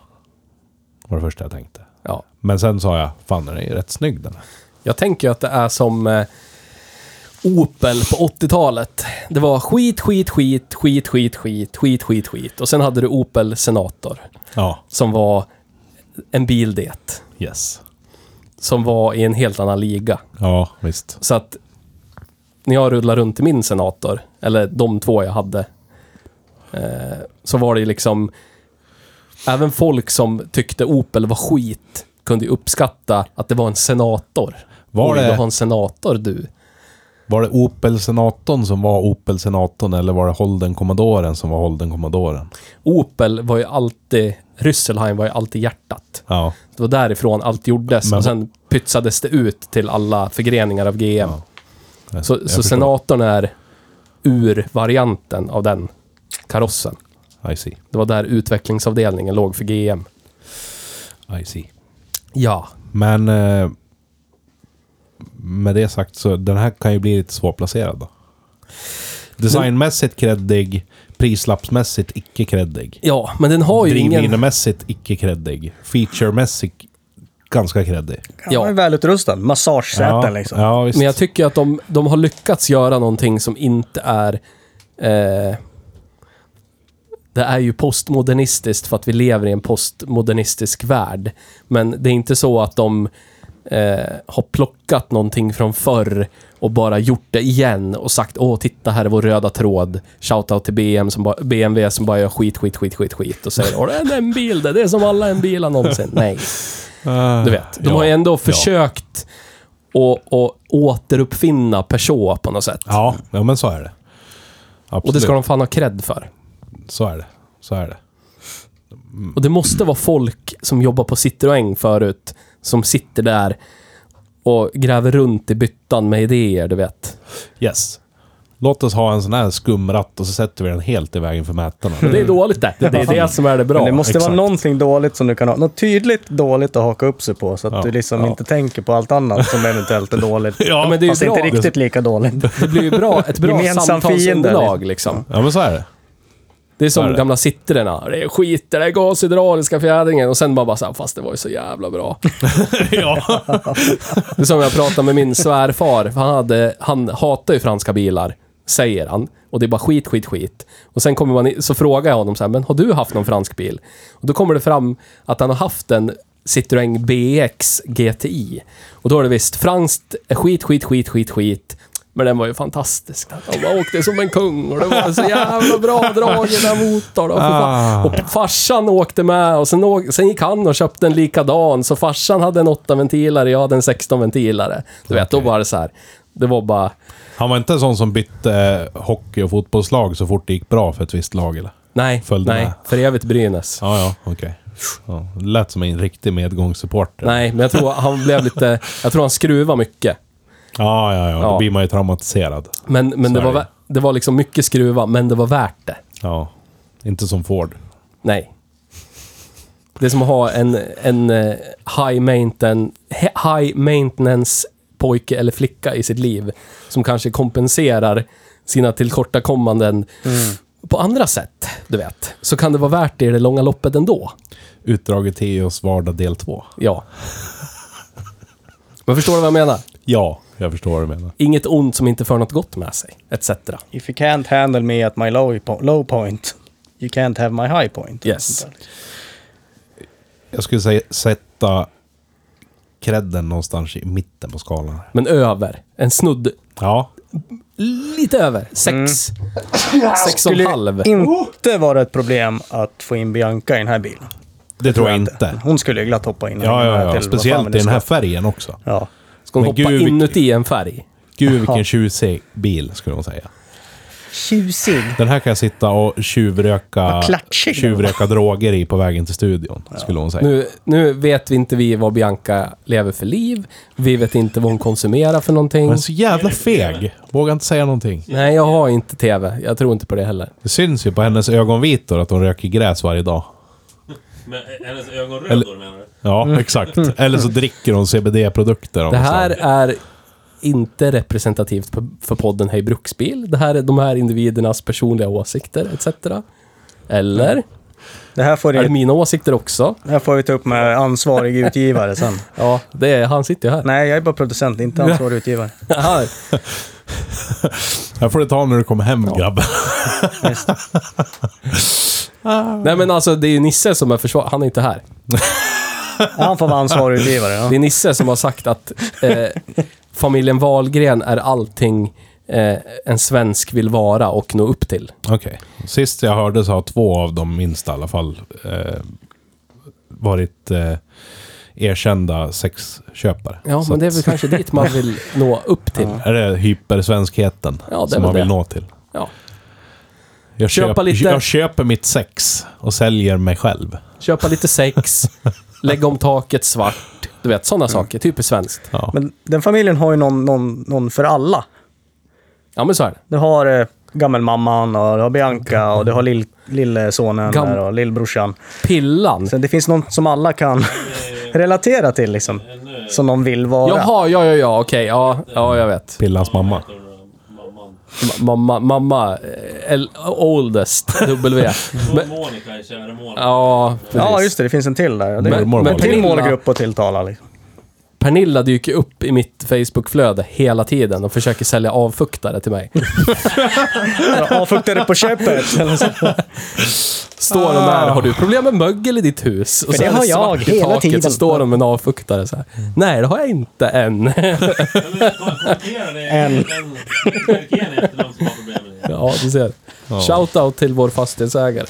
Speaker 1: var det första jag tänkte.
Speaker 2: ja.
Speaker 1: Men sen sa jag, fan den är ju rätt snygg den här.
Speaker 2: Jag tänker att det är som eh, Opel på 80-talet. Det var skit, skit, skit, skit, skit, skit, skit, skit, skit. Och sen hade du Opel Senator
Speaker 1: Ja,
Speaker 2: som var en bil det.
Speaker 1: yes.
Speaker 2: Som var i en helt annan liga.
Speaker 1: Ja, visst.
Speaker 2: Så att när jag rullar runt i min senator, eller de två jag hade, eh, så var det ju liksom... Även folk som tyckte Opel var skit kunde ju uppskatta att det var en senator.
Speaker 1: Var
Speaker 2: Oj,
Speaker 1: det-
Speaker 2: du har en senator du.
Speaker 1: Var det Opel Senatorn som var Opel Senatorn eller var det Holden Commodoren som var Holden Commodoren?
Speaker 2: Opel var ju alltid... Rüsselheim var ju alltid hjärtat.
Speaker 1: Ja.
Speaker 2: Det var därifrån allt gjordes
Speaker 1: Men-
Speaker 2: och sen pytsades det ut till alla förgreningar av GM.
Speaker 1: jag-
Speaker 2: så
Speaker 1: jag
Speaker 2: så
Speaker 1: förstår.
Speaker 2: senatorn är urvarianten av den karossen.
Speaker 1: I see.
Speaker 2: Det var där utvecklingsavdelningen låg för GM.
Speaker 1: I see.
Speaker 2: Ja.
Speaker 1: Men eh, med det sagt så den här kan ju bli lite svårplacerad då. Designmässigt kreddig, prislappsmässigt icke kreddig.
Speaker 2: Ja, men den har ju ingen...
Speaker 1: Drivlinemässigt icke kreddig. Featuremässigt ganska kreddig.
Speaker 3: Ja.
Speaker 2: Ja.
Speaker 3: Den är välutrustad. Massagesäten
Speaker 1: ja,
Speaker 3: liksom.
Speaker 1: Ja, visst.
Speaker 2: Men jag tycker att de, de har lyckats göra någonting som inte är... Eh, det är ju postmodernistiskt för att vi lever i en postmodernistisk värld. Men det är inte så att de eh, har plockat någonting från förr och bara gjort det igen och sagt åh, titta här är vår röda tråd. Shoutout till BM som bara, BMW som bara gör skit, skit, skit, skit, skit och säger åh, det är en bil det, det är som alla en bilar någonsin.
Speaker 1: (laughs)
Speaker 2: Nej.
Speaker 1: Eh,
Speaker 2: Du vet, de
Speaker 1: ja,
Speaker 2: har ju ändå
Speaker 1: ja.
Speaker 2: försökt att, att återuppfinna Peugeot på något sätt.
Speaker 1: Ja, ja, men så är det. Absolut.
Speaker 2: och det ska de fan ha cred för.
Speaker 1: Så är det. Så är det.
Speaker 2: Och det måste vara folk som jobbar på Citroën förut, som sitter där och gräver runt i byttan med idéer, du vet.
Speaker 1: Yes. Låt oss ha en sån här skumratt och så sätter vi den helt i vägen för mätarna.
Speaker 2: Men det är dåligt Mm. det. Det är det som är det bra.
Speaker 3: Men det måste
Speaker 1: exakt.
Speaker 3: vara någonting dåligt som du kan ha. Något tydligt dåligt att haka upp sig på så att
Speaker 1: Ja.
Speaker 3: du liksom inte tänker på allt annat som eventuellt är dåligt.
Speaker 2: (laughs) ja, men det
Speaker 3: Fast
Speaker 2: är ju
Speaker 3: inte
Speaker 2: bra.
Speaker 3: riktigt lika dåligt.
Speaker 2: Det blir ju bra, ett bra
Speaker 3: Gemensam
Speaker 2: samtalsunderlag
Speaker 3: fiende,
Speaker 2: liksom.
Speaker 1: Ja, men så är det.
Speaker 2: Det är som
Speaker 1: Så är det.
Speaker 2: gamla Citroënerna. Det är skit, det där är gashydrauliska fjädringen. Och sen bara, bara så här, fast det var ju så jävla bra.
Speaker 1: (laughs) ja.
Speaker 2: (laughs) Det är som jag pratade med min svärfar. för Han, hade, han hatar ju franska bilar, säger han. Och det är bara skit, skit, skit. Och sen kommer man i- så frågar jag honom så här, men har du haft någon fransk bil? Och då kommer det fram att han har haft en Citroën BX GTI. Och då är det visst, franskt är skit, skit, skit, skit, skit. Men den var ju fantastisk. De bara åkte som en kung och det var så jävla bra drag i den här motorn. Och, för
Speaker 1: Ah.
Speaker 2: fan. och farsan åkte med och sen, åk, sen gick han och köpte en likadan. Så farsan hade en 8-ventilare, jag hade en 16-ventilare. Du vet, då var det så här. Det var bara,
Speaker 1: Han var inte en sån som bytte eh, hockey och fotbollslag så fort det gick bra för ett visst lag, eller?
Speaker 2: nej,
Speaker 1: Följde
Speaker 2: nej,
Speaker 1: med.
Speaker 2: för evigt Brynäs.
Speaker 1: Ja, ja, okej. Ja, det lät som en riktig medgångssupporter.
Speaker 2: Nej, men jag tror han blev lite, jag tror han skruvade mycket.
Speaker 1: Ja, ja, ja. Då
Speaker 2: Ja.
Speaker 1: blir man ju traumatiserad.
Speaker 2: Men, men det,
Speaker 1: Så är
Speaker 2: var,
Speaker 1: det.
Speaker 2: vä- det var liksom mycket skruva, men det var värt det.
Speaker 1: Ja. Inte som Ford.
Speaker 2: Nej. Det är som att ha en, en eh, high, mainten, he- high maintenance pojke eller flicka i sitt liv som kanske kompenserar sina tillkortakommanden på andra sätt, du vet, så kan det vara värt det i det långa loppet ändå.
Speaker 1: Utdraget Teos vardag del 2.
Speaker 2: Ja. Men förstår du vad jag menar?
Speaker 1: Ja, jag förstår vad du menar.
Speaker 2: Inget ont som inte för något gott med sig, etc.
Speaker 3: If you can't handle me at my low, po- low point, you can't have my high point.
Speaker 2: Yes.
Speaker 1: Jag skulle säga sätta credden någonstans i mitten på skalan.
Speaker 2: Men över. En snudd.
Speaker 1: Ja.
Speaker 2: Lite över. Sex. Sex och en halv.
Speaker 3: Inte var det ett problem att få in Bianca i den här bilen.
Speaker 1: Det tror jag inte.
Speaker 3: Hon skulle ju glatt hoppa in. och
Speaker 1: Ja,
Speaker 3: hänga med
Speaker 1: ja, ja.
Speaker 3: till vad fan
Speaker 1: Speciellt
Speaker 3: det
Speaker 1: i den här
Speaker 3: ska-
Speaker 1: färgen också.
Speaker 3: Ja.
Speaker 2: Ska hon
Speaker 1: Men
Speaker 2: hoppa
Speaker 1: gud, vilken-
Speaker 2: inuti en färg?
Speaker 1: Gud vilken tjusig bil, skulle man säga.
Speaker 3: Tjusig.
Speaker 1: Den här kan jag sitta och tjuvröka,
Speaker 3: Vad klatschig den var.
Speaker 1: tjuvröka droger i på vägen till studion, skulle hon säga.
Speaker 2: Nu, nu vet vi inte vi vad Bianca lever för liv. Vi vet inte vad hon konsumerar för någonting.
Speaker 1: Men så jävla feg. Vågar inte säga någonting.
Speaker 2: Nej, jag har inte TV. Jag tror inte på det heller.
Speaker 1: Det syns ju på hennes ögonvitor att hon röker gräs varje dag.
Speaker 4: Men eh, hennes ögon
Speaker 1: Eller-
Speaker 4: då menar du?
Speaker 1: Ja, exakt. Eller så dricker hon CBD-produkter. av
Speaker 2: Mm. Det
Speaker 1: något
Speaker 2: här
Speaker 1: slag.
Speaker 2: är inte representativt p- för podden Hej Bruksbil. Det här är de här individernas personliga åsikter, etc. Eller?
Speaker 3: Det här får
Speaker 2: Är det
Speaker 3: du,
Speaker 2: mina åsikter också?
Speaker 3: det här får vi ta upp med ansvarig utgivare sen.
Speaker 2: Ja, det är, han sitter ju här.
Speaker 3: Nej, jag är bara producent, inte ansvarig utgivare.
Speaker 2: (laughs) Aha,
Speaker 1: här får du ta när du kommer hem, grabben.
Speaker 2: Nej men alltså det är ju Nisse som är försvar... Han är inte här.
Speaker 3: Han får vara ansvarig utgivare. Ja.
Speaker 2: Det är Nisse som har sagt att eh, familjen Wahlgren är allting eh, en svensk vill vara och nå upp till.
Speaker 1: Okej. Sist jag hörde så har två av dem, minst i alla fall, eh, varit eh, erkända sexköpare.
Speaker 2: Ja,
Speaker 1: Så
Speaker 2: men det är
Speaker 1: att-
Speaker 2: väl kanske dit man (laughs) vill nå upp till.
Speaker 1: Är det hypersvenskheten
Speaker 2: Ja, det är
Speaker 1: som
Speaker 2: väl
Speaker 1: man vill
Speaker 2: det.
Speaker 1: nå till?
Speaker 2: Ja.
Speaker 1: Jag,
Speaker 2: Köpa
Speaker 1: köp,
Speaker 2: lite-
Speaker 1: jag köper mitt sex och säljer mig själv.
Speaker 2: Köpa lite sex, lägga om taket svart. Du vet, sådana saker. Typiskt svenskt.
Speaker 1: Ja.
Speaker 3: Men den familjen har ju någon, någon, någon för alla.
Speaker 2: Ja, men så är det.
Speaker 3: Du har eh, gammelmamman och du har Bianca och du har lill, lillesonen
Speaker 2: Gam-
Speaker 3: där och lillbrorsan.
Speaker 2: Pillan.
Speaker 3: Så det finns någon som alla kan (laughs) relatera till liksom. Som de vill vara.
Speaker 2: Jaha, ja, ja, ja, okej. Ja, ja, jag vet.
Speaker 1: Pillans mamma.
Speaker 4: Då är det Mamman.
Speaker 2: Ma- Mamma, mamma, eh, el- oldest, (laughs) W.
Speaker 4: Och
Speaker 2: Men,
Speaker 4: Monica i Käre Monica.
Speaker 2: ja, precis.
Speaker 3: Ja, just det. Det finns en till där. Det är
Speaker 1: Mormor
Speaker 2: Men,
Speaker 1: var
Speaker 2: men
Speaker 3: till
Speaker 2: Pernilla,
Speaker 3: målgrupp och tilltala. Liksom.
Speaker 2: Pernilla dyker upp i mitt Facebookflöde hela tiden och försöker sälja avfuktare till mig.
Speaker 3: Avfuktade på köpet. Eller så.
Speaker 2: Står de där, har du problem med mögel i ditt hus? Och
Speaker 3: För
Speaker 2: så
Speaker 3: det
Speaker 2: är
Speaker 3: har jag
Speaker 2: svart i
Speaker 3: hela
Speaker 2: taket,
Speaker 3: tiden.
Speaker 2: Så står de med en avfuktare så här. Nej, det har jag inte än. (laughs)
Speaker 4: Eller kommentera det. En. En. Kenya heter de som har problem med det.
Speaker 2: ja, du ser.
Speaker 1: Ja.
Speaker 2: Shoutout till vår fastighetsägare.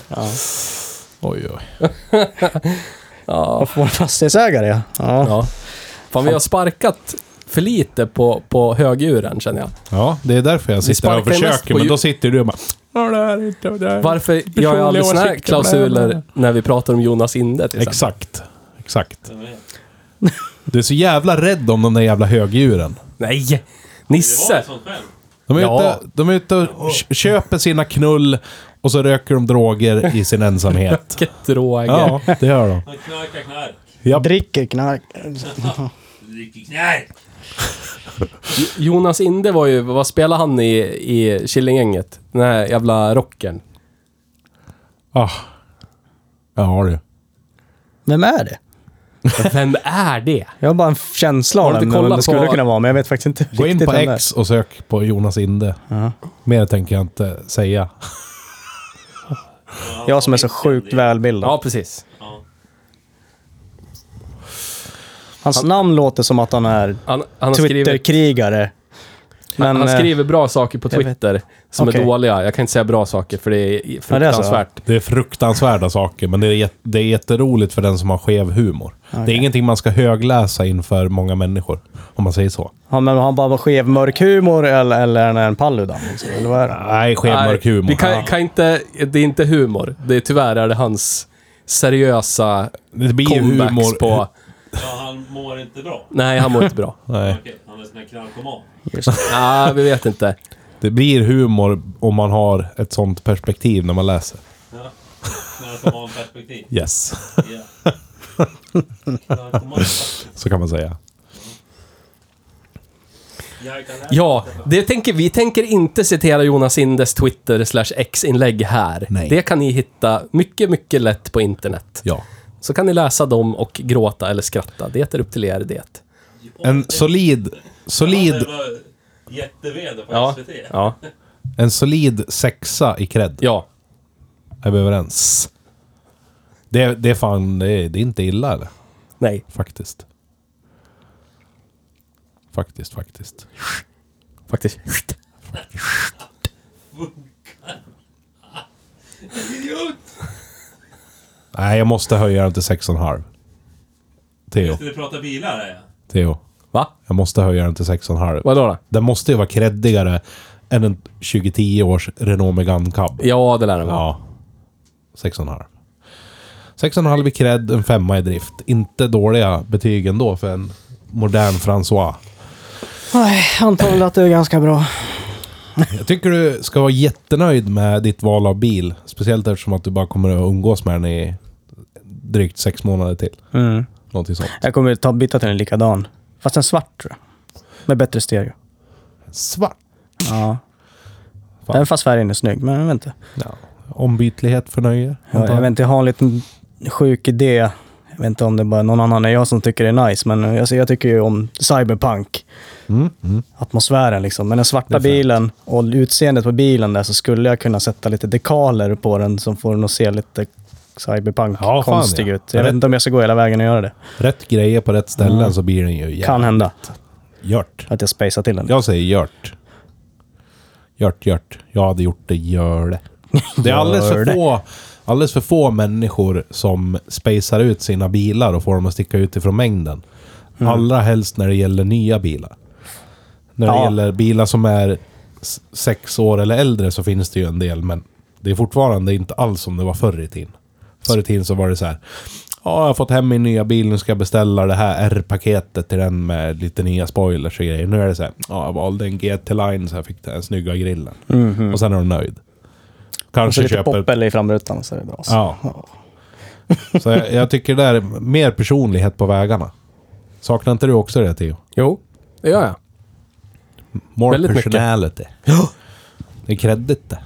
Speaker 1: Oj, oj.
Speaker 3: Och får en fastighetsägare, ja. ja.
Speaker 2: Ja. Fan, vi har sparkat för lite på, på höguren känner jag.
Speaker 1: Ja, det är därför jag sitter här och
Speaker 2: sparkar ju mest
Speaker 1: försöker,
Speaker 2: på
Speaker 1: men
Speaker 2: ju-
Speaker 1: då sitter du och bara... "Ja, det här är inte- det här är
Speaker 2: Varför gör jag
Speaker 1: personliga
Speaker 2: aldrig såna här
Speaker 1: åsikter, bla, bla, bla."
Speaker 2: klausuler när vi pratar om Jonas Inde till exempel?
Speaker 1: Exakt. Exakt.
Speaker 4: Jag vet.
Speaker 1: Du är så jävla rädd om de där jävla högdjuren.
Speaker 2: Nej!
Speaker 4: Det var
Speaker 2: Nisse!
Speaker 4: ett sånt skämt.
Speaker 1: De är,
Speaker 2: Ja.
Speaker 1: ute, de är ute och k- köper sina knull och så röker de droger i sin ensamhet.
Speaker 2: Vilket
Speaker 1: (laughs)
Speaker 2: droger.
Speaker 1: Ja, det gör de.
Speaker 4: Han knarkar knark.
Speaker 1: Japp.
Speaker 3: Dricker knark.
Speaker 4: Dricker knark.
Speaker 2: Jonas Inde var ju, vad spelade han i, i Killinggänget? Den här jävla
Speaker 3: (laughs)
Speaker 2: rocken.
Speaker 1: Ah. Ja du.
Speaker 3: Vem är det?
Speaker 2: Vem är det?
Speaker 3: Jag har bara en känsla
Speaker 2: Har
Speaker 3: av
Speaker 2: du
Speaker 3: vem
Speaker 2: inte
Speaker 3: vem
Speaker 2: kollat
Speaker 3: det skulle
Speaker 2: på-
Speaker 3: kunna vara, men jag vet faktiskt inte
Speaker 1: Gå in
Speaker 3: riktigt
Speaker 1: på
Speaker 3: vem det är.
Speaker 1: X och sök på Jonas Inde. Mer tänker jag inte säga.
Speaker 3: Jag som är så sjukt välbildad.
Speaker 2: Ja, precis.
Speaker 4: Ja.
Speaker 3: Hans namn låter som att han är
Speaker 2: Han, han, har skrivit,
Speaker 3: Twitterkrigare. Men
Speaker 2: han
Speaker 3: eh,
Speaker 2: skriver bra saker på
Speaker 3: jag vet-
Speaker 2: Twitter som
Speaker 3: Okej.
Speaker 2: är dåliga. Jag kan inte säga bra saker för det är
Speaker 3: Ja, det är så,
Speaker 2: fruktansvärt.
Speaker 1: Det är fruktansvärda saker, men det är, jät- det är jätteroligt för den som har skev humor. Det är ingenting man ska högläsa inför många människor, om man säger så.
Speaker 3: han, men har han bara skev mörk humor eller, eller är han en Paludan? liksom? Eller vad är han?
Speaker 1: Nej, skev
Speaker 2: Nej,
Speaker 1: mörk humor.
Speaker 2: Vi kan, kan inte, det är inte humor. Det är, tyvärr är det hans seriösa
Speaker 1: det blir ju
Speaker 2: comebacks
Speaker 1: humor.
Speaker 2: på...
Speaker 4: Ja, han mår inte bra.
Speaker 2: Nej, han mår inte
Speaker 3: (laughs)
Speaker 2: bra.
Speaker 1: Nej.
Speaker 4: Okej, han är sån här knarkoman.
Speaker 2: Nej, vi vet inte.
Speaker 1: Det blir humor om man har ett sånt perspektiv när man läser.
Speaker 4: Ja. Narkomanperspektiv.
Speaker 1: Yes. (laughs)
Speaker 4: Ja. Narkoman.
Speaker 1: Så kan man säga.
Speaker 4: Jag kan läsa
Speaker 2: Ja,
Speaker 4: det.
Speaker 2: det tänker, vi tänker inte citera Jonas Indes Twitter slash X-inlägg här.
Speaker 1: Nej.
Speaker 2: Det kan ni hitta mycket, mycket lätt på internet.
Speaker 1: Ja.
Speaker 2: Så kan ni läsa dem och gråta eller skratta. Det är upp till er det.
Speaker 1: En solid, solid,
Speaker 4: Det var jättevd på
Speaker 2: Ja.
Speaker 4: SVT.
Speaker 2: Ja.
Speaker 1: en solid sexa i cred.
Speaker 2: ja.
Speaker 1: Är vi överens? Det, det är fan, det är, det är inte illa eller?
Speaker 2: Nej.
Speaker 1: Faktiskt. Faktiskt, faktiskt.
Speaker 2: Faktiskt.
Speaker 1: Nej, jag måste höja den till 6,5. Theo,
Speaker 4: Ska du prata bilar här ja?
Speaker 1: Theo.
Speaker 2: Va?
Speaker 1: Jag måste höja den till 6,5.
Speaker 2: Vadå då?
Speaker 1: Den måste ju vara creddigare än en 2010 års Renault Megane Cab.
Speaker 2: Ja, det lär den vara.
Speaker 1: Ja. 6,5. 6,5 i cred, en femma i drift. Inte dåliga betyg ändå för en modern François.
Speaker 3: Nej, antagligen att det är ganska bra.
Speaker 1: Jag tycker du ska vara jättenöjd med ditt val av bil. Speciellt eftersom att du bara kommer att umgås med den i drygt sex månader till.
Speaker 3: Mm.
Speaker 1: Någonting sånt.
Speaker 3: Jag kommer ta byta till en likadan. Fast en svart tror jag. Med bättre stereo.
Speaker 1: Svart.
Speaker 3: Ja.
Speaker 1: Fan.
Speaker 3: Även fast färgen är snygg, men jag vet inte.
Speaker 1: Ja. Ombytlighet för nöje.
Speaker 3: Ja, jag vet inte, jag har en liten sjuk idé. Jag vet inte om det är bara någon annan än jag som tycker det är nice, men alltså, jag tycker ju om cyberpunk.
Speaker 1: Mm, mm.
Speaker 3: Atmosfären liksom. Men den
Speaker 1: Det
Speaker 3: svarta
Speaker 1: är fränt.
Speaker 3: bilen och utseendet på bilen där så skulle jag kunna sätta lite dekaler på den som får den att se lite
Speaker 1: Ja, fan,
Speaker 3: cyberpunk-konstig
Speaker 1: ja.
Speaker 3: ut. Jag vet
Speaker 1: Rätt.
Speaker 3: inte om jag ska gå hela vägen och göra det.
Speaker 1: Rätt grejer på rätt ställen så blir den ju
Speaker 3: Kan
Speaker 1: jävligt
Speaker 3: hända
Speaker 1: gjort.
Speaker 3: att jag spejsar till den.
Speaker 1: Jag säger gjort. Gjort, gjort. Jag hade gjort det, gör det. Det är alldeles
Speaker 3: Gör
Speaker 1: för
Speaker 3: det.
Speaker 1: få, alldeles för få människor som spacear ut sina bilar och får dem att sticka ut ifrån mängden.
Speaker 3: Mm.
Speaker 1: Allra helst när det gäller nya bilar. När det
Speaker 3: Ja.
Speaker 1: gäller bilar som är s- sex år eller äldre så finns det ju en del, men det är fortfarande inte alls som det var förr i tiden. Förr i tiden så var det så här. Ja, jag har fått hem min nya bil. Nu ska jag beställa det här R-paketet till den med lite nya spoilers och grejer. Nu är det så här. Ja, jag valde en GT-line så jag fick den snygga grillen. Och sen är de nöjd.
Speaker 3: Mhm. Och så
Speaker 1: Kanske
Speaker 3: lite
Speaker 1: köper...
Speaker 3: poppel i framrutan och så är det bra. (laughs)
Speaker 1: Ja. Så jag, jag tycker det är mer personlighet på vägarna. Saknar inte du också det, Theo?
Speaker 2: Jo, det gör jag.
Speaker 1: More
Speaker 2: Väldigt mycket.
Speaker 1: personality. Mycket. Det är kredit det.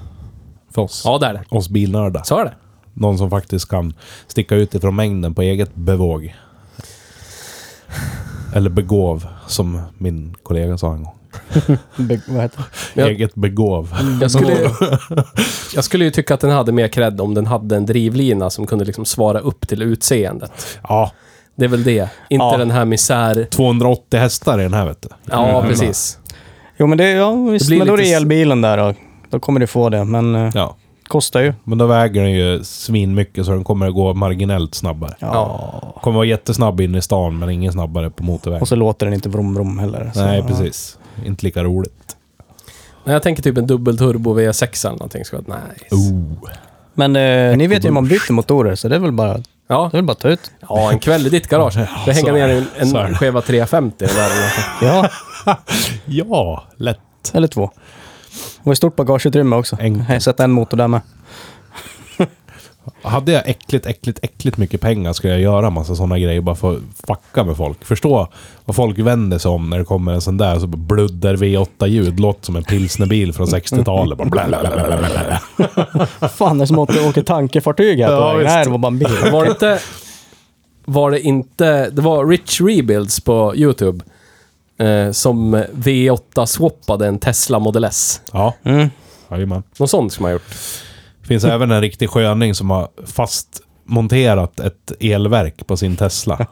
Speaker 1: För oss.
Speaker 2: Ja, det är det.
Speaker 1: Oss bilnördar.
Speaker 2: Så är det.
Speaker 1: Någon som faktiskt kan sticka ut ifrån mängden på eget bevåg. Eller begåv, som min kollega sa en gång.
Speaker 3: Be- vad heter det?
Speaker 2: Jag-
Speaker 1: Eget begåv.
Speaker 2: Jag skulle,
Speaker 1: (laughs)
Speaker 2: jag skulle ju tycka att den hade mer cred om den hade en drivlina som kunde liksom svara upp till utseendet.
Speaker 1: Ja,
Speaker 2: Det är väl det. Inte
Speaker 3: Ja.
Speaker 2: den här misär...
Speaker 1: 280 hästar i den här vet du.
Speaker 2: Ja, precis.
Speaker 3: Jo, men det, ja, visst,
Speaker 2: blir
Speaker 3: men då är
Speaker 2: lite
Speaker 3: det
Speaker 2: s-
Speaker 3: elbilen där och då kommer du få det. Men eh,
Speaker 1: Ja.
Speaker 3: kostar ju.
Speaker 1: Men då väger den ju svin mycket så den kommer att gå marginellt snabbare.
Speaker 2: Ja.
Speaker 1: Kommer vara jättesnabb in i stan men ingen snabbare på motorvägen.
Speaker 3: Och så låter den inte brom brom heller. Så,
Speaker 1: Nej,
Speaker 3: ja.
Speaker 1: precis. Inte lika roligt.
Speaker 2: Nej, jag tänker typ en dubbelturbo V6 eller någonting. Skulle vara nice.
Speaker 1: Oh.
Speaker 3: Men eh, ni vet ju hur man byter motorer, så det är väl bara, det
Speaker 2: Ja.
Speaker 3: är väl bara att
Speaker 1: (laughs)
Speaker 3: ta ut.
Speaker 2: ja, en kväll i ditt garage. Det hänger
Speaker 1: så är
Speaker 2: ner
Speaker 1: det.
Speaker 2: en,
Speaker 1: Så är
Speaker 2: en
Speaker 1: det.
Speaker 2: skeva 350 där. eller någonting.
Speaker 3: Ja,
Speaker 1: Ja, lätt.
Speaker 3: eller två. Och ett stort bagageutrymme också.
Speaker 1: En-
Speaker 3: Jag sätter en
Speaker 1: (laughs)
Speaker 3: motor där med.
Speaker 1: Hade jag äckligt, äckligt, äckligt mycket pengar skulle jag göra massa sådana grejer bara för att fucka med folk. Förstå vad folk vänder sig om när det kommer en sån där så bara bluddar V8-ljud. Låter som en pilsnerbil från 60-talet. Bara bla, bla, bla, bla, bla, bla.
Speaker 3: Fan, det är som att du åker tankefartyg här på
Speaker 1: Ja,
Speaker 3: vägen.
Speaker 1: visst.
Speaker 3: Nej, det var bara en bil.
Speaker 2: Var det inte... Var det inte... Det var Rich Rebuilds på YouTube. Eh, som V8-swappade en Tesla Model S.
Speaker 1: Ja,
Speaker 3: Mm.
Speaker 1: jajamän.
Speaker 2: Någon sån som man gjort.
Speaker 1: finns även en riktig sköning som har fastmonterat ett elverk på sin Tesla.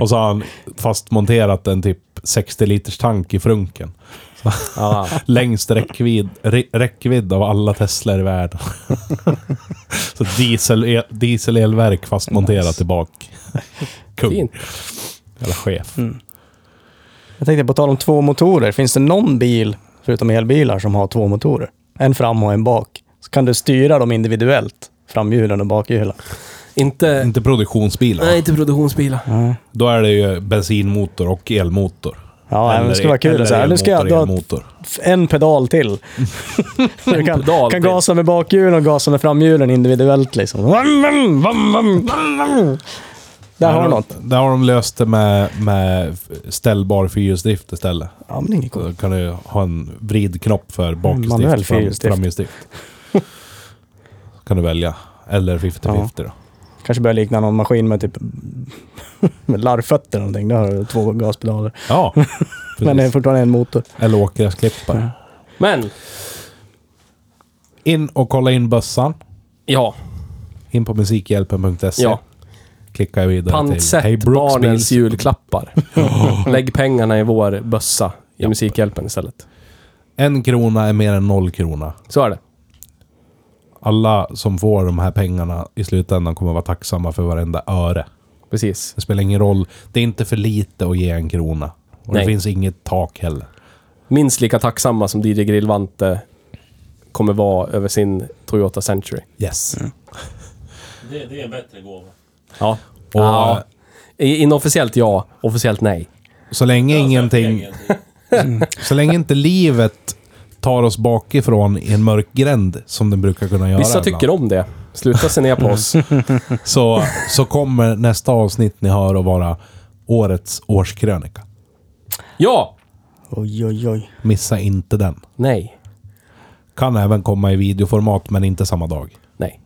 Speaker 1: Och så har han fastmonterat en typ 60 liters tank i frunken.
Speaker 2: Ja.
Speaker 1: Ah. Längst räckvidd, rä- räckvidd av alla Teslor i världen.
Speaker 3: (laughs)
Speaker 1: så diesel, el, dieselelverk fastmonterat tillbaka. Kung.
Speaker 2: Fint.
Speaker 1: Eller chef.
Speaker 3: Mm. Jag tänkte på tal om två motorer. Finns det någon bil, förutom elbilar, som har två motorer? En fram och en bak. Så kan du styra dem individuellt. Framhjulen och bakhjulen.
Speaker 2: Inte...
Speaker 1: Inte produktionsbilar.
Speaker 2: Nej, inte produktionsbilar. (laughs)
Speaker 1: Då är det ju bensinmotor och elmotor.
Speaker 3: Ja, men det skulle vara kul.
Speaker 1: eller
Speaker 3: att Så här, nu ska jag
Speaker 1: elmotor,
Speaker 3: dra
Speaker 1: elmotor.
Speaker 3: en pedal till. Så du kan,
Speaker 2: pedal
Speaker 3: kan
Speaker 2: till.
Speaker 3: gasa med bakhjulen och gasa med framhjulen individuellt. Liksom. Vam, vam, vam, vam, vam, vam.
Speaker 1: Där
Speaker 3: Där har du
Speaker 1: har-
Speaker 3: något.
Speaker 1: Där har de löst det med, med ställbar fyrhjulsdrift istället.
Speaker 3: Ja, men inget
Speaker 1: Då
Speaker 3: coolt.
Speaker 1: kan du ha en vridknopp för
Speaker 3: Manuell
Speaker 1: bakhjulsdrift fram,
Speaker 3: fyrhjulsdrift.
Speaker 1: framhjulsdrift. kan du välja. Eller 50-50 då.
Speaker 3: Kanske börjar likna någon maskin med typ (laughs) med larvfötter eller någonting. Där har du två gaspedaler.
Speaker 1: Ja,
Speaker 3: Men det
Speaker 1: (laughs)
Speaker 3: är
Speaker 1: precis.
Speaker 3: fortfarande en motor.
Speaker 1: Eller åkgräsklippare.
Speaker 2: Men,
Speaker 1: In och kolla in bössan.
Speaker 2: ja,
Speaker 1: In på musikhjälpen.se.
Speaker 2: ja.
Speaker 1: Klickar vidare
Speaker 2: Pantsätt
Speaker 1: till... Hey Brooks
Speaker 2: barnens
Speaker 1: Bills.
Speaker 2: julklappar. Lägg pengarna i vår bössa i
Speaker 1: Ja.
Speaker 2: Musikhjälpen istället.
Speaker 1: En krona är mer än noll krona.
Speaker 2: Så är det.
Speaker 1: Alla som får de här pengarna i slutändan kommer vara tacksamma för varenda öre.
Speaker 2: Precis.
Speaker 1: Det spelar ingen roll. Det är inte för lite att ge en krona. Och
Speaker 2: Nej.
Speaker 1: det finns inget tak heller.
Speaker 2: Minst lika tacksamma som DJ Grillvante kommer vara över sin Toyota Century.
Speaker 1: Yes.
Speaker 2: Mm.
Speaker 4: Det, det är en bättre gåva.
Speaker 2: Ja.
Speaker 1: Och eh,
Speaker 2: ja. I- Inofficiellt ja, officiellt nej.
Speaker 1: så länge ingenting... Så länge inte livet tar oss bakifrån i en mörk gränd, som den brukar kunna göra
Speaker 2: Vissa
Speaker 1: ibland,
Speaker 2: tycker om det. Sluta se ner på oss.
Speaker 1: så, så kommer nästa avsnitt ni hör att vara årets årskrönika.
Speaker 2: Ja!
Speaker 3: Oj, oj, oj.
Speaker 1: Missa inte den.
Speaker 2: Nej.
Speaker 1: Kan även komma i videoformat, men inte samma dag.
Speaker 2: Nej.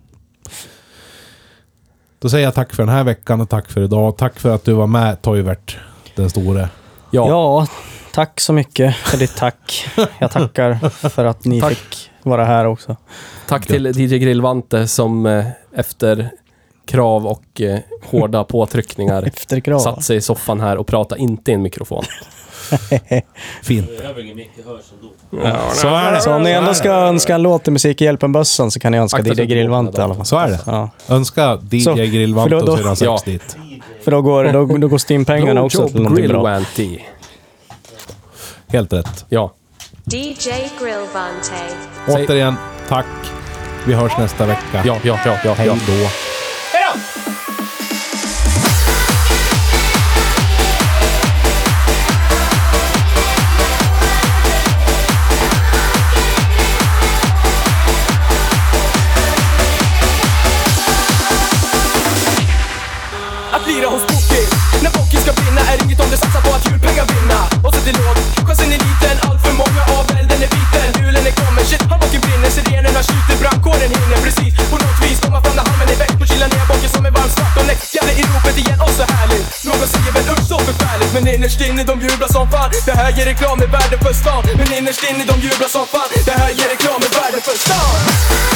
Speaker 1: Då säger jag tack för den här veckan och tack för idag. Tack för att du var med, Toivert, den store.
Speaker 2: Ja.
Speaker 3: Ja. tack så mycket för ditt tack. Jag tackar för att ni
Speaker 2: Tack.
Speaker 3: fick vara här också.
Speaker 2: Tack till DJ Grillvante som eh, efter krav och eh, hårda påtryckningar
Speaker 3: (laughs) Efter krav.
Speaker 2: satt sig i soffan här och pratade inte i en mikrofon.
Speaker 1: Fint.
Speaker 4: Jag behöver ingen mycket hörs ändå.
Speaker 1: Så är det.
Speaker 3: Så om ni ändå ska önska en låt till Musikhjälpen-bössan så kan ni önska
Speaker 2: Akta så
Speaker 3: DJ
Speaker 2: att du
Speaker 3: Grillvante
Speaker 2: öppnar
Speaker 3: i alla fall.
Speaker 1: Så är det.
Speaker 3: Ja.
Speaker 1: Önska
Speaker 3: Så,
Speaker 1: DJ Grillvante
Speaker 3: förlåt då.
Speaker 1: och sedan sex
Speaker 2: Ja.
Speaker 1: dit.
Speaker 3: För då går, då, då går Stim-pengarna också till någonting bra.
Speaker 2: Grillvante.
Speaker 1: Helt rätt.
Speaker 2: Ja.
Speaker 5: DJ Grillvante.
Speaker 2: Säg-
Speaker 1: Återigen, tack. Vi hörs nästa vecka.
Speaker 2: Ja, ja, ja, ja.
Speaker 1: Hej
Speaker 2: ja.
Speaker 1: då.
Speaker 6: Att lira hos Bokis När Bokis ska vinna är inget om du satsar på att julpengar vinna Och så till låg, chansen är liten Allt för många av elden är biten Julen är kommen, shit, handboken brinner Sirenerna skjuter, brandkåren hinner precis På något vis komma fram när halmen är väck Och kyla ner boken som en varm svart och näck Jävla i ropet igen, och så härligt Någon säger väl usch så förfärligt Men innerst inne de jublar som fan Det här ger reklam i världen för stan Men innerst inne de jublar som fan Det här ger reklam i världen för stan